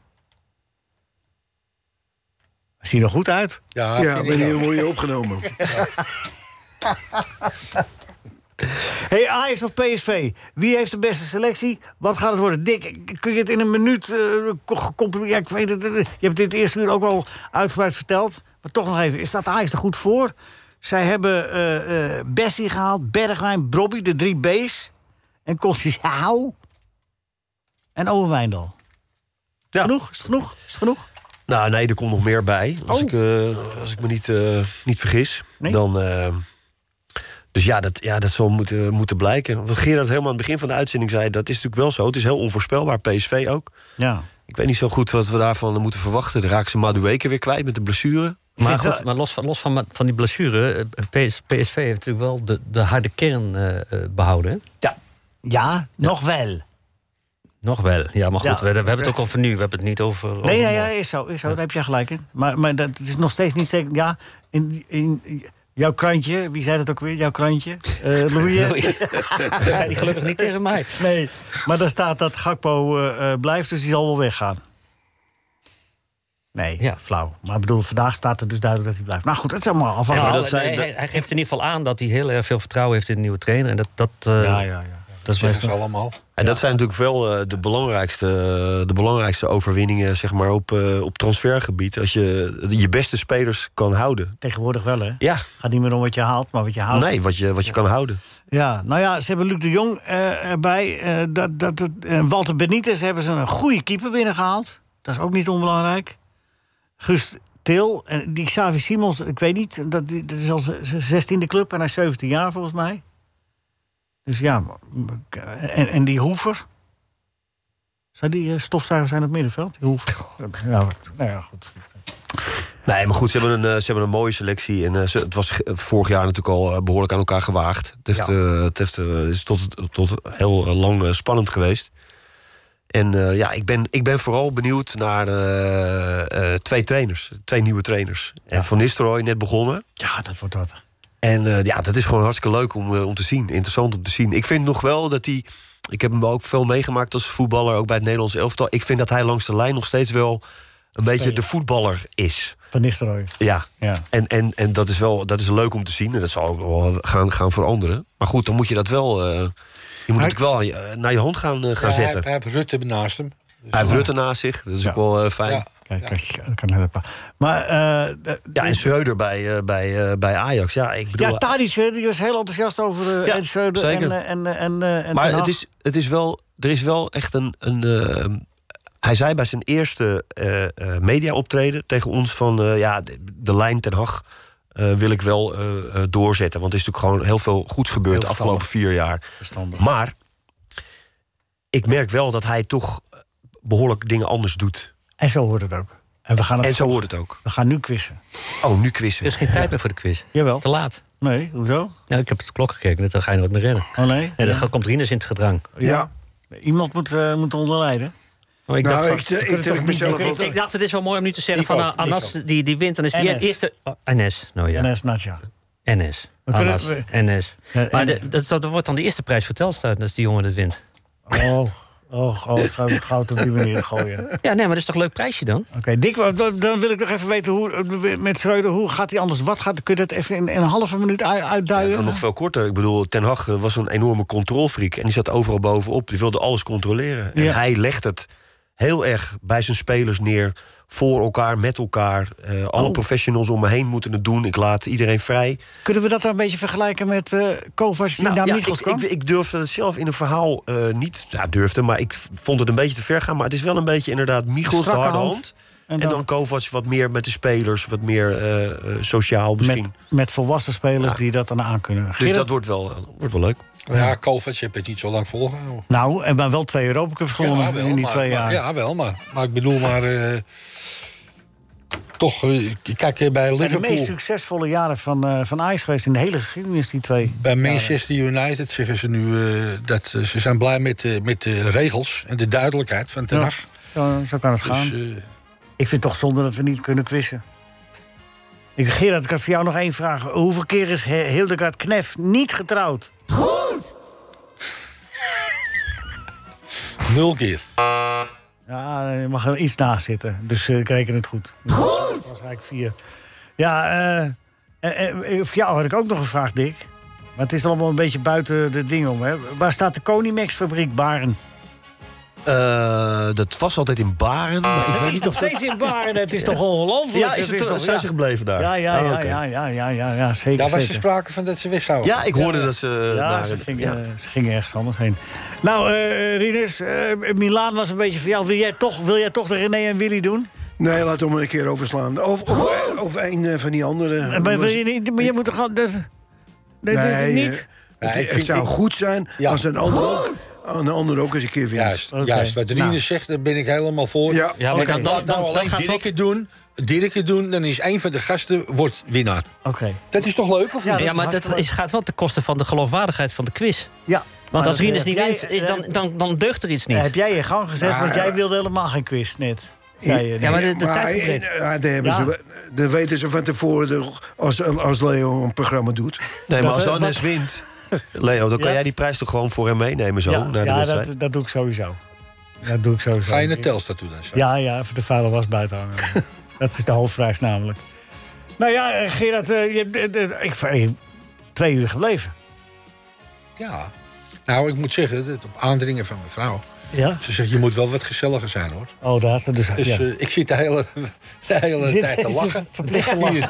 Speaker 3: Zie je er goed uit?
Speaker 6: Ja,
Speaker 4: Ja, ben hier word je opgenomen.
Speaker 3: Hey, Ajax of PSV? Wie heeft de beste selectie? Wat gaat het worden? Dick, kun je het in een minuut eh, ko- gecomprimeerd... Ja, ik weet het, eh, je hebt dit eerste uur ook al uitgebreid verteld. Maar toch nog even, is dat Ajax er goed voor? Zij hebben eh, eh, Bessie gehaald, Bergwijn, Brobby, de drie B's. En Conceicao. En Owen Wijndal. Genoeg? Is het genoeg? Is het genoeg?
Speaker 7: Nou, nee, er komt nog meer bij. Als,
Speaker 3: Oh.
Speaker 7: ik, eh, als ik me niet, eh, niet vergis. Dan, eh, dus ja, dat, ja, dat zal moeten, moeten blijken. Wat Gerard helemaal aan het begin van de uitzending zei... dat is natuurlijk wel zo. Het is heel onvoorspelbaar, PSV ook.
Speaker 3: Ja.
Speaker 7: Ik weet niet zo goed wat we daarvan moeten verwachten. Dan raakt ze Madueke weer kwijt met de blessure.
Speaker 14: Maar goed, maar los, van, los van, van die blessure, eh, PS, PSV heeft natuurlijk wel de, de harde kern eh, eh, behouden. hè?
Speaker 18: Ja, nog wel.
Speaker 14: Nog wel. Ja, maar goed,
Speaker 18: Ja.
Speaker 14: we, we hebben het ook over nu. We hebben het niet over... over-
Speaker 3: Nee, ja, ja, is zo, is zo. Daar heb je gelijk in. Maar, maar dat is nog steeds niet zeker. Ja, in, in, jouw krantje, wie zei dat ook weer? Jouw krantje? Eh Louis.
Speaker 14: Dat zei hij gelukkig niet tegen mij.
Speaker 3: Nee, maar daar staat dat Gakpo eh, eh, blijft, dus die zal wel weggaan. Nee, flauw. Maar ik bedoel, vandaag staat er dus duidelijk dat hij blijft. Nou goed, het is
Speaker 14: Ja,
Speaker 3: allemaal afhankelijk.
Speaker 14: maar hij, hij- hij geeft in ieder geval aan dat hij heel erg veel vertrouwen heeft in de nieuwe trainer. En dat, dat, eh,
Speaker 7: Ja, ja,
Speaker 3: ja.
Speaker 7: Dat
Speaker 6: zeggen ze allemaal.
Speaker 7: En dat zijn natuurlijk wel eh, de, belangrijkste, de belangrijkste overwinningen zeg maar, op, eh, op transfergebied. Als je je beste spelers kan houden.
Speaker 3: Tegenwoordig wel, hè?
Speaker 7: Ja.
Speaker 3: Gaat niet meer om wat je haalt, maar wat je haalt.
Speaker 7: Nee, wat je, wat je kan houden.
Speaker 3: Ja, nou ja, ze hebben Luc de Jong eh, erbij. Eh, dat, dat, dat- en Walter Benitez hebben ze een goede keeper binnengehaald. Dat is ook niet onbelangrijk. Guus Til, en die Xavi Simons, ik weet niet. Dat, die- dat is al zijn 16e club en hij is 17 jaar volgens mij. Dus ja, maar- en, en die Hoever. Zou die eh, stofzuiger zijn op het middenveld? Die Hoever. nou, nou ja, goed.
Speaker 7: Nee, maar goed, ze hebben een, eh, ze hebben een mooie selectie. En eh, ze- het was ge- vorig jaar natuurlijk al eh, behoorlijk aan elkaar gewaagd. Het, heeft,
Speaker 3: Ja.
Speaker 7: eh, het heeft, eh, is tot, tot heel eh, lang eh, spannend geweest. En eh, ja, ik ben, ik ben vooral benieuwd naar eh, eh, twee trainers. Twee nieuwe trainers. En Van Nistelrooy net begonnen.
Speaker 3: Ja, dat wordt wat.
Speaker 7: En eh, ja, dat is gewoon hartstikke leuk om, eh, om te zien. Interessant om te zien. Ik vind nog wel dat hij... Ik heb hem ook veel meegemaakt als voetballer, ook bij het Nederlands elftal. Ik vind dat hij langs de lijn nog steeds wel een beetje de voetballer is.
Speaker 3: Van Nistelrooy.
Speaker 7: Ja.
Speaker 3: Ja.
Speaker 7: En, en, en dat is wel dat is leuk om te zien. En dat zal ook wel gaan, gaan veranderen. Maar goed, dan moet je dat wel... eh, je moet het wel aan je- eh, naar je hand gaan, eh, gaan
Speaker 6: Ja, hij-
Speaker 7: zetten.
Speaker 6: Hij heeft Rutte naast hem.
Speaker 7: Hij heeft Rutte naast zich. Dat is ook wel eh, fijn.
Speaker 6: Ja.
Speaker 3: Kijk, kijk, dat kan helpen. Maar, eh, de-
Speaker 7: Ja, en Schreuder bij, eh, bij, eh, bij Ajax. Ja, ik bedoel,
Speaker 3: ja, Tadic, hè, die was heel enthousiast over eh
Speaker 7: Ja,
Speaker 3: Ed Schreuder
Speaker 7: zeker.
Speaker 3: en, eh, en, eh, en, eh, en
Speaker 7: maar
Speaker 3: Ten Hag.
Speaker 7: het is, het is wel, er is wel echt een. een eh, hij zei bij zijn eerste eh eh, media-optreden tegen ons: van eh, ja, de, de lijn Ten Hag eh, wil ik wel eh, eh, doorzetten. Want er is natuurlijk gewoon heel veel goeds gebeurd de
Speaker 3: Heel
Speaker 7: afgelopen vier jaar.
Speaker 3: Verstandig.
Speaker 7: Maar ik merk wel dat hij toch behoorlijk dingen anders doet.
Speaker 3: En zo hoort het ook. En, we gaan het
Speaker 7: En zo
Speaker 3: volgen.
Speaker 7: hoort het ook.
Speaker 3: We gaan nu quizzen.
Speaker 7: Oh, nu quizzen.
Speaker 14: Er is geen tijd meer voor de quiz.
Speaker 3: Jawel.
Speaker 14: Te laat.
Speaker 3: Nee, hoezo?
Speaker 14: Nou, ik heb op de klok gekeken, dat ga je nooit meer redden.
Speaker 3: Oh nee?
Speaker 14: Nee, dat gaat- komt Rinus in het gedrang.
Speaker 4: Ja.
Speaker 3: Iemand moet, eh moet onderlijden.
Speaker 14: Maar ik
Speaker 4: Nou,
Speaker 14: dacht van-
Speaker 4: ik- ik
Speaker 3: eh,
Speaker 14: we kunnen
Speaker 4: trek
Speaker 14: toch
Speaker 4: mezelf
Speaker 14: niet- ik,
Speaker 4: op.
Speaker 14: ik dacht, het is wel mooi om nu te zeggen
Speaker 4: Ik
Speaker 14: van
Speaker 4: ook,
Speaker 14: nou,
Speaker 4: ik
Speaker 14: Anas
Speaker 4: ook.
Speaker 14: die, die wint, dan is die
Speaker 3: NS.
Speaker 14: eerste... oh, NS, nou ja.
Speaker 3: NS Natja.
Speaker 14: NS.
Speaker 3: We kunnen-
Speaker 14: Anas,
Speaker 3: we-
Speaker 14: NS.
Speaker 3: Ja,
Speaker 14: Maar
Speaker 3: NS.
Speaker 14: de- dat, dat wordt dan de eerste prijs voor Telstra, dat is die jongen dat wint.
Speaker 3: Oh, oké. Oh, goud, ga ik goud op die manier gooien. Oké,
Speaker 14: Ja, nee, maar dat is toch een leuk prijsje dan?
Speaker 3: Dick, wat- wat- dan wil ik nog even weten hoe, eh, met Schreuder, hoe gaat hij anders? Wat gaat, kun je dat even in, in een halve minuut ui- uitduiden?
Speaker 7: Eh, Nog veel korter. Ik bedoel, Ten Hag eh, was zo'n enorme controlfreak. En die zat overal bovenop. Die wilde alles controleren. En
Speaker 3: Ja.
Speaker 7: hij legt het heel erg bij zijn spelers neer. Voor elkaar, met elkaar. Eh, alle
Speaker 3: Oh.
Speaker 7: professionals om me heen moeten het doen. Ik laat iedereen vrij. Nou,
Speaker 3: Kunnen we dat dan een beetje vergelijken met eh Kovacs die naar
Speaker 7: ja, ik,
Speaker 3: Michels kwam?
Speaker 7: ik, ik durfde het zelf in een verhaal eh, niet. Ja, durfde, maar ik vond het een beetje te ver gaan. Maar het is wel een beetje inderdaad Michels de
Speaker 3: Strakke
Speaker 7: harde
Speaker 3: hand.
Speaker 7: hand.
Speaker 3: En
Speaker 7: En
Speaker 3: dan-
Speaker 7: dan, Kovacs wat meer met de spelers. Wat meer eh, eh, sociaal misschien.
Speaker 3: Met volwassen spelers die dat dan aan kunnen.
Speaker 7: dus dat wordt wel, wordt wel leuk.
Speaker 6: Ja, Kovac heb het niet zo lang volgehouden.
Speaker 3: Nou, en maar wel twee Europacups gewonnen
Speaker 6: Ja, wel,
Speaker 3: in die
Speaker 6: maar-
Speaker 3: twee
Speaker 6: maar-
Speaker 3: jaar.
Speaker 6: ja, wel, maar, maar ik bedoel maar... eh, toch, eh, kijk, eh, bij
Speaker 3: Het zijn de meest
Speaker 6: Liverpool...
Speaker 3: succesvolle jaren van, eh van Ajax geweest in de hele geschiedenis, die twee.
Speaker 6: Bij Manchester United zeggen ze nu eh, dat eh, ze zijn blij met, eh, met de regels en de duidelijkheid van Ten
Speaker 3: Ja,
Speaker 6: Hag.
Speaker 3: Zo, zo kan het
Speaker 6: Dus,
Speaker 3: gaan.
Speaker 6: eh,
Speaker 3: Ik vind het toch zonde dat we niet kunnen quizzen. Ik, Gerard, ik heb voor jou nog één vraag. Hoeveel keer is He- Hildegard Knef niet getrouwd?
Speaker 1: Goed!
Speaker 6: Nul keer.
Speaker 3: Ja, je mag er iets naast zitten. Dus eh, we kijken het goed. Goed! Dat was eigenlijk vier. Ja, eh, eh, eh, voor jou had ik ook nog een vraag, Dick. Maar het is allemaal een beetje buiten de ding om. Hè. Waar staat de Konimax-fabriek Baren?
Speaker 7: Eh, dat was altijd in Baren. Maar
Speaker 3: Ah,
Speaker 7: ik weet niet of dat...
Speaker 3: steeds in Baren. Het is toch ongelooflijk?
Speaker 7: Ja, is
Speaker 3: Het
Speaker 7: het,
Speaker 3: is
Speaker 7: toch-
Speaker 3: toch-
Speaker 7: zijn
Speaker 3: ja.
Speaker 7: ze gebleven daar?
Speaker 3: Ja, ja,
Speaker 7: Ah,
Speaker 3: ja,
Speaker 7: oké.
Speaker 3: ja, ja, ja, ja, ja, zeker.
Speaker 6: Daar was er
Speaker 3: zeker.
Speaker 6: sprake van dat ze weg zouden.
Speaker 7: Ja, ik hoorde dat ze...
Speaker 3: Ja,
Speaker 7: daar-
Speaker 3: ze ging,
Speaker 7: ja.
Speaker 3: eh, ze ging ergens anders heen. Nou, eh Rinus, eh, Milaan was een beetje voor jou. Wil jij toch, wil jij toch de René en Willy doen?
Speaker 4: Nee, laat hem maar een keer overslaan. Of, of, of een eh, van die anderen.
Speaker 3: Maar, wil je, niet, maar je moet toch al- dat, dat, dat-
Speaker 4: Nee, eh,
Speaker 3: niet?
Speaker 4: Het,
Speaker 6: Nee, ik
Speaker 4: het
Speaker 6: vind-
Speaker 4: zou
Speaker 6: ik-
Speaker 4: goed zijn
Speaker 6: Ja.
Speaker 4: als een ander, ook, een ander ook eens een keer wint.
Speaker 3: eh,
Speaker 4: Nou.
Speaker 6: Juist, juist wat
Speaker 3: Nou.
Speaker 6: Rinus zegt, daar ben ik helemaal voor.
Speaker 4: Ja, Ja, maar oké. dan-
Speaker 6: dan,
Speaker 4: dan- dan
Speaker 6: alleen
Speaker 4: gaat
Speaker 6: Dirk het doen, Dirk het doen, dan is één van de gasten wordt winnaar.
Speaker 3: Oké.
Speaker 6: Dat is toch leuk, of
Speaker 14: Ja,
Speaker 6: niet?
Speaker 14: maar dat is, gaat wel ten koste van de geloofwaardigheid van de quiz.
Speaker 3: Ja.
Speaker 14: Want als Rinus
Speaker 3: Rinus
Speaker 14: niet wint, is dan, dan, dan deugt er iets niet.
Speaker 3: eh, Heb jij je gang gezet, want
Speaker 14: Ah.
Speaker 3: jij wilde helemaal geen quiz net. zei je.
Speaker 14: Ja, maar de, de tijd is
Speaker 4: eh, ja, daar hebben
Speaker 3: Ja.
Speaker 4: ze, we- dat weten ze van tevoren toch, als, als Leo een programma doet.
Speaker 7: Nee, maar als
Speaker 14: eh,
Speaker 3: eh,
Speaker 4: dan
Speaker 7: Arnes wint... Leo, dan kan
Speaker 4: Ja.
Speaker 7: jij die prijs toch gewoon voor hem meenemen zo,
Speaker 3: Ja,
Speaker 7: naar de
Speaker 3: ja,
Speaker 7: wedstrijd?
Speaker 3: dat, dat doe ik sowieso. Dat doe ik sowieso.
Speaker 6: Ga je naar Telstar toe dan? Zo?
Speaker 3: Ja, ja, even de vuile was buiten hangen. dat is de hoofdprijs namelijk. Nou ja, eh, Gerard, eh, je hebt eh, eh, ik, eh, twee uur gebleven.
Speaker 6: Ja. Nou, ik moet zeggen, dat op aandringen van mijn vrouw.
Speaker 3: Ja?
Speaker 6: Ze zegt, je moet wel wat gezelliger zijn, hoor.
Speaker 3: Oh, daar had ze dus...
Speaker 6: Dus
Speaker 3: ja.
Speaker 6: eh, ik zit de hele, de hele
Speaker 3: Je zit-
Speaker 6: tijd te
Speaker 3: je
Speaker 6: lachen.
Speaker 3: zit verplicht te lachen.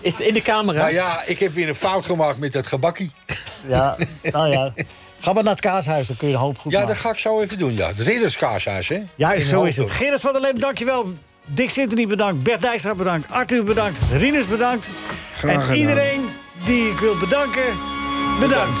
Speaker 14: Is in de camera.
Speaker 6: Maar ja, ik heb weer een fout gemaakt met dat gebakkie.
Speaker 3: Ja, nou ja. Ga maar naar het kaashuis, dan kun je een hoop goed
Speaker 6: Ja,
Speaker 3: maken.
Speaker 6: dat ga ik zo even doen, ja. Het ridderskaarshuis, hè?
Speaker 3: Juist,
Speaker 6: In
Speaker 3: zo is
Speaker 6: Hoofddorp.
Speaker 3: het. Gerrit van der Lem, dankjewel. Dick Sintony bedankt. Bert Dijkstra bedankt. Arthur bedankt. Rinus bedankt.
Speaker 4: Graag
Speaker 3: en
Speaker 4: gedaan.
Speaker 3: iedereen die ik wil bedanken, bedankt.